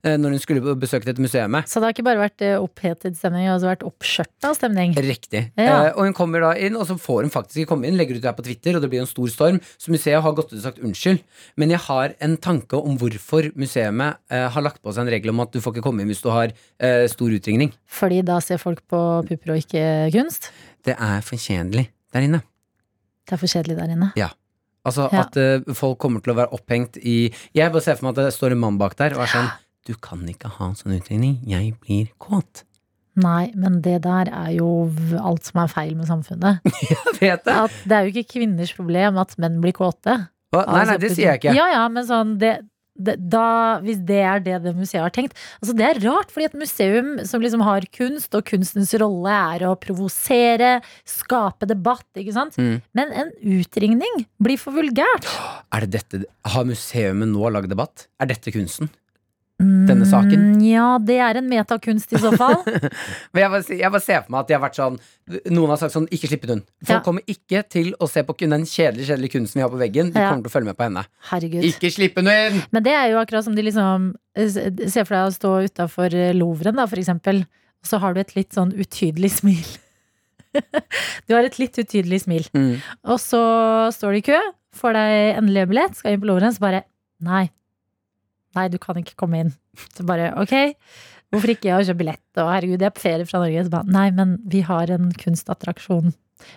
[SPEAKER 3] eh, når hun skulle besøke dette museumet.
[SPEAKER 2] Så det har ikke bare vært eh, opphetet stemning, det har også vært oppskjørta stemning.
[SPEAKER 3] Riktig.
[SPEAKER 2] Ja.
[SPEAKER 3] Eh, og hun kommer da inn, og så får hun faktisk ikke komme inn. Legger ut det her på Twitter, og det blir en stor storm. Så museet har gått ut og sagt unnskyld. Men jeg har en tanke om hvorfor museet eh, har lagt på seg en regel om at du får ikke komme inn hvis du har eh, stor utringning.
[SPEAKER 2] Fordi da ser folk på pupper og ikke kunst.
[SPEAKER 3] Det er fortjenlig der inne.
[SPEAKER 2] Det er for kjedelig der inne.
[SPEAKER 3] Ja. Altså
[SPEAKER 2] Ja.
[SPEAKER 3] at eh, folk kommer til å være opphengt i Jeg bare ser for meg at det står en mann bak der og er sånn Du kan ikke ha en sånn utringning. Jeg blir kåt.
[SPEAKER 2] Nei, men det der er jo v- alt som er feil med samfunnet.
[SPEAKER 3] Jeg vet det.
[SPEAKER 2] At det er jo ikke kvinners problem at menn blir kåte.
[SPEAKER 3] Hva? Nei, nei, det sier jeg ikke.
[SPEAKER 2] Altså, Ja, ja, men sånn det, det, da, Hvis det er det det museet har tenkt Altså, det er rart, fordi et museum som liksom har kunst, og kunstens rolle er å provosere, skape debatt, ikke sant?
[SPEAKER 3] Mm.
[SPEAKER 2] Men en utringning blir for vulgært.
[SPEAKER 3] Er det dette Har museet nå lagd debatt? Er dette kunsten? Denne saken?
[SPEAKER 2] Mm, Ja, det er en metakunst i så fall.
[SPEAKER 3] Men jeg bare, jeg bare ser for meg at de har vært sånn Noen har sagt sånn, ikke slipp ut hun Folk
[SPEAKER 2] Ja.
[SPEAKER 3] kommer ikke til å se på kun- den kjedelige, kjedelige kunsten vi har på veggen De
[SPEAKER 2] Ja.
[SPEAKER 3] kommer til å følge med på henne
[SPEAKER 2] Herregud.
[SPEAKER 3] Ikke slipp henne inn!
[SPEAKER 2] Men det er jo akkurat som de liksom eh, Se for deg å stå utafor Louvren, da, for eksempel. Og så har du et litt sånn utydelig smil. du har et litt utydelig smil.
[SPEAKER 3] Mm.
[SPEAKER 2] Og så står du i kø, får deg endelig billett, skal inn på Louvren, så bare Nei. Nei, du kan ikke komme inn. Så bare ok. Hvorfor ikke? Jeg har kjøpt billett, og herregud, jeg er på ferie fra Norge. Så bare nei, men vi har en kunstattraksjon.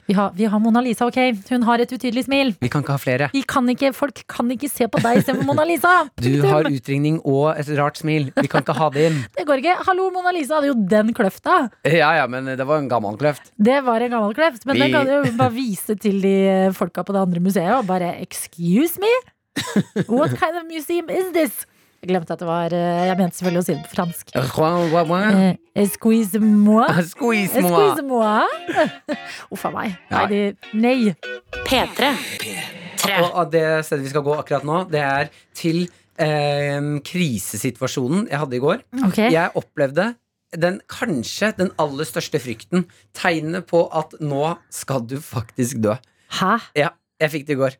[SPEAKER 2] Vi har, vi har Mona Lisa, ok? Hun har et utydelig smil.
[SPEAKER 3] Vi kan ikke ha flere
[SPEAKER 2] Vi kan ikke, folk kan ikke se på deg istedenfor Mona Lisa!
[SPEAKER 3] Du har utringning og et rart smil Vi kan ikke ha det inn
[SPEAKER 2] Det går ikke. Hallo, Mona Lisa hadde jo den kløfta.
[SPEAKER 3] Ja, ja, men det var en gammel kløft
[SPEAKER 2] Det var en gammel kløft. Men
[SPEAKER 3] Vi-
[SPEAKER 2] den kan du jo bare vise til de eh, folka på det andre museet og bare excuse me? What kind of museum is this? Jeg glemte at det var eh, Jeg mente selvfølgelig å si det på fransk. Eh, Squeeze moi.
[SPEAKER 3] Mm. Squeeze moi.
[SPEAKER 2] Squeeze moi. Uff a meg. Nei.
[SPEAKER 3] Ja.
[SPEAKER 2] De, nei. P3.
[SPEAKER 3] Og, og det stedet vi skal gå akkurat nå, det er til eh, krisesituasjonen jeg hadde i går.
[SPEAKER 2] Ok.
[SPEAKER 3] Jeg opplevde den kanskje den aller største frykten. Tegnet på at nå skal du faktisk dø.
[SPEAKER 2] Hæ?
[SPEAKER 3] Ja, jeg fikk det i går.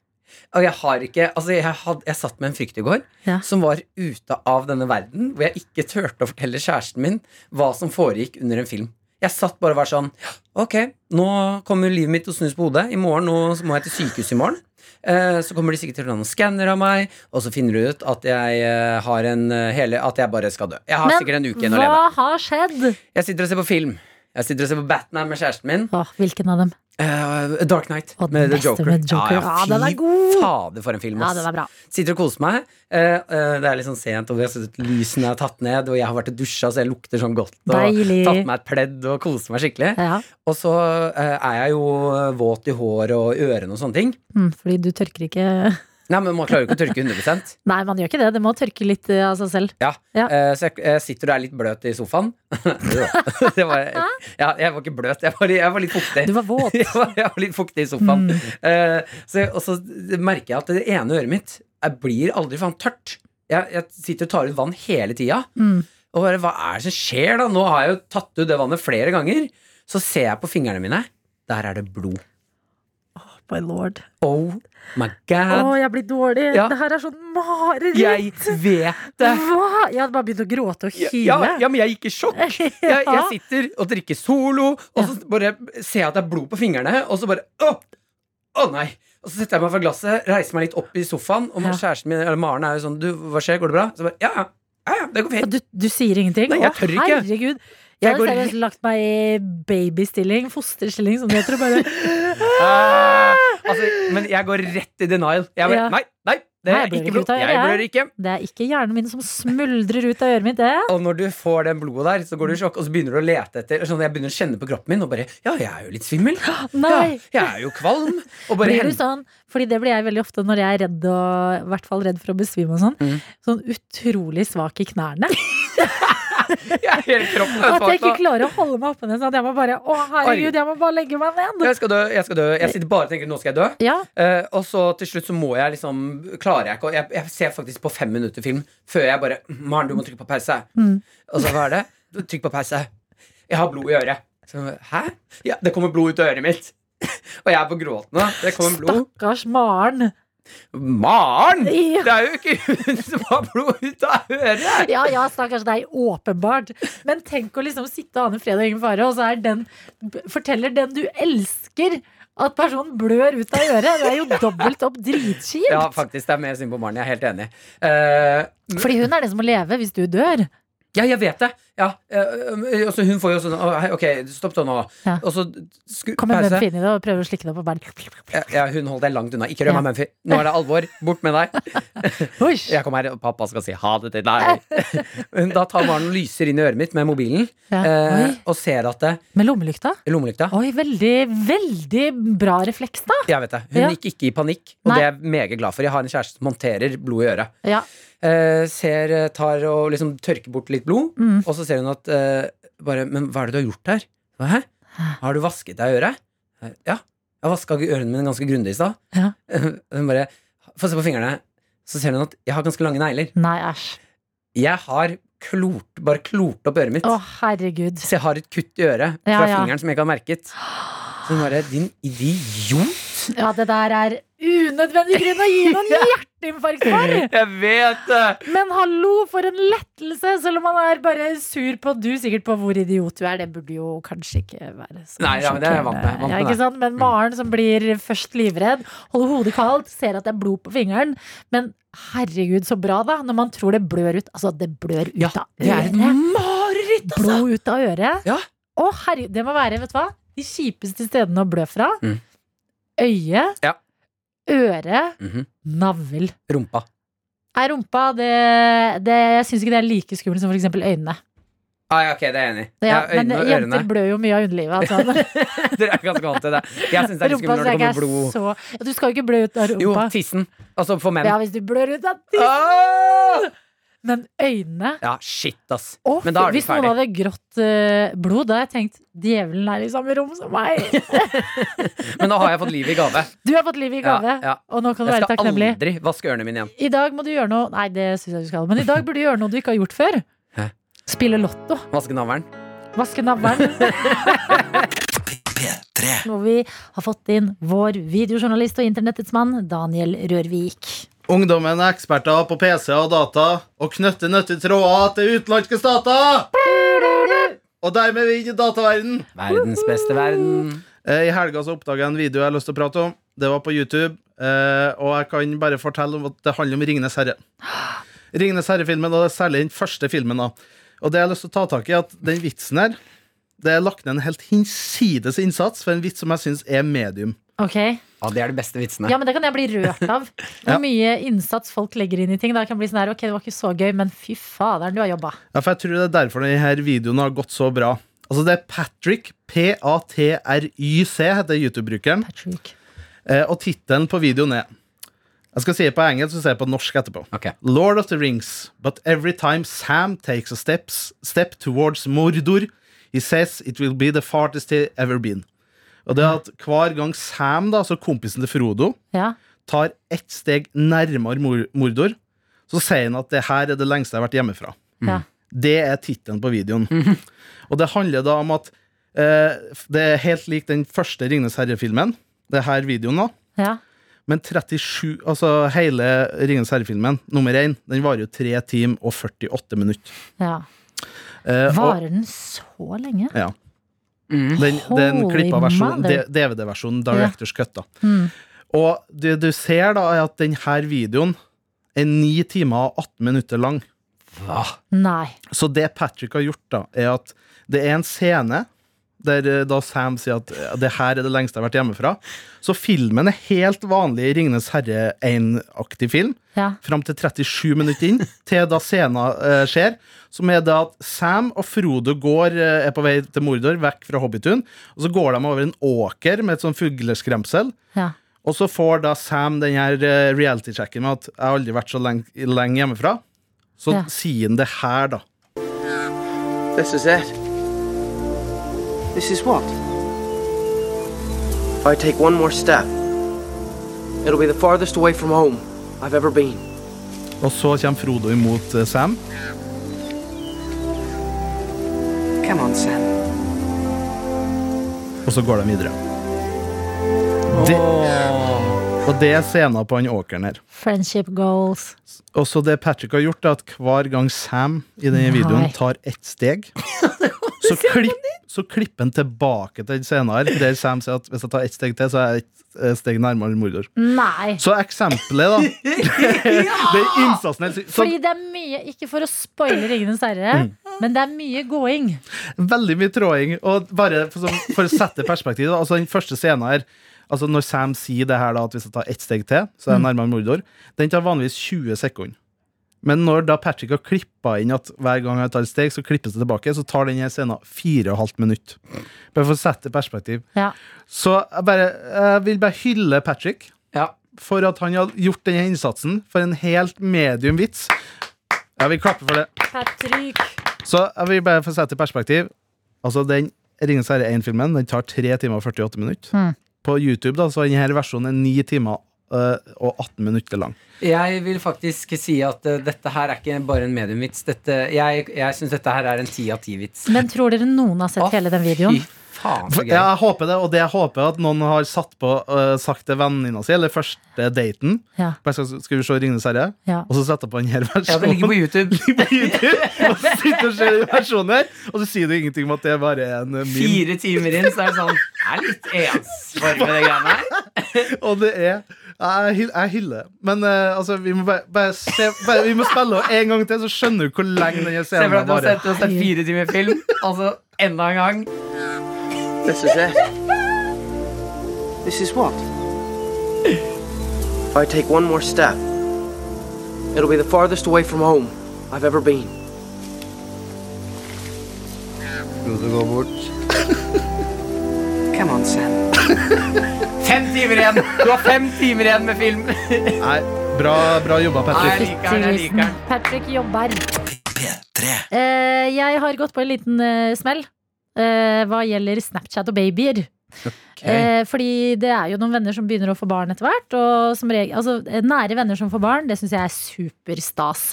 [SPEAKER 3] Og jeg har ikke Altså, jeg, had, jeg satt med en frykt i går
[SPEAKER 2] Ja.
[SPEAKER 3] som var ute av denne verden, hvor jeg ikke turte å fortelle kjæresten min hva som foregikk under en film. Jeg satt bare og var sånn Ok, nå kommer livet mitt til å snus på hodet. I morgen, nå så må jeg til sykehus i morgen. Eh, Så kommer de sikkert til å ta noen skanner av meg, og så finner de ut at jeg, eh, har en, eh, hele, at jeg bare skal dø. Jeg har sikkert en uke igjen å
[SPEAKER 2] hva
[SPEAKER 3] leve.
[SPEAKER 2] har skjedd?
[SPEAKER 3] Jeg sitter og ser på film. Jeg sitter og ser på Batman med kjæresten min.
[SPEAKER 2] Åh, hvilken av dem?
[SPEAKER 3] Eh, Dark Knight med The
[SPEAKER 2] beste
[SPEAKER 3] Joker.
[SPEAKER 2] med Joker. Ja, den er
[SPEAKER 3] fy fader, for en film.
[SPEAKER 2] Ja,
[SPEAKER 3] ass.
[SPEAKER 2] den er bra.
[SPEAKER 3] Sitter og koser meg. Eh, eh, det er litt sånn sent, og vi har sett at lysene er tatt ned, og jeg har vært og dusja, så jeg lukter sånn godt. Og
[SPEAKER 2] Deilig.
[SPEAKER 3] tatt meg et pledd og koser meg skikkelig.
[SPEAKER 2] Ja.
[SPEAKER 3] Og så eh, er jeg jo våt i håret og i ørene og sånne ting.
[SPEAKER 2] Mm, fordi du tørker ikke
[SPEAKER 3] Nei, men man klarer jo ikke å tørke 100
[SPEAKER 2] Nei, man gjør ikke det. Det må tørke litt eh, av seg selv.
[SPEAKER 3] Ja, eh, Så jeg eh, sitter og er litt bløt i sofaen. det var, ja, jeg var ikke bløt, jeg var, jeg var litt fuktig.
[SPEAKER 2] Du var våt.
[SPEAKER 3] jeg, var, jeg var litt fuktig i sofaen.
[SPEAKER 2] Mm.
[SPEAKER 3] Eh, så, jeg- og så merker jeg at det ene øret mitt jeg blir aldri faen tørt. Jeg, jeg sitter og tar ut vann hele tida.
[SPEAKER 2] Mm.
[SPEAKER 3] Og Og bare, hva er det som skjer da? Nå har jeg jo tatt ut det vannet flere ganger. Så ser jeg på fingrene mine. Der er det blod.
[SPEAKER 2] Oh my lord.
[SPEAKER 3] Oh my
[SPEAKER 2] Å,
[SPEAKER 3] god.
[SPEAKER 2] jeg blir dårlig.
[SPEAKER 3] Ja.
[SPEAKER 2] Det her er sånn mareritt.
[SPEAKER 3] Jeg vet det.
[SPEAKER 2] Hva? Jeg hadde bare begynt å gråte og
[SPEAKER 3] Ja,
[SPEAKER 2] hyle.
[SPEAKER 3] ja, ja, men jeg gikk i sjokk. Jeg, jeg sitter og drikker Solo, og så bare ser jeg at det er blod på fingrene, og så bare Å, å nei! Og så setter jeg meg fra glasset, reiser meg litt opp i sofaen, og kjæresten min, eller Maren er jo sånn Du, hva skjer? Går det bra? Så jeg bare, ja, ja, ja, ja, det går fint.
[SPEAKER 2] Du, du sier ingenting?
[SPEAKER 3] Nei, jeg
[SPEAKER 2] Å,
[SPEAKER 3] tør ikke.
[SPEAKER 2] Herregud.
[SPEAKER 3] Jeg
[SPEAKER 2] Jeg hadde
[SPEAKER 3] går
[SPEAKER 2] seriøst lagt meg i babystilling, fosterstilling, som det heter, og bare
[SPEAKER 3] Eh, altså, men jeg går rett i denial. Jeg
[SPEAKER 2] Ah!
[SPEAKER 3] bare,
[SPEAKER 2] Ja.
[SPEAKER 3] Nei, nei, det
[SPEAKER 2] Nei,
[SPEAKER 3] er ikke
[SPEAKER 2] blør ut
[SPEAKER 3] blod.
[SPEAKER 2] av øret,
[SPEAKER 3] Jeg blør
[SPEAKER 2] jeg.
[SPEAKER 3] ikke.
[SPEAKER 2] Det er ikke hjernen min som smuldrer ut av øret mitt, det.
[SPEAKER 3] Og når du får den blodet der, så går du i sjokk, og så begynner du å lete etter sånn, Jeg begynner å kjenne på kroppen min og bare Ja, jeg er jo litt svimmel.
[SPEAKER 2] Nei.
[SPEAKER 3] Ja, jeg er jo kvalm. Og bare
[SPEAKER 2] Blir du
[SPEAKER 3] hent-
[SPEAKER 2] sånn, fordi det blir jeg veldig ofte når jeg er redd og, i hvert fall redd for å besvime og sånn.
[SPEAKER 3] Mm.
[SPEAKER 2] Sånn utrolig svak i knærne.
[SPEAKER 3] Ja, hele kroppen er
[SPEAKER 2] At jeg ikke
[SPEAKER 3] svak nå.
[SPEAKER 2] klarer å holde meg oppe ned. Sånn at jeg må bare Å, herregud, jeg må bare legge meg ned.
[SPEAKER 3] Jeg skal dø. Jeg skal dø Jeg sitter bare og tenker nå skal jeg dø.
[SPEAKER 2] Ja.
[SPEAKER 3] Eh, og så til slutt så må jeg liksom Klarer jeg ikke å jeg, jeg ser faktisk på fem minutter film før jeg bare Maren, du må trykke på pause.
[SPEAKER 2] Mm.
[SPEAKER 3] Og så hva er det? Du, Trykk på pause. Jeg har blod i øret. Så, jeg bare, Hæ? Ja, det kommer blod ut av øret mitt. og jeg er på gråten nå. Det kommer blod.
[SPEAKER 2] Stakkars Maren.
[SPEAKER 3] Maren! Det er jo ikke hun som har blod ut av øret!
[SPEAKER 2] Ja, ja, stakkars deg, åpenbart. Men tenk å liksom sitte og ane fred og ingen fare, og så er den, b- forteller den du elsker, at personen blør ut av øret. Det er jo dobbelt opp dritkjipt.
[SPEAKER 3] Ja, faktisk. Det er mer synd på Maren. Jeg er helt enig. Eh,
[SPEAKER 2] Fordi hun er den som må leve hvis du dør.
[SPEAKER 3] Ja, jeg vet det. Ja. eh, og så hun får jo sånn «Å, hei, Ok, stopp da nå.
[SPEAKER 2] Ja.
[SPEAKER 3] Og så skru,
[SPEAKER 2] Kommer
[SPEAKER 3] pause.
[SPEAKER 2] Mumphy inn i det og prøver å slikke deg på bæren.
[SPEAKER 3] Ja, ja, hun holdt deg langt unna. Ikke rør
[SPEAKER 2] Ja.
[SPEAKER 3] meg, Mumphy. Nå er det alvor. Bort med deg. Jeg kommer her, og pappa skal si ha det til deg. Men da tar Maren og lyser inn i øret mitt med mobilen
[SPEAKER 2] Ja.
[SPEAKER 3] eh,
[SPEAKER 2] Oi.
[SPEAKER 3] og ser at det,
[SPEAKER 2] Med lommelykta?
[SPEAKER 3] Lommelykta.
[SPEAKER 2] Oi, veldig, veldig bra refleks, da.
[SPEAKER 3] Jeg vet det. Hun
[SPEAKER 2] Ja.
[SPEAKER 3] gikk ikke i panikk, og
[SPEAKER 2] Nei.
[SPEAKER 3] det er jeg meget glad for. Jeg har en kjæreste som håndterer blod i øret.
[SPEAKER 2] Ja.
[SPEAKER 3] Eh, ser, eh, tar og liksom tørker bort litt blod,
[SPEAKER 2] Mm.
[SPEAKER 3] og så ser hun at eh, bare, Men hva er det du har gjort her? Hva, Hæ? Har du vasket deg i øret? Eh, Ja. Jeg vaska ørene mine ganske grundig i stad.
[SPEAKER 2] Ja.
[SPEAKER 3] Hun bare Få se på fingrene. Så ser hun at jeg har ganske lange negler.
[SPEAKER 2] Nei, æsj.
[SPEAKER 3] Jeg har klort, bare klort opp øret mitt.
[SPEAKER 2] Å, herregud.
[SPEAKER 3] Så jeg har et kutt i øret
[SPEAKER 2] Ja,
[SPEAKER 3] fra
[SPEAKER 2] ja.
[SPEAKER 3] fingeren som jeg ikke har merket. Så hun bare Din idiot!
[SPEAKER 2] Ja, det der er unødvendig grunn å gi noen hjerteinfarkt for.
[SPEAKER 3] Jeg vet det!
[SPEAKER 2] Men hallo, for en lettelse! Selv om man er bare sur på du sikkert på hvor idiot du er. Det burde jo kanskje ikke være så
[SPEAKER 3] Nei, ja, men det er jeg vant med, vant
[SPEAKER 2] Ja,
[SPEAKER 3] med
[SPEAKER 2] ikke
[SPEAKER 3] det. Mm.
[SPEAKER 2] sant? Men Maren som blir først livredd, holder hodet kaldt, ser at det er blod på fingeren. Men herregud, så bra, da! Når man tror det blør ut. Altså, det blør ut av
[SPEAKER 3] det er et mareritt,
[SPEAKER 2] altså! Blod ut av øret.
[SPEAKER 3] Ja.
[SPEAKER 2] Å, herregud, det må være, vet du hva, de kjipeste stedene å blø fra.
[SPEAKER 3] Mm.
[SPEAKER 2] Øye,
[SPEAKER 3] Ja.
[SPEAKER 2] øre,
[SPEAKER 3] Mhm.
[SPEAKER 2] navl.
[SPEAKER 3] Rumpa.
[SPEAKER 2] Nei, rumpa, det, det, jeg syns ikke det er like skummelt som for eksempel øynene.
[SPEAKER 3] Ah, ja, ok, det er jeg enig i.
[SPEAKER 2] Ja,
[SPEAKER 3] Ja,
[SPEAKER 2] men
[SPEAKER 3] øynene og ørene.
[SPEAKER 2] jenter blør jo mye av underlivet. Altså.
[SPEAKER 3] Dere er ganske vant til det. Jeg syns det er litt
[SPEAKER 2] Rumpa
[SPEAKER 3] skummelt når det
[SPEAKER 2] synes jeg
[SPEAKER 3] kommer
[SPEAKER 2] ikke
[SPEAKER 3] blod.
[SPEAKER 2] er så- ja, Du skal jo ikke blø ut av
[SPEAKER 3] Jo,
[SPEAKER 2] rumpa.
[SPEAKER 3] tissen. Altså for menn.
[SPEAKER 2] ja, hvis du blør ut av tissen.
[SPEAKER 3] Åh!
[SPEAKER 2] Men øynene
[SPEAKER 3] Ah! Ja, shit, ass.
[SPEAKER 2] Å,
[SPEAKER 3] Men da er du
[SPEAKER 2] Hvis noen
[SPEAKER 3] ferdig.
[SPEAKER 2] hadde grått eh, blod, da hadde jeg tenkt djevelen er i samme rom som meg.
[SPEAKER 3] Men nå har jeg fått livet i gave.
[SPEAKER 2] Du har fått livet i gave,
[SPEAKER 3] Ja, ja.
[SPEAKER 2] og nå kan du
[SPEAKER 3] Jeg
[SPEAKER 2] være
[SPEAKER 3] skal
[SPEAKER 2] takknemlig.
[SPEAKER 3] aldri vaske ørene mine igjen.
[SPEAKER 2] I dag må du gjøre noe Nei, det syns jeg du skal. Men i dag burde du gjøre noe du ikke har gjort før.
[SPEAKER 3] Hæ?
[SPEAKER 2] Spille lotto.
[SPEAKER 3] Vaske navlen.
[SPEAKER 2] Vaske navlen. Hvor vi har fått inn vår videojournalist og internettets mann, Daniel Rørvik.
[SPEAKER 12] Ungdommen er eksperter på PC og data og knytter nøttetråder til utenlandske stater! Og dermed er vi inn i dataverden.
[SPEAKER 3] Verdens beste verden.
[SPEAKER 12] Eh, I helga så oppdaga jeg en video jeg har lyst til å prate om. Det var på YouTube. eh, Og jeg kan bare fortelle om at det handler om Ringenes herre. Ringenes herre-filmen, og det er særlig den første filmen. da. Og det jeg har lyst til å ta tak i, er at den vitsen her Det er lagt ned en helt hinsides innsats for en vits som jeg syns er medium.
[SPEAKER 2] Ok?
[SPEAKER 3] Ja, det er de beste vitsene.
[SPEAKER 2] Ja, men det kan jeg bli rørt av. Hvor
[SPEAKER 12] Ja.
[SPEAKER 2] mye innsats folk legger inn i ting. Da kan jeg bli sånn her, ok, det var ikke så gøy, men fy faderen, du har jobba.
[SPEAKER 12] Ja, for jeg tror det er derfor denne videoen har gått så bra. Altså, det er Patrick, P-A-T-R-Y-C, heter YouTube-brukeren. Eh, og tittelen på videoen er Jeg skal si det på engelsk, så ser jeg på norsk etterpå. Lord of the Rings, but every time Sam takes a steps, step towards Mordor, he says it will be the farthest he ever been. Og det er at hver gang Sam, da, altså kompisen til Frodo,
[SPEAKER 2] Ja.
[SPEAKER 12] tar ett steg nærmere Mor- Mordor, så sier han at det her er det lengste jeg har vært hjemmefra.
[SPEAKER 2] Ja.
[SPEAKER 9] Det er tittelen på videoen. Og det handler da om at eh, det er helt lik den første Ringnes herre-filmen. Det er her videoen, da.
[SPEAKER 2] Ja.
[SPEAKER 9] Men 37, altså hele Ringenes herre-filmen, nummer én, den varer jo 3 timer og 48 minutter.
[SPEAKER 2] Ja.
[SPEAKER 9] Eh, og-
[SPEAKER 2] Varer den så lenge?
[SPEAKER 9] Ja.
[SPEAKER 3] Mm.
[SPEAKER 9] Den, den
[SPEAKER 2] Holy
[SPEAKER 9] klippa versjonen,
[SPEAKER 2] mother. Hmm.
[SPEAKER 9] DVD-versjonen, Directors Cut, da. Og det du ser, da, er at denne videoen er 9 timer og 18 minutter lang.
[SPEAKER 2] Nei.
[SPEAKER 9] Så det Patrick har gjort, da, er at det er en scene der eh, da Sam sier at eh, det her er det lengste jeg har vært hjemmefra. Så filmen er helt vanlig Ringenes herre 1-aktig film.
[SPEAKER 2] Ja.
[SPEAKER 9] Fram til 37 minutter inn, til da scenen eh, skjer. Som er da at Sam og Frode går, eh, er på vei til Mordor, vekk fra Hobbitun. Og så går de over en åker med et sånn fugleskremsel.
[SPEAKER 2] Ja.
[SPEAKER 9] Og så får da Sam den her eh, reality-checken med at 'jeg har aldri vært så lenge, lenge hjemmefra'. Så
[SPEAKER 4] Ja.
[SPEAKER 9] sier han det her, da.
[SPEAKER 4] This is it. This is what? If I take one more step, it'll be the farthest away from home I've ever been.
[SPEAKER 9] Og så kommer Frodo imot eh, Sam.
[SPEAKER 4] Come on, Sam.
[SPEAKER 9] Og så går de videre. Det, og det er scenen på han åkeren her.
[SPEAKER 2] Friendship goals.
[SPEAKER 9] Og så det Patrick har gjort, er at hver gang Sam i denne
[SPEAKER 2] Nei.
[SPEAKER 9] videoen tar ett steg, så, klipp, så klipper han tilbake til den scenen her, der Sam sier at hvis jeg tar ett steg til, så er jeg ett eh, steg nærmere Mordor.
[SPEAKER 2] Nei.
[SPEAKER 9] Så eksempelet, da Det er innsatsen helt syk. Så Mm.
[SPEAKER 2] Fordi det er mye, ikke for å spoile Ringenes herre, men det er mye gåing.
[SPEAKER 9] Veldig mye tråding. Og bare for, så- for å sette perspektiv, da, altså den første scenen her Altså Når Sam sier det her da at hvis jeg tar ett steg til, så er jeg nærmere Mordor, den tar vanligvis 20 sekunder. Men når da Patrick har klippa inn at hver gang jeg tar et steg, så klippes det tilbake, så tar den her scenen 4,5 minutter. Bare for å sette perspektiv.
[SPEAKER 2] Ja.
[SPEAKER 9] Så jeg, bare, jeg vil bare hylle Patrick for at han har gjort denne innsatsen for en helt medium vits. Jeg vil klappe for det.
[SPEAKER 2] Patrick.
[SPEAKER 9] Så jeg vil bare få sette i perspektiv Altså den Ringens herre 1-filmen Den tar 3 timer og 48 minutter
[SPEAKER 3] Hmm.
[SPEAKER 2] Mm.
[SPEAKER 9] På YouTube da, så er denne versjonen er 9 timer øh, og 18 minutter lang
[SPEAKER 3] Jeg vil faktisk si at eh, dette her er ikke bare en mediumvits. Dette, jeg jeg syns dette her er en ti av ti-vits.
[SPEAKER 2] Men tror dere noen har sett hele den videoen?
[SPEAKER 3] Faen,
[SPEAKER 9] For-
[SPEAKER 3] så gøy.
[SPEAKER 9] ja, Jeg håper det, og det jeg håper er at noen har satt på øh, Sagt til venninna si, eller første daten
[SPEAKER 2] Ja.
[SPEAKER 9] Bare skal, skal vi se Ringens herre
[SPEAKER 2] Ja.
[SPEAKER 9] Og så setter jeg på denne versjonen
[SPEAKER 3] Ja, det ligger på YouTube.
[SPEAKER 9] Og så sitter og ser den versjonen her Og så sier du ingenting om at det er bare en øh, meme
[SPEAKER 3] Fire timer inn, så er det sånn Det er litt ensformig, det greiene her.
[SPEAKER 9] Og det er Jeg, hyll- jeg hyller det. Men eh, altså, vi må bare, bare se bare, Vi må spille henne en gang til, så skjønner du hvor lenge denne
[SPEAKER 3] Se for
[SPEAKER 9] scenen
[SPEAKER 3] deg at du har
[SPEAKER 9] varer.
[SPEAKER 3] sett, du har sett fire timer film, og så enda en gang.
[SPEAKER 4] This is it. This is what? If I take one more step, it'll be the farthest away from home I've ever been.
[SPEAKER 13] Frode går bort.
[SPEAKER 4] Come on, Sam.
[SPEAKER 3] Fem timer igjen! Du har fem timer igjen med film.
[SPEAKER 9] Nei, bra, bra jobba,
[SPEAKER 3] Nei, jeg
[SPEAKER 9] Patrick.
[SPEAKER 3] liker den, jeg liker den.
[SPEAKER 2] Patrick jobber. Eh, jeg har gått på en liten eh, smell eh, hva gjelder Snapchat og babyer. Eh, fordi det er jo noen venner som begynner å få barn etter hvert. Og som regel, altså, eh, nære venner som får barn, det syns jeg er superstas.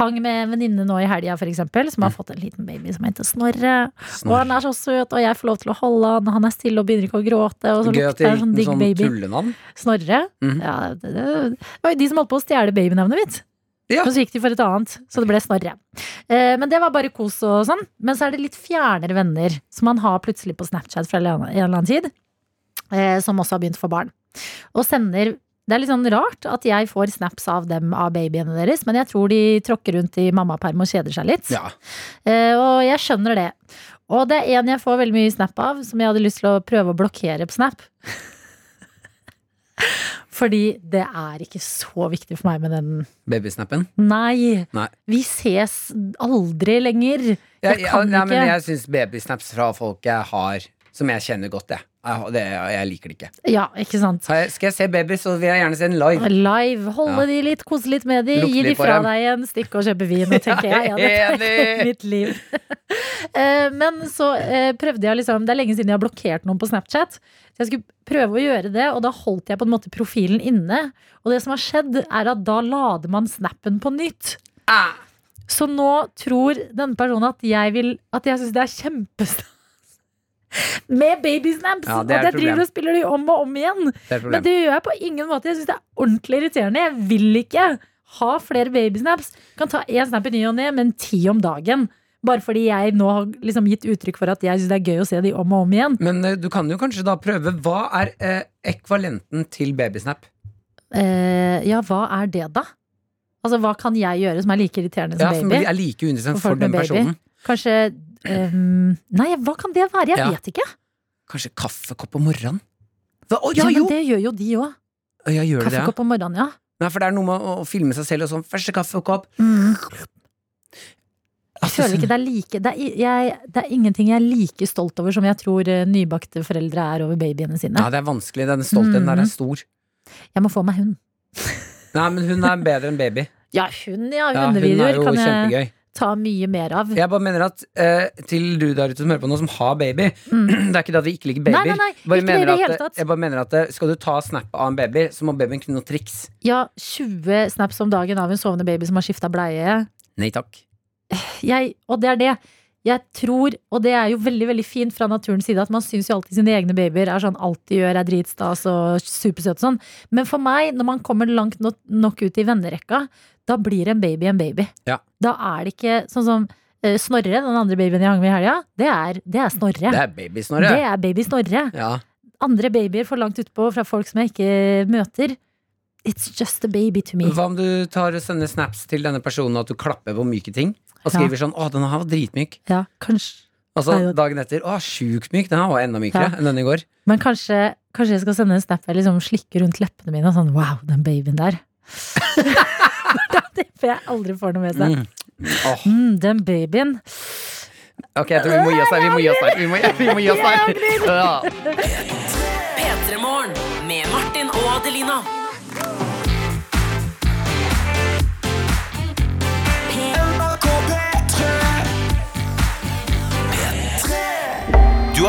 [SPEAKER 2] Hang med en venninne nå i helga, f.eks., som har fått en liten baby som heter Snorre. Og
[SPEAKER 3] Snorre.
[SPEAKER 2] han er så søt, og jeg får lov til å holde han, og han er stille og begynner ikke å gråte. Og så
[SPEAKER 3] Gøy at de
[SPEAKER 2] lukter
[SPEAKER 3] har
[SPEAKER 2] han sånn
[SPEAKER 3] gitt
[SPEAKER 2] digg
[SPEAKER 3] den sånn
[SPEAKER 2] baby.
[SPEAKER 3] tullenavn.
[SPEAKER 2] Snorre.
[SPEAKER 3] Mhm.
[SPEAKER 2] ja, det, det, det var jo de som holdt på å stjele babynavnet mitt. Og så gikk de for et annet, så det ble Snorre. Eh, men det var bare kos og sånn. Men så er det litt fjernere venner som man har plutselig på Snapchat fra en eller annen- en eller annen tid, eh, som også har begynt å få barn. Og sender det er litt sånn rart at jeg får snaps av dem av babyene deres, men jeg tror de tråkker rundt i mammaperm og kjeder seg litt. Eh, og jeg skjønner det. Og det er en jeg får veldig mye snap av, som jeg hadde lyst til å prøve å blokkere på Snap. Fordi det er ikke så viktig for meg med den.
[SPEAKER 3] Babysnappen?
[SPEAKER 2] Nei,
[SPEAKER 3] Nei.
[SPEAKER 2] vi ses aldri lenger. Jeg,
[SPEAKER 3] Jeg, jeg,
[SPEAKER 2] kan
[SPEAKER 3] nei,
[SPEAKER 2] ikke.
[SPEAKER 3] men jeg syns babysnaps fra folk jeg har, som jeg kjenner godt, jeg. Jeg, det, jeg liker det ikke.
[SPEAKER 2] Ja, ikke sant.
[SPEAKER 3] Har jeg- Skal jeg se baby, så vil jeg gjerne se den live.
[SPEAKER 2] Live, holde
[SPEAKER 3] Ja.
[SPEAKER 2] de litt, kose litt med de,
[SPEAKER 3] Lukte
[SPEAKER 2] gi de
[SPEAKER 3] litt på
[SPEAKER 2] fra
[SPEAKER 3] dem.
[SPEAKER 2] deg en stikk og kjøpe vin, og tenker jeg, ja, dette er
[SPEAKER 3] Enig.
[SPEAKER 2] mitt liv. Eh, Men så eh, prøvde jeg liksom, det er lenge siden jeg har blokkert noen på Snapchat, så jeg skulle prøve å gjøre det, og da holdt jeg på en måte
[SPEAKER 3] Ah!
[SPEAKER 2] profilen inne, og det som har skjedd er at da lader man snappen på nytt. Så nå tror denne personen at jeg, vil- at jeg syns det er kjempestas med babysnaps!
[SPEAKER 14] Ja,
[SPEAKER 2] at
[SPEAKER 14] det er et
[SPEAKER 2] jeg driver
[SPEAKER 14] problem.
[SPEAKER 2] og spiller de om og om igjen.
[SPEAKER 14] Det er et problem.
[SPEAKER 2] Men det gjør jeg på ingen måte. Jeg syns det er ordentlig irriterende. Jeg vil ikke ha flere babysnaps. Kan ta én snap i ny og ne, men ti om dagen. Bare fordi jeg nå har liksom gitt uttrykk for at jeg syns det er gøy å se de om og om igjen.
[SPEAKER 3] Men eh, du kan jo kanskje da prøve Hva er eh, ekvalenten til babysnap?
[SPEAKER 2] Eh, ja, hva er det, da? Altså, hva kan jeg gjøre som er like irriterende som
[SPEAKER 3] Ja,
[SPEAKER 2] Altså,
[SPEAKER 3] som
[SPEAKER 2] baby?
[SPEAKER 3] er like uinteressant
[SPEAKER 2] folk
[SPEAKER 3] for den
[SPEAKER 2] med baby?
[SPEAKER 3] personen.
[SPEAKER 2] Kanskje ehm, Nei, hva kan det være? Jeg
[SPEAKER 3] Ja.
[SPEAKER 2] vet ikke.
[SPEAKER 3] Kanskje kaffekopp om morgenen? Hva? Å,
[SPEAKER 2] Ja,
[SPEAKER 3] ja,
[SPEAKER 2] men
[SPEAKER 3] jo!
[SPEAKER 2] Det gjør jo de òg.
[SPEAKER 3] Å, ja, gjør det det?
[SPEAKER 2] Kaffekopp om morgenen, ja.
[SPEAKER 3] Nei, for det er noe med å å filme seg selv og sånn Første kaffekopp
[SPEAKER 2] Jeg Mm.
[SPEAKER 3] Altså,
[SPEAKER 2] føler ikke det er like det er, i- jeg, det er ingenting jeg er like stolt over som jeg tror eh, nybakte foreldre er over babyene sine.
[SPEAKER 3] Ja, det er vanskelig, den stoltheten der
[SPEAKER 2] Mhm.
[SPEAKER 3] er stor
[SPEAKER 2] Jeg må få meg hund.
[SPEAKER 3] Nei, men hun er bedre enn baby
[SPEAKER 2] Ja, hund, ja.
[SPEAKER 3] Ja, hun er
[SPEAKER 2] Hundevideoer
[SPEAKER 3] jo
[SPEAKER 2] kan jeg
[SPEAKER 3] kjempegøy.
[SPEAKER 2] ta mye mer av.
[SPEAKER 3] Jeg bare mener at eh, til du der ute som hører på nå, som har baby Det er ikke det at vi ikke liker
[SPEAKER 2] Mm. Nei,
[SPEAKER 3] babyer.
[SPEAKER 2] nei, nei,
[SPEAKER 3] Jeg
[SPEAKER 2] ikke
[SPEAKER 3] bare
[SPEAKER 2] det i
[SPEAKER 3] mener
[SPEAKER 2] det
[SPEAKER 3] at-
[SPEAKER 2] hele tatt.
[SPEAKER 3] Jeg bare mener at eh, skal du ta snap av en baby, så må babyen kunne noen triks.
[SPEAKER 2] Ja, 20 snaps om dagen av en sovende baby som har skifta bleie.
[SPEAKER 3] Nei takk.
[SPEAKER 2] jeg, og det er det. Jeg tror, og det er jo veldig veldig fint fra naturens side, at man syns jo alltid sine egne babyer er sånn alt de gjør er dritstas og supersøte og sånn. Men for meg, når man kommer langt nok, nok ut i vennerekka, da blir en baby en baby.
[SPEAKER 3] Ja.
[SPEAKER 2] Da er det ikke sånn som eh, Snorre, den andre babyen jeg hang med i helga, det er, det er Snorre.
[SPEAKER 3] Det er baby Snorre.
[SPEAKER 2] Det er baby Snorre.
[SPEAKER 3] Ja.
[SPEAKER 2] Andre babyer for langt utpå fra folk som jeg ikke møter. It's just a baby to me.
[SPEAKER 3] Hva om du tar og sender snaps til denne personen at du klapper på myke ting, og skriver sånn 'Å, den her var dritmyk'.
[SPEAKER 2] Ja, kanskje
[SPEAKER 3] Og så
[SPEAKER 2] Nei, det-
[SPEAKER 3] dagen etter 'Å, sjukt myk'. Den her var enda mykere
[SPEAKER 2] Ja.
[SPEAKER 3] enn den i går.
[SPEAKER 2] Men kanskje, kanskje jeg skal sende en snap hvor jeg liksom slikker rundt leppene mine og sånn wow, den babyen der. det får jeg aldri får noe med seg.
[SPEAKER 3] Mm. Åh.
[SPEAKER 2] Mm, den babyen.
[SPEAKER 3] Ok, jeg tror vi må gi oss her. Vi må gi oss her. Vi må, vi må gi oss her. Ja.
[SPEAKER 15] P3-morgen med Martin og Adelina.
[SPEAKER 16] Du